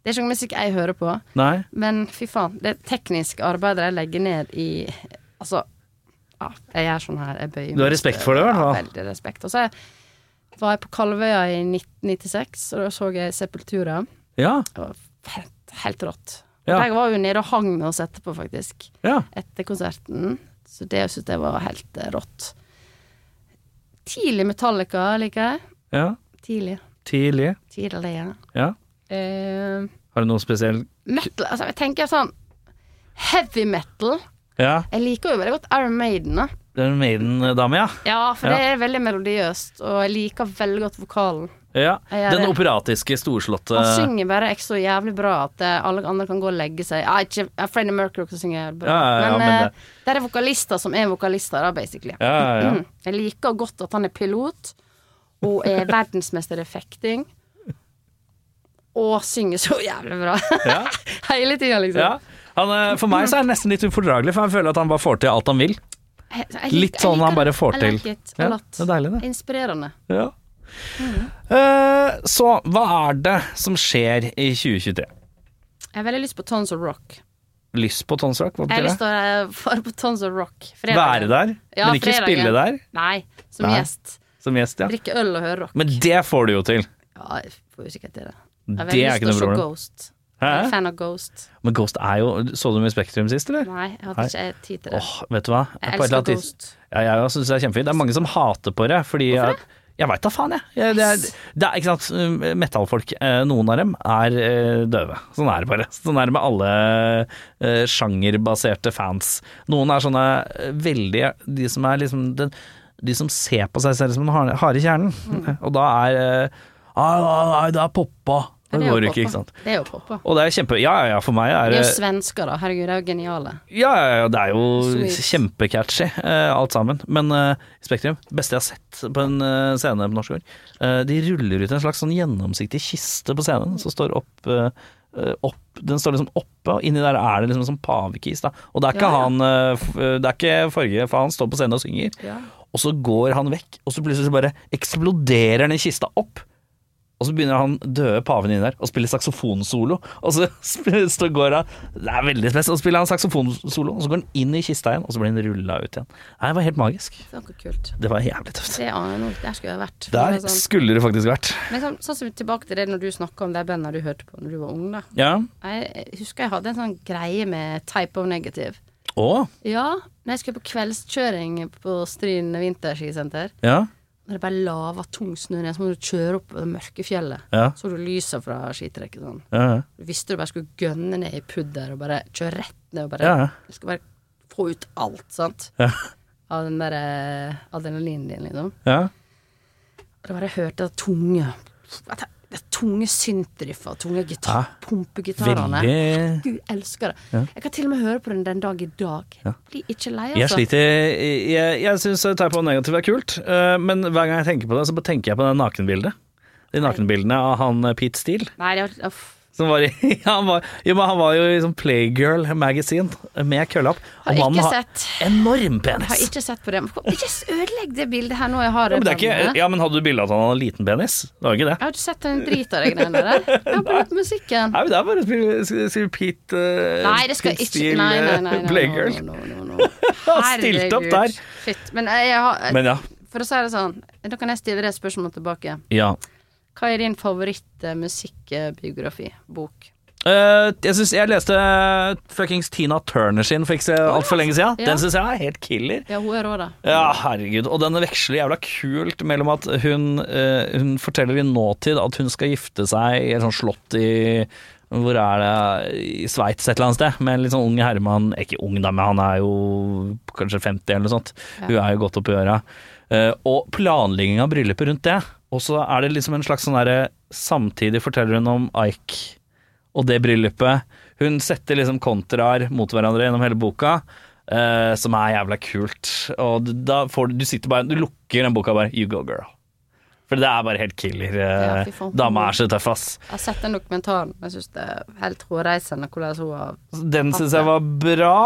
[SPEAKER 2] Det er ikke noe musikk jeg hører på.
[SPEAKER 1] Nei.
[SPEAKER 2] Men fy faen, det tekniske arbeidet jeg legger ned i Altså, ja, jeg gjør sånn her. Jeg bøyer
[SPEAKER 1] Du har respekt for det, i hvert fall.
[SPEAKER 2] Ja, veldig respekt. Og så var jeg på Kalvøya i 1996, og da så jeg Sepultura.
[SPEAKER 1] Ja,
[SPEAKER 2] Det var helt, helt rått. Og
[SPEAKER 1] Ja.
[SPEAKER 2] Jeg var jo nede og hang med oss etterpå, faktisk.
[SPEAKER 1] ja.
[SPEAKER 2] Etter konserten. Så det syntes jeg var helt eh, rått. Tidlig Metallica liker jeg.
[SPEAKER 1] ja.
[SPEAKER 2] Tidlig.
[SPEAKER 1] Tidlig.
[SPEAKER 2] Tidlig, ja.
[SPEAKER 1] Ja.
[SPEAKER 2] Eh,
[SPEAKER 1] Har du noe spesielt?
[SPEAKER 2] metal, altså jeg tenker sånn Heavy metal.
[SPEAKER 1] Ja,
[SPEAKER 2] Jeg liker jo veldig godt Iron Maiden. Da.
[SPEAKER 1] det er en Maiden-dame, ja.
[SPEAKER 2] Ja, for
[SPEAKER 1] Ja.
[SPEAKER 2] det er veldig melodiøst, og jeg liker veldig godt vokalen.
[SPEAKER 1] Ja,
[SPEAKER 2] Jeg gjør
[SPEAKER 1] den
[SPEAKER 2] det.
[SPEAKER 1] operatiske, storslåtte
[SPEAKER 2] Han synger bare ikke så jævlig bra at eh, alle andre kan gå og legge seg. Ja, ikke ja, Freddie Mercury også synger bra,
[SPEAKER 1] Ja, ja, ja,
[SPEAKER 2] men,
[SPEAKER 1] men
[SPEAKER 2] eh, der er vokalister som er vokalister, da, basically.
[SPEAKER 1] Ja, ja, ja.
[SPEAKER 2] Mm. Jeg liker godt at han er pilot, og er verdensmester i fekting, og synger så jævlig bra.
[SPEAKER 1] Ja.
[SPEAKER 2] Hele tida, liksom.
[SPEAKER 1] Ja. Han, eh, for meg så er det nesten litt ufordragelig, for han føler at han bare får til alt han vil.
[SPEAKER 2] Jeg- jeg
[SPEAKER 1] Litt
[SPEAKER 2] liker- jeg
[SPEAKER 1] sånn han
[SPEAKER 2] liker
[SPEAKER 1] bare
[SPEAKER 2] det.
[SPEAKER 1] får
[SPEAKER 2] I
[SPEAKER 1] til.
[SPEAKER 2] like it a
[SPEAKER 1] Ja,
[SPEAKER 2] lot.
[SPEAKER 1] det er deilig, det.
[SPEAKER 2] Inspirerende.
[SPEAKER 1] Ja.
[SPEAKER 2] Mm.
[SPEAKER 1] Eh, så hva er det som skjer i 2023?
[SPEAKER 2] Jeg har veldig lyst på Tons of Rock.
[SPEAKER 1] Lyst på Tons Rock, hva
[SPEAKER 2] Jeg har
[SPEAKER 1] betyr det?
[SPEAKER 2] lyst til å eh, være på Tons of Rock. fredag.
[SPEAKER 1] Være der,
[SPEAKER 2] Ja,
[SPEAKER 1] men ikke
[SPEAKER 2] fredagen.
[SPEAKER 1] spille der
[SPEAKER 2] Nei, som
[SPEAKER 1] Nei.
[SPEAKER 2] gjest.
[SPEAKER 1] som gjest, ja.
[SPEAKER 2] Drikke øl og høre rock.
[SPEAKER 1] Men det får du jo til.
[SPEAKER 2] Ja, jeg får jo sikkert til det. Jeg har
[SPEAKER 1] Det er
[SPEAKER 2] veldig lyst
[SPEAKER 1] ikke
[SPEAKER 2] til
[SPEAKER 1] noe
[SPEAKER 2] å se
[SPEAKER 1] problem.
[SPEAKER 2] Ghost.
[SPEAKER 1] Hæ?
[SPEAKER 2] Jeg er fan av Ghost.
[SPEAKER 1] Men Ghost er jo Så du med Spektrum sist, eller?
[SPEAKER 2] Nei, jeg hadde
[SPEAKER 1] Nei.
[SPEAKER 2] ikke tid til
[SPEAKER 1] Åh,
[SPEAKER 2] det.
[SPEAKER 1] vet du hva?
[SPEAKER 2] Jeg
[SPEAKER 1] På et eller
[SPEAKER 2] elsker
[SPEAKER 1] annet tids-
[SPEAKER 2] Ghost.
[SPEAKER 1] Ja, jeg også synes det er kjempefint. Det er mange som hater på det. Fordi Hvorfor det? Jeg veit da faen, jeg. jeg det er, det er, ikke sant, Metallfolk, eh, noen av dem, er eh, døve. Sånn er det bare. Sånn er det med alle eh, sjangerbaserte fans. Noen er sånne eh, veldig De som er liksom den, De som ser på seg selv som den harde harde kjernen.
[SPEAKER 2] Mm.
[SPEAKER 1] Og da er eh, Nei, nei, nei, det er poppa.
[SPEAKER 2] Men
[SPEAKER 1] Det
[SPEAKER 2] er jo
[SPEAKER 1] går ikke,
[SPEAKER 2] poppa.
[SPEAKER 1] ikke sant.
[SPEAKER 2] Det er jo poppa.
[SPEAKER 1] Og det er kjempe... Ja, ja, ja, for meg er det
[SPEAKER 2] De er jo svensker, da. Herregud, de er jo geniale.
[SPEAKER 1] ja, ja, ja, det er jo
[SPEAKER 2] Sweet.
[SPEAKER 1] kjempecatchy eh, alt sammen. Men eh, Spektrum, beste jeg har sett på en eh, scene på norsk jord. Eh, de ruller ut en slags sånn gjennomsiktig kiste på scenen som står opp, eh, eh, opp Den står liksom oppe, og inni der er det liksom en sånn pavekis. Da. Og det er ikke
[SPEAKER 2] Ja, ja.
[SPEAKER 1] han eh, f- eh, Det er ikke forrige, for han står på scenen og synger. Og så går han vekk, og så plutselig så bare eksploderer den kista opp. Og så begynner han døde paven inni der og spiller saksofonsolo. Og så sp- så går han Det er veldig spesielt. Og så spiller han saksofonsolo, og så går han inn i kista igjen, og så blir han rulla ut igjen. Nei, det var helt magisk.
[SPEAKER 2] Det er noe kult.
[SPEAKER 1] Det var jævlig tøft.
[SPEAKER 2] Det aner jeg nok. Der skulle jeg vært.
[SPEAKER 1] Der
[SPEAKER 2] Men sånn,
[SPEAKER 1] skulle det faktisk vært.
[SPEAKER 2] men sånn, sånn som tilbake til det når du snakka om de bandene du hørte på når du var ung, da.
[SPEAKER 1] Ja.
[SPEAKER 2] Jeg husker jeg hadde en sånn greie med type of negative.
[SPEAKER 1] Å.
[SPEAKER 2] Ja, når jeg skulle på kveldskjøring på Stryn vinterskisenter.
[SPEAKER 1] Ja.
[SPEAKER 2] Når det bare lava tung snø ned, så må du kjøre opp det mørke fjellet.
[SPEAKER 1] Ja.
[SPEAKER 2] Så du lysa fra skitrekket sånn.
[SPEAKER 1] Ja. ja.
[SPEAKER 2] Du visste du bare skulle gønne ned i pudder og bare kjøre rett ned og bare
[SPEAKER 1] Ja, ja.
[SPEAKER 2] Du skal bare få ut alt, sant.
[SPEAKER 1] Ja.
[SPEAKER 2] av den der eh, adrenalinen din, liksom.
[SPEAKER 1] Ja.
[SPEAKER 2] Det var jeg hørte det tunge at det- Det tunge syntdriffet, tunge gitar, pumpegitarene.
[SPEAKER 1] Veldig
[SPEAKER 2] Gud, jeg elsker det.
[SPEAKER 1] Ja.
[SPEAKER 2] Jeg kan til og med høre på den den dag i dag.
[SPEAKER 1] Ja.
[SPEAKER 2] Blir ikke lei,
[SPEAKER 1] Jeg
[SPEAKER 2] altså.
[SPEAKER 1] sliter Jeg, jeg syns type O negativ er kult, eh, men hver gang jeg tenker på det, så tenker jeg på det nakenbildet. De nakenbildene av han eh, Pete Steele.
[SPEAKER 2] Nei, det er, uff.
[SPEAKER 1] Som var i, han, var, jo, men han var jo i sånn Playgirl Magazine eh, med kølla opp.
[SPEAKER 2] Har
[SPEAKER 1] Og mannen
[SPEAKER 2] ikke
[SPEAKER 1] har
[SPEAKER 2] sett.
[SPEAKER 1] enorm
[SPEAKER 2] Jeg har
[SPEAKER 1] penis.
[SPEAKER 2] ikke sett på det. Men kom, Ikke s- ødelegg det bildet her nå. Jeg har
[SPEAKER 1] Ja, men, det er
[SPEAKER 2] bildene.
[SPEAKER 1] ikke, ja, men Hadde du bilde av at han hadde liten penis? Det var jo ikke det.
[SPEAKER 2] Jeg har ikke sett en drit av de greiene der. Jeg har brukt musikken.
[SPEAKER 1] Nei, men Det er bare å spille- spille spille Pete eh,
[SPEAKER 2] Nei, det skal
[SPEAKER 1] Pete
[SPEAKER 2] ikke Nei, nei, nei.
[SPEAKER 1] eh,
[SPEAKER 2] nei,
[SPEAKER 1] Playgirl.
[SPEAKER 2] no, no, no, no.
[SPEAKER 1] stilte opp
[SPEAKER 2] Herregud.
[SPEAKER 1] der.
[SPEAKER 2] Shit. Men jeg, jeg har
[SPEAKER 1] Men ja.
[SPEAKER 2] For å si det sånn, da kan jeg stille deg et spørsmål tilbake.
[SPEAKER 1] ja.
[SPEAKER 2] Hva er din favorittmusikkbiografi? Bok?
[SPEAKER 1] Eh, jeg synes jeg leste eh, fuckings Tina Turner sin for ikke så altfor lenge siden.
[SPEAKER 2] Ja.
[SPEAKER 1] Den syns jeg er helt killer.
[SPEAKER 2] Ja, hun er rå, da.
[SPEAKER 1] Ja, herregud. Og den veksler jævla kult mellom at hun, eh, hun forteller i nåtid at hun skal gifte seg i et sånt slott i hvor er det I Sveits et eller annet sted, med en litt sånn ung herremann. Ikke ung, da, men han er jo kanskje 50 eller noe sånt. Hun er jo godt oppi øra. Eh, Og planlegging av bryllupet rundt det. Og så er det liksom en slags sånn derre Samtidig forteller hun om Ike og det bryllupet. Hun setter liksom kontraer mot hverandre gjennom hele boka, eh, som er jævla kult. Og d- da får du, du sitter bare Du lukker den boka bare You go, girl. For det er bare helt killer.
[SPEAKER 2] Ja,
[SPEAKER 1] eh,
[SPEAKER 2] fy faen.
[SPEAKER 1] Dama er så tøff, ass.
[SPEAKER 2] Jeg har sett den dokumentaren. Jeg syns det er helt hårreisende hvordan hun har
[SPEAKER 1] Den syns jeg var bra.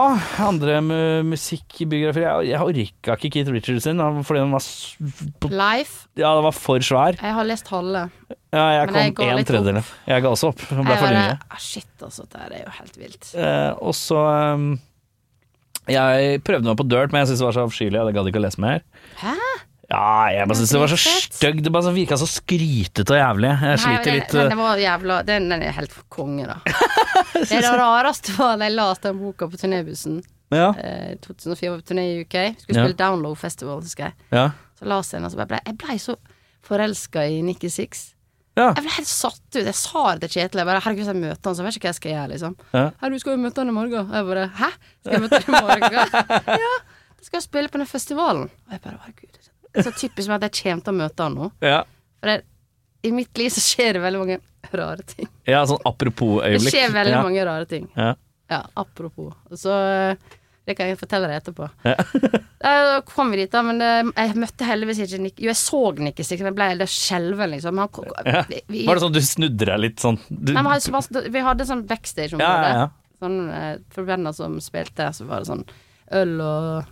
[SPEAKER 1] Andre mu- musikkbiografier Jeg, jeg orka ikke Keith Richards sin, han- fordi den var s- på-
[SPEAKER 2] Life.
[SPEAKER 1] Ja, den var for svær.
[SPEAKER 2] Jeg har lest halve.
[SPEAKER 1] Ja, jeg
[SPEAKER 2] Men jeg
[SPEAKER 1] kom
[SPEAKER 2] ga
[SPEAKER 1] en
[SPEAKER 2] litt opp.
[SPEAKER 1] tredjedel. Jeg ga også opp. Den ble
[SPEAKER 2] Jeg
[SPEAKER 1] for
[SPEAKER 2] bare,
[SPEAKER 1] lenge.
[SPEAKER 2] ah, Shit, altså. Det her er jo helt vilt.
[SPEAKER 1] Eh, og så ehm, Jeg prøvde meg på dirt, men jeg syntes det var så avskyelig. og Jeg gadd ikke å lese mer.
[SPEAKER 2] Hæ?
[SPEAKER 1] Ja, jeg bare syntes det var så stygg. Det bare virka så skrytete og jævlig. Jeg sliter
[SPEAKER 2] Nei,
[SPEAKER 1] litt
[SPEAKER 2] Men
[SPEAKER 1] eh,
[SPEAKER 2] det var jævla Den, den er helt for konge, da. det er det rareste var da jeg leste den boka på turnébussen.
[SPEAKER 1] Ja.
[SPEAKER 2] Eh, 2004 var på turné i UK. Skulle
[SPEAKER 1] Ja.
[SPEAKER 2] spille Download Festival, husker jeg.
[SPEAKER 1] ja.
[SPEAKER 2] Så la jeg den, og så bare ble jeg ble så forelska i Nikki Six.
[SPEAKER 1] ja.
[SPEAKER 2] Jeg ble helt satt ut. Jeg sa det til Kjetil. Jeg bare Herregud, hvis jeg møter han, så vet jeg ikke hva jeg skal gjøre, liksom.
[SPEAKER 1] Ja.
[SPEAKER 2] Her, du skal jo møte han i morgen. Og jeg bare Hæ? Skal jeg møte han i morgen? ja. Da skal jeg spille på den festivalen. Og jeg bare Herregud. Så typisk meg at jeg kommer til å møte han nå.
[SPEAKER 1] ja.
[SPEAKER 2] For det, i mitt liv så skjer det veldig mange rare ting.
[SPEAKER 1] ja sånn
[SPEAKER 2] Det
[SPEAKER 1] apropos-øyeblikk.
[SPEAKER 2] skjer veldig
[SPEAKER 1] ja.
[SPEAKER 2] mange rare ting.
[SPEAKER 1] Ja.
[SPEAKER 2] Ja, apropos. Så eh, det kan jeg fortelle deg etterpå. Da kom vi dit, da, men eh, jeg møtte heldigvis ikke Nick. Jo, jeg så Nick i stikken, men jeg ble helt skjelven, liksom. Han, ko-
[SPEAKER 1] Ja.
[SPEAKER 2] vi,
[SPEAKER 1] Var det sånn du snudde deg litt sånn? Du,
[SPEAKER 2] Nei, men han- så masse- vi hadde sånn
[SPEAKER 1] Ja,
[SPEAKER 2] backstage-område.
[SPEAKER 1] ja, ja.
[SPEAKER 2] Sånn, eh, for banda som spilte, så var det sånn øl og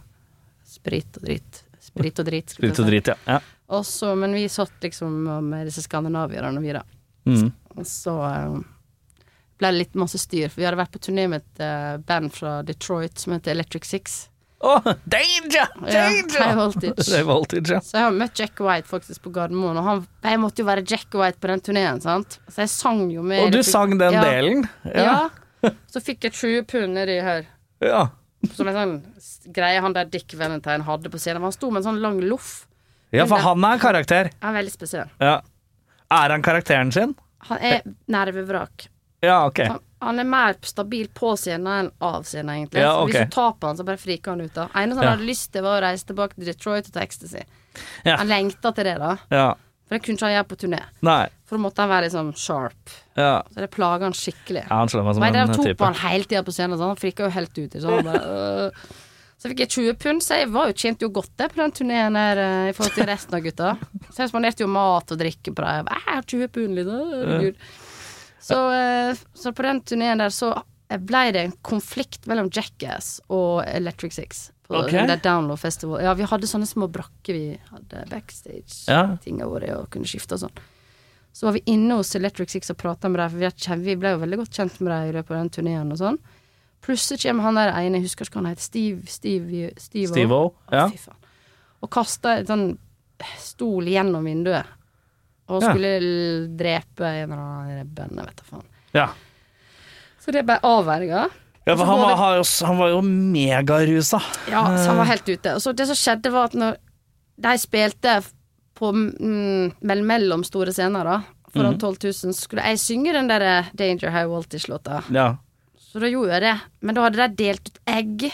[SPEAKER 2] sprit og dritt. Sprit og dritt. skulle jeg
[SPEAKER 1] litt så
[SPEAKER 2] si.
[SPEAKER 1] drit, ja. ja.
[SPEAKER 2] Og så- men vi satt liksom med disse skandinavierne, vi da.
[SPEAKER 1] Mm.
[SPEAKER 2] Og så eh, ble det litt masse styr, for vi hadde vært på turné med et eh, band fra Detroit som heter Electric Six.
[SPEAKER 1] Åh, danger!
[SPEAKER 2] Ja, High
[SPEAKER 1] Danger! det
[SPEAKER 2] Voltage.
[SPEAKER 1] er voltage, ja.
[SPEAKER 2] Så jeg har møtt Jack White faktisk på Gardermoen, og han, jeg måtte jo være Jack White på den turneen, sant. Så jeg sang jo med
[SPEAKER 1] Og du
[SPEAKER 2] Electric-
[SPEAKER 1] sang den
[SPEAKER 2] Ja.
[SPEAKER 1] delen?
[SPEAKER 2] Ja. Så fikk jeg 20 pund nedi her.
[SPEAKER 1] ja.
[SPEAKER 2] Som en sånn s- greie han der Dick Valentine hadde på scenen. Men Han sto med en sånn lang loff.
[SPEAKER 1] Ja, for han er en karakter.
[SPEAKER 2] Han er veldig spesiell.
[SPEAKER 1] Ja. Er han karakteren sin?
[SPEAKER 2] Han
[SPEAKER 1] Eh.
[SPEAKER 2] er nervevrak.
[SPEAKER 1] Ja, ok.
[SPEAKER 2] Han, han er mer stabil på scenen enn av scenen, egentlig.
[SPEAKER 1] Ja,
[SPEAKER 2] Så
[SPEAKER 1] ok.
[SPEAKER 2] Hvis du taper han, så bare friker han ut. da Eneste han
[SPEAKER 1] Ja.
[SPEAKER 2] hadde lyst til, var å reise tilbake til Detroit og ta ecstasy.
[SPEAKER 1] Ja.
[SPEAKER 2] Han lengta til det, da.
[SPEAKER 1] Ja.
[SPEAKER 2] For det kunne ikke han gjøre på turné.
[SPEAKER 1] Nei.
[SPEAKER 2] For da måtte han være liksom sharp.
[SPEAKER 1] Ja.
[SPEAKER 2] Så det plager han skikkelig.
[SPEAKER 1] Ja, han slår meg som
[SPEAKER 2] Nei,
[SPEAKER 1] en
[SPEAKER 2] dere tok
[SPEAKER 1] type.
[SPEAKER 2] på han hele tida på scenen, sånn, så han frika jo helt ut. Så, han bare, øh. så fikk jeg 20 pund, så jeg var jo tjente jo godt det på den turneen her eh, i forhold til resten av gutta. Så jeg spanderte jo mat og drikke på dem. Jeg har 20 pund, liksom. Herregud. Så, eh, så på den turneen der så blei det en konflikt mellom Jackass og Electric Six. På
[SPEAKER 1] Ok.
[SPEAKER 2] den der Download Festival. Ja, vi hadde sånne små brakker vi hadde
[SPEAKER 1] Ja.
[SPEAKER 2] backstage-tinga våre og kunne skifte og sånn. Så var vi inne hos Electric Six og prata med dem, for vi er kjen- vi ble jo veldig godt kjent med dem i løpet av den turneen og sånn. Plutselig kommer han der ene, jeg husker ikke hva han heter, Steve Steve, Steve,
[SPEAKER 1] Steve-O, ja.
[SPEAKER 2] Fy faen. Og kasta en sånn stol gjennom vinduet. Og
[SPEAKER 1] Ja.
[SPEAKER 2] skulle l- drepe en eller annen i det bandet, vet da faen.
[SPEAKER 1] Ja.
[SPEAKER 2] Så det ble avverga.
[SPEAKER 1] Ja, for han var, han jo- han var jo megarusa.
[SPEAKER 2] Ja, så
[SPEAKER 1] Eh.
[SPEAKER 2] han var helt ute. Og så det som skjedde, var at når de spilte på mm, mell- mellom store scener, da,
[SPEAKER 1] Mhm.
[SPEAKER 2] foran 12 000, så skulle jeg synge den der eh, Danger High Voltage-låta.
[SPEAKER 1] Ja.
[SPEAKER 2] Så da gjorde jeg det. Men da hadde de delt ut egg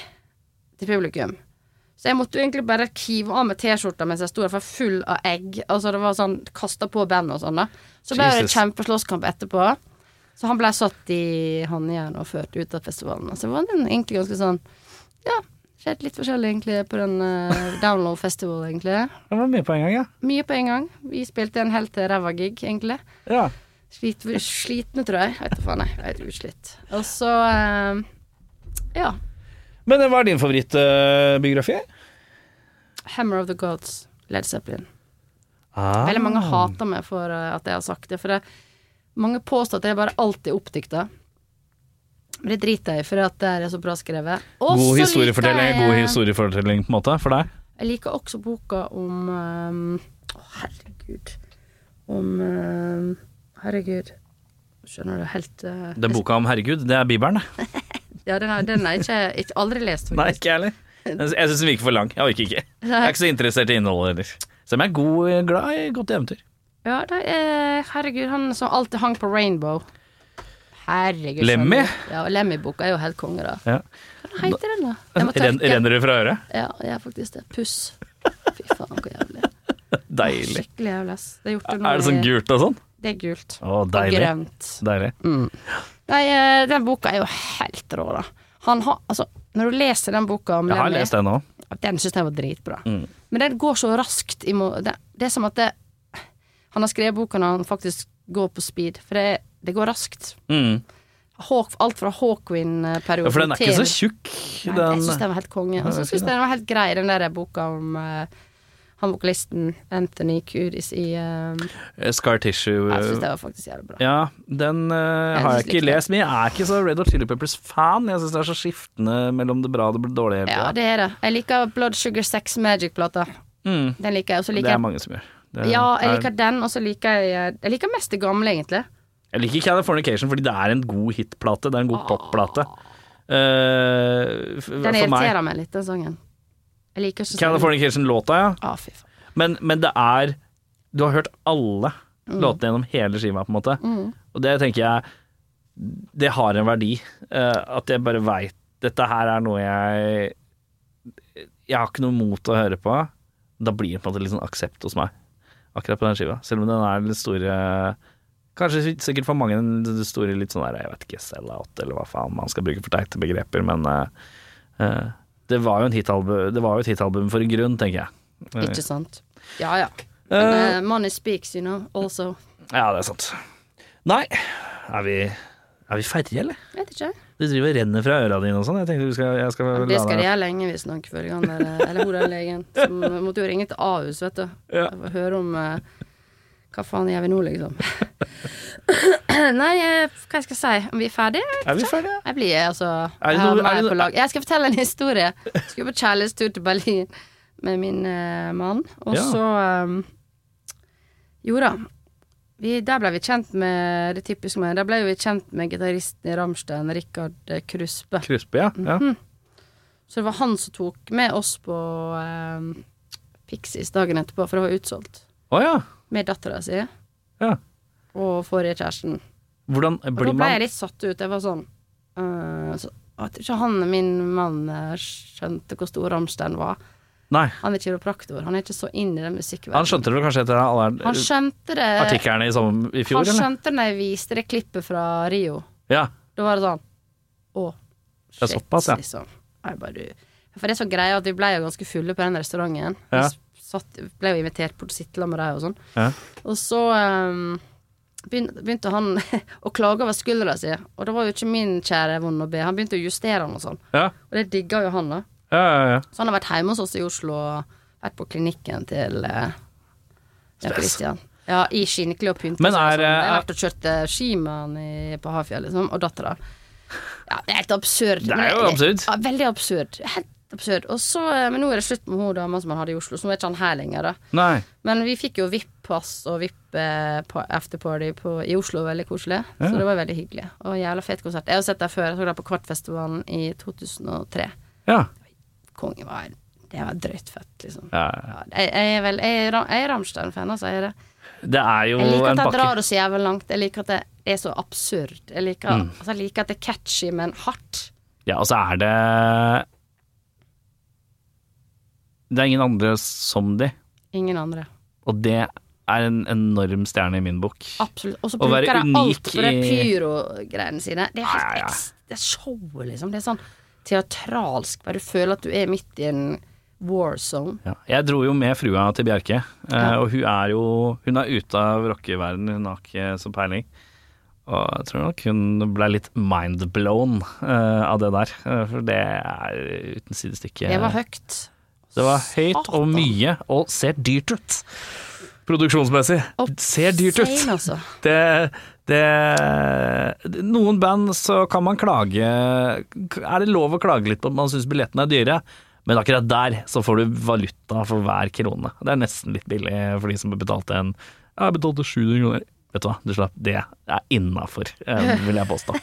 [SPEAKER 2] til publikum. Så jeg måtte jo egentlig bare kive av meg T-skjorta mens jeg sto der, for full av egg. Altså det var sånn, Kasta på bandet og sånn, da. Så ble det
[SPEAKER 1] Jesus.
[SPEAKER 2] kjempeslåsskamp etterpå. Så han ble satt i håndjern og ført ut av festivalen. Så det var den egentlig ganske sånn Ja, skjedde litt forskjellig egentlig på den eh, Download Festival, egentlig.
[SPEAKER 1] Det var mye på en gang, ja.
[SPEAKER 2] Mye på en gang. Vi spilte en helt ræva gig, egentlig.
[SPEAKER 1] ja.
[SPEAKER 2] Slit, slitne, tror jeg. Vet da faen, jeg. Jeg er utslitt. Og så eh, Ja.
[SPEAKER 1] Men eh, hva er din favorittbiografi?
[SPEAKER 2] Hammer of the Gods, Led Zeppelin.
[SPEAKER 1] Ah.
[SPEAKER 2] Veldig mange hater meg for eh, at jeg har sagt det, for det, mange påstår at jeg bare alltid er oppdikta. Men det driter jeg i, for at det er så bra skrevet. Og så
[SPEAKER 1] God
[SPEAKER 2] liker
[SPEAKER 1] historiefortelling,
[SPEAKER 2] jeg- eh,
[SPEAKER 1] god historiefortelling på en måte, for deg.
[SPEAKER 2] Jeg liker også boka om ehm, Å, herregud. Om ehm, Herregud. Skjønner du helt eh,
[SPEAKER 1] Den boka om herregud, det er Bibelen, det.
[SPEAKER 2] Ja, den har den har jeg ikke, ikke aldri lest,
[SPEAKER 1] Nei,
[SPEAKER 2] faktisk.
[SPEAKER 1] ikke jeg heller. Jeg syns den virker for lang. Jeg orker ikke. Jeg er ikke så interessert i innholdet heller. Selv om jeg er god, eh, glad i godt eventyr.
[SPEAKER 2] Ja, det er, herregud, han som alltid hang på Rainbow. Herregud. skjønner
[SPEAKER 1] Lemmy?
[SPEAKER 2] du. Ja, og Lemmy-boka er jo helt konge, da.
[SPEAKER 1] Ja.
[SPEAKER 2] Hva heter den, da? Jeg må
[SPEAKER 1] Ren,
[SPEAKER 2] tørke.
[SPEAKER 1] renner det fra øret?
[SPEAKER 2] Ja, jeg er faktisk det. Puss. Fy faen, hvor jævlig.
[SPEAKER 1] Deilig.
[SPEAKER 2] Skikkelig jævlig, ass. Det er, gjort
[SPEAKER 1] Er
[SPEAKER 2] nå
[SPEAKER 1] det sånn
[SPEAKER 2] i-
[SPEAKER 1] gult og sånn?
[SPEAKER 2] Det er gult.
[SPEAKER 1] Å,
[SPEAKER 2] Og
[SPEAKER 1] deilig.
[SPEAKER 2] grønt.
[SPEAKER 1] Deilig.
[SPEAKER 2] Nei, eh, den boka er jo helt rå, da. Han har, altså, når du leser den boka om
[SPEAKER 1] Jeg har
[SPEAKER 2] Lemmy,
[SPEAKER 1] lest den òg.
[SPEAKER 2] Den syns jeg var dritbra.
[SPEAKER 1] Mm.
[SPEAKER 2] Men den går så raskt i må- det, det er som at det, han har skrevet boka når han faktisk går på speed, for det, det går raskt.
[SPEAKER 1] Mm.
[SPEAKER 2] Hawk, alt fra Hawkwind-perioden
[SPEAKER 1] Ja, for den er ikke så tjukk.
[SPEAKER 2] Nei, jeg
[SPEAKER 1] Den
[SPEAKER 2] syns den var helt konge. Og så syns jeg den var helt grei, den der boka om eh, han vokalisten Anthony Kudis i eh,
[SPEAKER 1] Eh, Scar Tissue
[SPEAKER 2] Jeg syns
[SPEAKER 1] eh,
[SPEAKER 2] det var faktisk jævlig bra.
[SPEAKER 1] Ja, den eh, har jeg
[SPEAKER 2] synes
[SPEAKER 1] ikke
[SPEAKER 2] likte den.
[SPEAKER 1] lest, men jeg er ikke så Red Hot Chili Peppers-fan. Jeg syns det er så skiftende mellom det bra og det bl- dårlige hele
[SPEAKER 2] Ja,
[SPEAKER 1] tida.
[SPEAKER 2] det er det. Jeg liker Blood Sugar Sex Magic-plata.
[SPEAKER 1] Mm.
[SPEAKER 2] Den liker jeg. Og så
[SPEAKER 1] Det
[SPEAKER 2] liker
[SPEAKER 1] er
[SPEAKER 2] jeg
[SPEAKER 1] mange som gjør. Det
[SPEAKER 2] Ja, jeg
[SPEAKER 1] er-
[SPEAKER 2] liker den, og så liker jeg Jeg liker mest det gamle, egentlig.
[SPEAKER 1] Jeg liker Californication fordi det er en god hitplate. Det er en god popplate. Eh, f-
[SPEAKER 2] Den
[SPEAKER 1] for meg.
[SPEAKER 2] irriterer meg litt, den sangen. Jeg liker ikke sånn
[SPEAKER 1] Californication-låta, ja.
[SPEAKER 2] Å, fy faen.
[SPEAKER 1] Men, men det er Du har hørt alle låtene gjennom hele skiva, på en måte. Og det tenker jeg Det har en verdi. eh, at jeg bare veit Dette her er noe jeg Jeg har ikke noe mot å høre på. Da blir det på en måte litt sånn aksept hos meg, akkurat på den skiva. Selv om den er den store Kanskje sikkert for mange den store litt sånn der Jeg vet ikke, sell-out, eller hva faen man skal bruke for teite begreper, men eh, eh, det var jo en hitalbum- det var jo et hitalbum for en grunn, tenker jeg. Eh,
[SPEAKER 2] Ikke sant? Ja ja. Men eh, money speaks, you know, also.
[SPEAKER 1] Ja, det er sant. Nei, er vi, er vi ferdige, eller?
[SPEAKER 2] Jeg vet ikke.
[SPEAKER 1] Du driver og renner fra øra dine og sånn. Jeg tenkte du skal, jeg skal
[SPEAKER 2] Det skal de
[SPEAKER 1] deg
[SPEAKER 2] gjøre lenge, visstnok, ifølge han der eh, Eller hun der legen. Som måtte jo ringe til Ahus, vet du.
[SPEAKER 1] Ja.
[SPEAKER 2] For å høre om eh, Hva faen gjør vi nå, liksom? Nei, eh, hva jeg skal jeg si? Om vi er ferdige?
[SPEAKER 1] Er vi ferdige?
[SPEAKER 2] Jeg blir altså
[SPEAKER 1] Er det
[SPEAKER 2] jeg, har
[SPEAKER 1] noe- er
[SPEAKER 2] meg
[SPEAKER 1] det noe-
[SPEAKER 2] på lag. jeg skal fortelle en historie. Jeg skulle på kjærlighetstur til Berlin med min eh, mann, og
[SPEAKER 1] Ja.
[SPEAKER 2] så um, Jo da. Vi, der ble vi kjent med det typiske med Der ble vi kjent med gitaristen i Rammstein, Rikard eh, Kruspe.
[SPEAKER 1] Kruspe, ja. ja.
[SPEAKER 2] Mhm. Så det var han som tok med oss på um, Pixies dagen etterpå, for det var utsolgt.
[SPEAKER 1] Å ja.
[SPEAKER 2] Med dattera si
[SPEAKER 1] ja.
[SPEAKER 2] og forrige kjæresten.
[SPEAKER 1] Hvordan
[SPEAKER 2] Og da
[SPEAKER 1] blir
[SPEAKER 2] ble
[SPEAKER 1] man
[SPEAKER 2] jeg litt satt ut. Jeg var sånn øh, så, Jeg tror ikke han, min mann, eh, skjønte hvor stor Rammstein var.
[SPEAKER 1] Nei,
[SPEAKER 2] Han er kiropraktor. Han er ikke så inn i den
[SPEAKER 1] han
[SPEAKER 2] musikkverdenen.
[SPEAKER 1] skjønte det vel kanskje etter alle
[SPEAKER 2] Han skjønte det
[SPEAKER 1] artiklene i, sommer, i fjor,
[SPEAKER 2] Han
[SPEAKER 1] eller?
[SPEAKER 2] skjønte når jeg viste det klippet fra Rio.
[SPEAKER 1] Ja.
[SPEAKER 2] Da var det sånn Å,
[SPEAKER 1] er
[SPEAKER 2] shit,
[SPEAKER 1] såpass, ja.
[SPEAKER 2] liksom. Jeg bare, du. For det er så greia at vi ble jo ganske fulle på den restauranten. Vi
[SPEAKER 1] Ja.
[SPEAKER 2] satt, ble jo invitert bort og sitte sammen med dem og sånn.
[SPEAKER 1] Ja.
[SPEAKER 2] Og så ehm, begyn- begynte han å klage over skuldra si, og det var jo ikke min kjære vond å be. Han begynte å justere den og sånn,
[SPEAKER 1] Ja.
[SPEAKER 2] og det digga jo han, da.
[SPEAKER 1] Ja, ja, ja.
[SPEAKER 2] Så han har vært hjemme hos oss i Oslo og vært på klinikken til eh, Jan Christian. Ja, i skinnekle og pynte.
[SPEAKER 1] Men
[SPEAKER 2] seg og
[SPEAKER 1] er,
[SPEAKER 2] sånn. Jeg har
[SPEAKER 1] eh,
[SPEAKER 2] vært og kjørt eh, ski med han i- på Hafjell, liksom, og dattera. Ja, det er helt absurd.
[SPEAKER 1] er
[SPEAKER 2] men
[SPEAKER 1] jo absurd.
[SPEAKER 2] Ja, veldig absurd. Helt absurd. Og så, eh, men nå er det slutt med hun dama som han hadde i Oslo, så nå er ikke han her lenger, da.
[SPEAKER 1] Nei.
[SPEAKER 2] Men vi fikk jo VIP-pass og eh, VIP-afterparty i Oslo, veldig koselig. Så det var veldig hyggelig. Og jævla fet konsert. Jeg har sett deg før, jeg så deg på Kvartfestivalen i 2003
[SPEAKER 1] Ja.
[SPEAKER 2] konge var Det var drøyt fett, liksom.
[SPEAKER 1] ja.
[SPEAKER 2] Ja, jeg, jeg er vel Jeg er, Ra- jeg er Rammstein-fan, altså. Jeg, er det.
[SPEAKER 1] Det er jo
[SPEAKER 2] jeg liker
[SPEAKER 1] en
[SPEAKER 2] at jeg
[SPEAKER 1] pakke.
[SPEAKER 2] drar det så jævlig langt. Jeg liker at det er så absurd. Jeg liker,
[SPEAKER 1] Mm.
[SPEAKER 2] altså, jeg liker at det er catchy, men hardt.
[SPEAKER 1] Ja, og så er det Det er ingen andre som de,
[SPEAKER 2] Ingen andre.
[SPEAKER 1] og det er en enorm stjerne i min bok.
[SPEAKER 2] Absolutt. Og så
[SPEAKER 1] Å være
[SPEAKER 2] bruker de alt
[SPEAKER 1] unik
[SPEAKER 2] på de
[SPEAKER 1] i-
[SPEAKER 2] pyrogreiene sine. Det er helt
[SPEAKER 1] Ja, ja, ja.
[SPEAKER 2] eks- Det er show, liksom. Det er sånn teatralsk, bare du føler at du er midt i en war zone.
[SPEAKER 1] Ja. Jeg dro jo med frua til Bjerke, eh, og hun er jo Hun er ute av rockeverdenen, hun har ikke så peiling. Og jeg tror nok hun ble litt mindblown eh, av det der, eh, for det er uten sidestykke.
[SPEAKER 2] Det var høyt.
[SPEAKER 1] Det var høyt og
[SPEAKER 2] Satan.
[SPEAKER 1] mye, og ser dyrt ut. Produksjonsmessig. Ser dyrt ut.
[SPEAKER 2] Sein, altså.
[SPEAKER 1] Det, det Noen band så kan man klage Er det lov å klage litt på at man syns billettene er dyre? Men akkurat der så får du valuta for hver krone. Det er nesten litt billig for de som betalte en Jeg betalte 700 kroner. Vet du hva, du slapp. Det er innafor, eh, vil jeg påstå.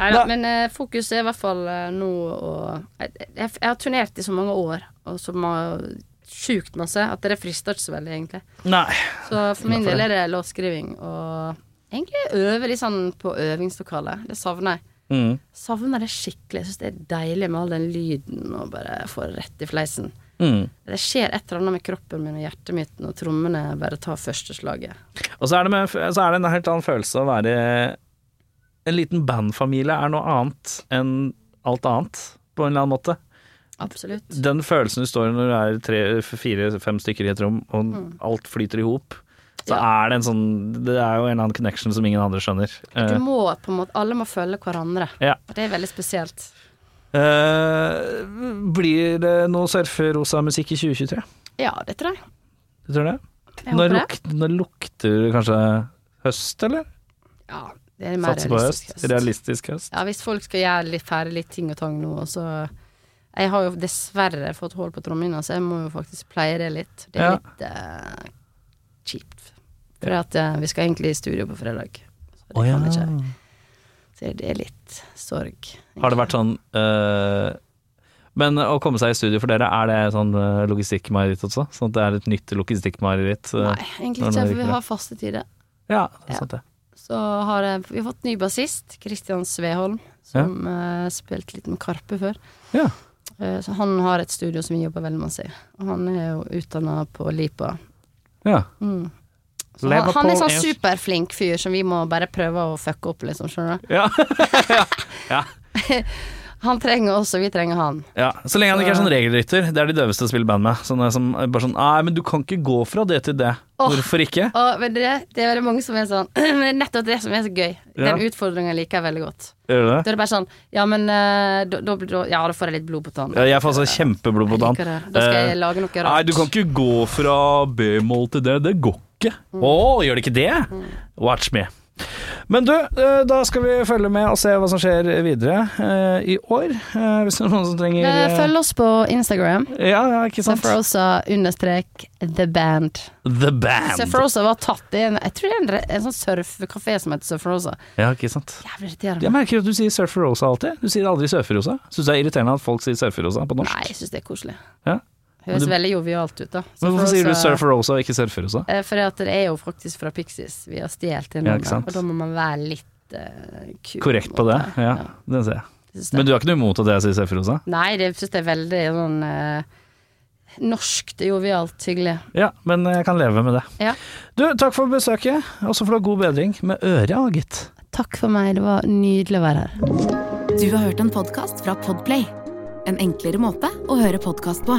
[SPEAKER 2] Nei da, men eh, fokuset er i hvert fall eh, nå å jeg, jeg, jeg har turnert i så mange år, og så ma, sjukt masse, at det frister ikke så veldig, egentlig.
[SPEAKER 1] Nei.
[SPEAKER 2] Så for min
[SPEAKER 1] Innenfor
[SPEAKER 2] del er det låtskriving og egentlig øve litt sånn på øvingslokalet. Det savner jeg.
[SPEAKER 1] Mm.
[SPEAKER 2] Savner det skikkelig. Jeg syns det er deilig med all den lyden og bare få det rett i fleisen.
[SPEAKER 1] Mm.
[SPEAKER 2] Det skjer et eller annet med kroppen min og hjertet mitt når trommene bare tar første slaget.
[SPEAKER 1] Og så er, det med, så er det en helt annen følelse å være En liten bandfamilie er noe annet enn alt annet, på en eller annen måte.
[SPEAKER 2] Absolutt.
[SPEAKER 1] Den følelsen du står i når du er fire-fem stykker i et rom, og
[SPEAKER 2] Mm.
[SPEAKER 1] alt flyter i hop, så er det en sånn Det er jo en eller annen connection som ingen andre skjønner.
[SPEAKER 2] Du
[SPEAKER 1] Eh,
[SPEAKER 2] må på en måte Alle må følge hverandre.
[SPEAKER 1] ja.
[SPEAKER 2] Og Det er veldig spesielt.
[SPEAKER 1] Eh, blir det noe surferosa musikk i 2023?
[SPEAKER 2] Ja, det tror jeg.
[SPEAKER 1] Du tror det?
[SPEAKER 2] Jeg
[SPEAKER 1] Når,
[SPEAKER 2] håper det.
[SPEAKER 1] luk, når lukter det kanskje høst, eller?
[SPEAKER 2] Ja, det er mer
[SPEAKER 1] Satser på
[SPEAKER 2] realistisk
[SPEAKER 1] høst? Realistisk høst?
[SPEAKER 2] Ja, hvis folk skal gjøre litt ferdig litt ting og tang nå, og så Jeg har jo dessverre fått hull på trommehinna, så jeg må jo faktisk pleie det litt. Det er
[SPEAKER 1] Ja.
[SPEAKER 2] litt eh, kjipt. For at, eh, vi skal egentlig i studio på fredag. Så det
[SPEAKER 1] Å ja.
[SPEAKER 2] kan ikke jeg. Så det er litt sorg.
[SPEAKER 1] Har det vært sånn øh, Men å komme seg i studio for dere, er det sånn øh, logistikkmareritt også? Sånn at det er et nytt logistikkmareritt? øh,
[SPEAKER 2] Nei, egentlig
[SPEAKER 1] når det
[SPEAKER 2] ikke, for
[SPEAKER 1] virker.
[SPEAKER 2] vi har faste tider.
[SPEAKER 1] Ja, det
[SPEAKER 2] Ja.
[SPEAKER 1] er sant det.
[SPEAKER 2] Så har jeg, vi har fått ny bassist, Kristian Sveholm, som eh, spilte litt med Karpe før.
[SPEAKER 1] Ja.
[SPEAKER 2] Eh, så han har et studio som vi jobber veldig masse i. Og han er jo utdanna på Lipa.
[SPEAKER 1] ja.
[SPEAKER 2] Mm. Så Han,
[SPEAKER 1] Lever
[SPEAKER 2] han
[SPEAKER 1] på
[SPEAKER 2] er sånn
[SPEAKER 1] en-
[SPEAKER 2] superflink fyr som vi må bare prøve å fucke opp, liksom. Skjønner du?
[SPEAKER 1] Ja.
[SPEAKER 2] Han trenger oss, og vi trenger han.
[SPEAKER 1] ja. Så lenge han ikke er sånn regelrytter. Det er de døveste å spille band med. Sånne som er bare sånn Nei, men du kan ikke gå fra det til det.
[SPEAKER 2] Åh.
[SPEAKER 1] Hvorfor ikke?
[SPEAKER 2] Og vet dere, det er veldig mange som er sånn Det er nettopp det som er så gøy.
[SPEAKER 1] Ja.
[SPEAKER 2] Den utfordringa liker jeg veldig godt.
[SPEAKER 1] Gjør du det?
[SPEAKER 2] Da er det bare sånn Ja, men eh, da, da, blir- da, ja, da får jeg litt blod på tann.
[SPEAKER 1] Ja, Jeg får altså kjempeblod på
[SPEAKER 2] Jeg liker det.
[SPEAKER 1] tann.
[SPEAKER 2] Da skal
[SPEAKER 1] Eh,
[SPEAKER 2] jeg lage noe rart.
[SPEAKER 1] Nei, du kan ikke gå fra B-mål til det. Det går ikke. Å, gjør det ikke det? Watch me. Men du, eh, da skal vi følge med og se hva som skjer videre eh, i år. Eh, Hvis det er noen som trenger
[SPEAKER 2] Eh,
[SPEAKER 1] eh,
[SPEAKER 2] Følg oss på Instagram.
[SPEAKER 1] Ja, ja, ikke sant?
[SPEAKER 2] Sefrosa understrek the band.
[SPEAKER 1] The Band.
[SPEAKER 2] Sefrosa var tatt i en Jeg tror det er en, re- en sånn surfekafé som heter Sefrosa.
[SPEAKER 1] Ja, ikke sant.
[SPEAKER 2] Jævlig
[SPEAKER 1] Jeg
[SPEAKER 2] irriterende.
[SPEAKER 1] merker at du sier Surfer Rosa alltid. Du sier aldri Surfer Rosa. Syns det er irriterende at folk sier Surfer Rosa på norsk.
[SPEAKER 2] Nei, jeg syns det er koselig.
[SPEAKER 1] Ja. Men
[SPEAKER 2] Høres
[SPEAKER 1] du-
[SPEAKER 2] veldig jovialt ut, da.
[SPEAKER 1] Men hvorfor
[SPEAKER 2] Sefrosa-
[SPEAKER 1] sier du Surfer Rosa og ikke Surfer Rosa?
[SPEAKER 2] Eh, Fordi at det er jo faktisk fra Pixies vi har stjålet det
[SPEAKER 1] Ja,
[SPEAKER 2] navnet,
[SPEAKER 1] ikke sant.
[SPEAKER 2] og da må man være litt eh, kul.
[SPEAKER 1] Korrekt på det. Ja, den ser jeg. Men
[SPEAKER 2] Men
[SPEAKER 1] du har ikke noe imot at jeg sier Surfer Rosa?
[SPEAKER 2] Nei, det syns jeg er veldig sånn eh, norskt, jovialt, hyggelig.
[SPEAKER 1] Ja, men jeg kan leve med det.
[SPEAKER 2] Ja.
[SPEAKER 1] Du, takk for besøket, og så får du ha god bedring med øret, gitt.
[SPEAKER 2] Takk for meg, det var nydelig å være her.
[SPEAKER 5] Du har hørt en podkast fra Podplay. En enklere måte å høre podkast på.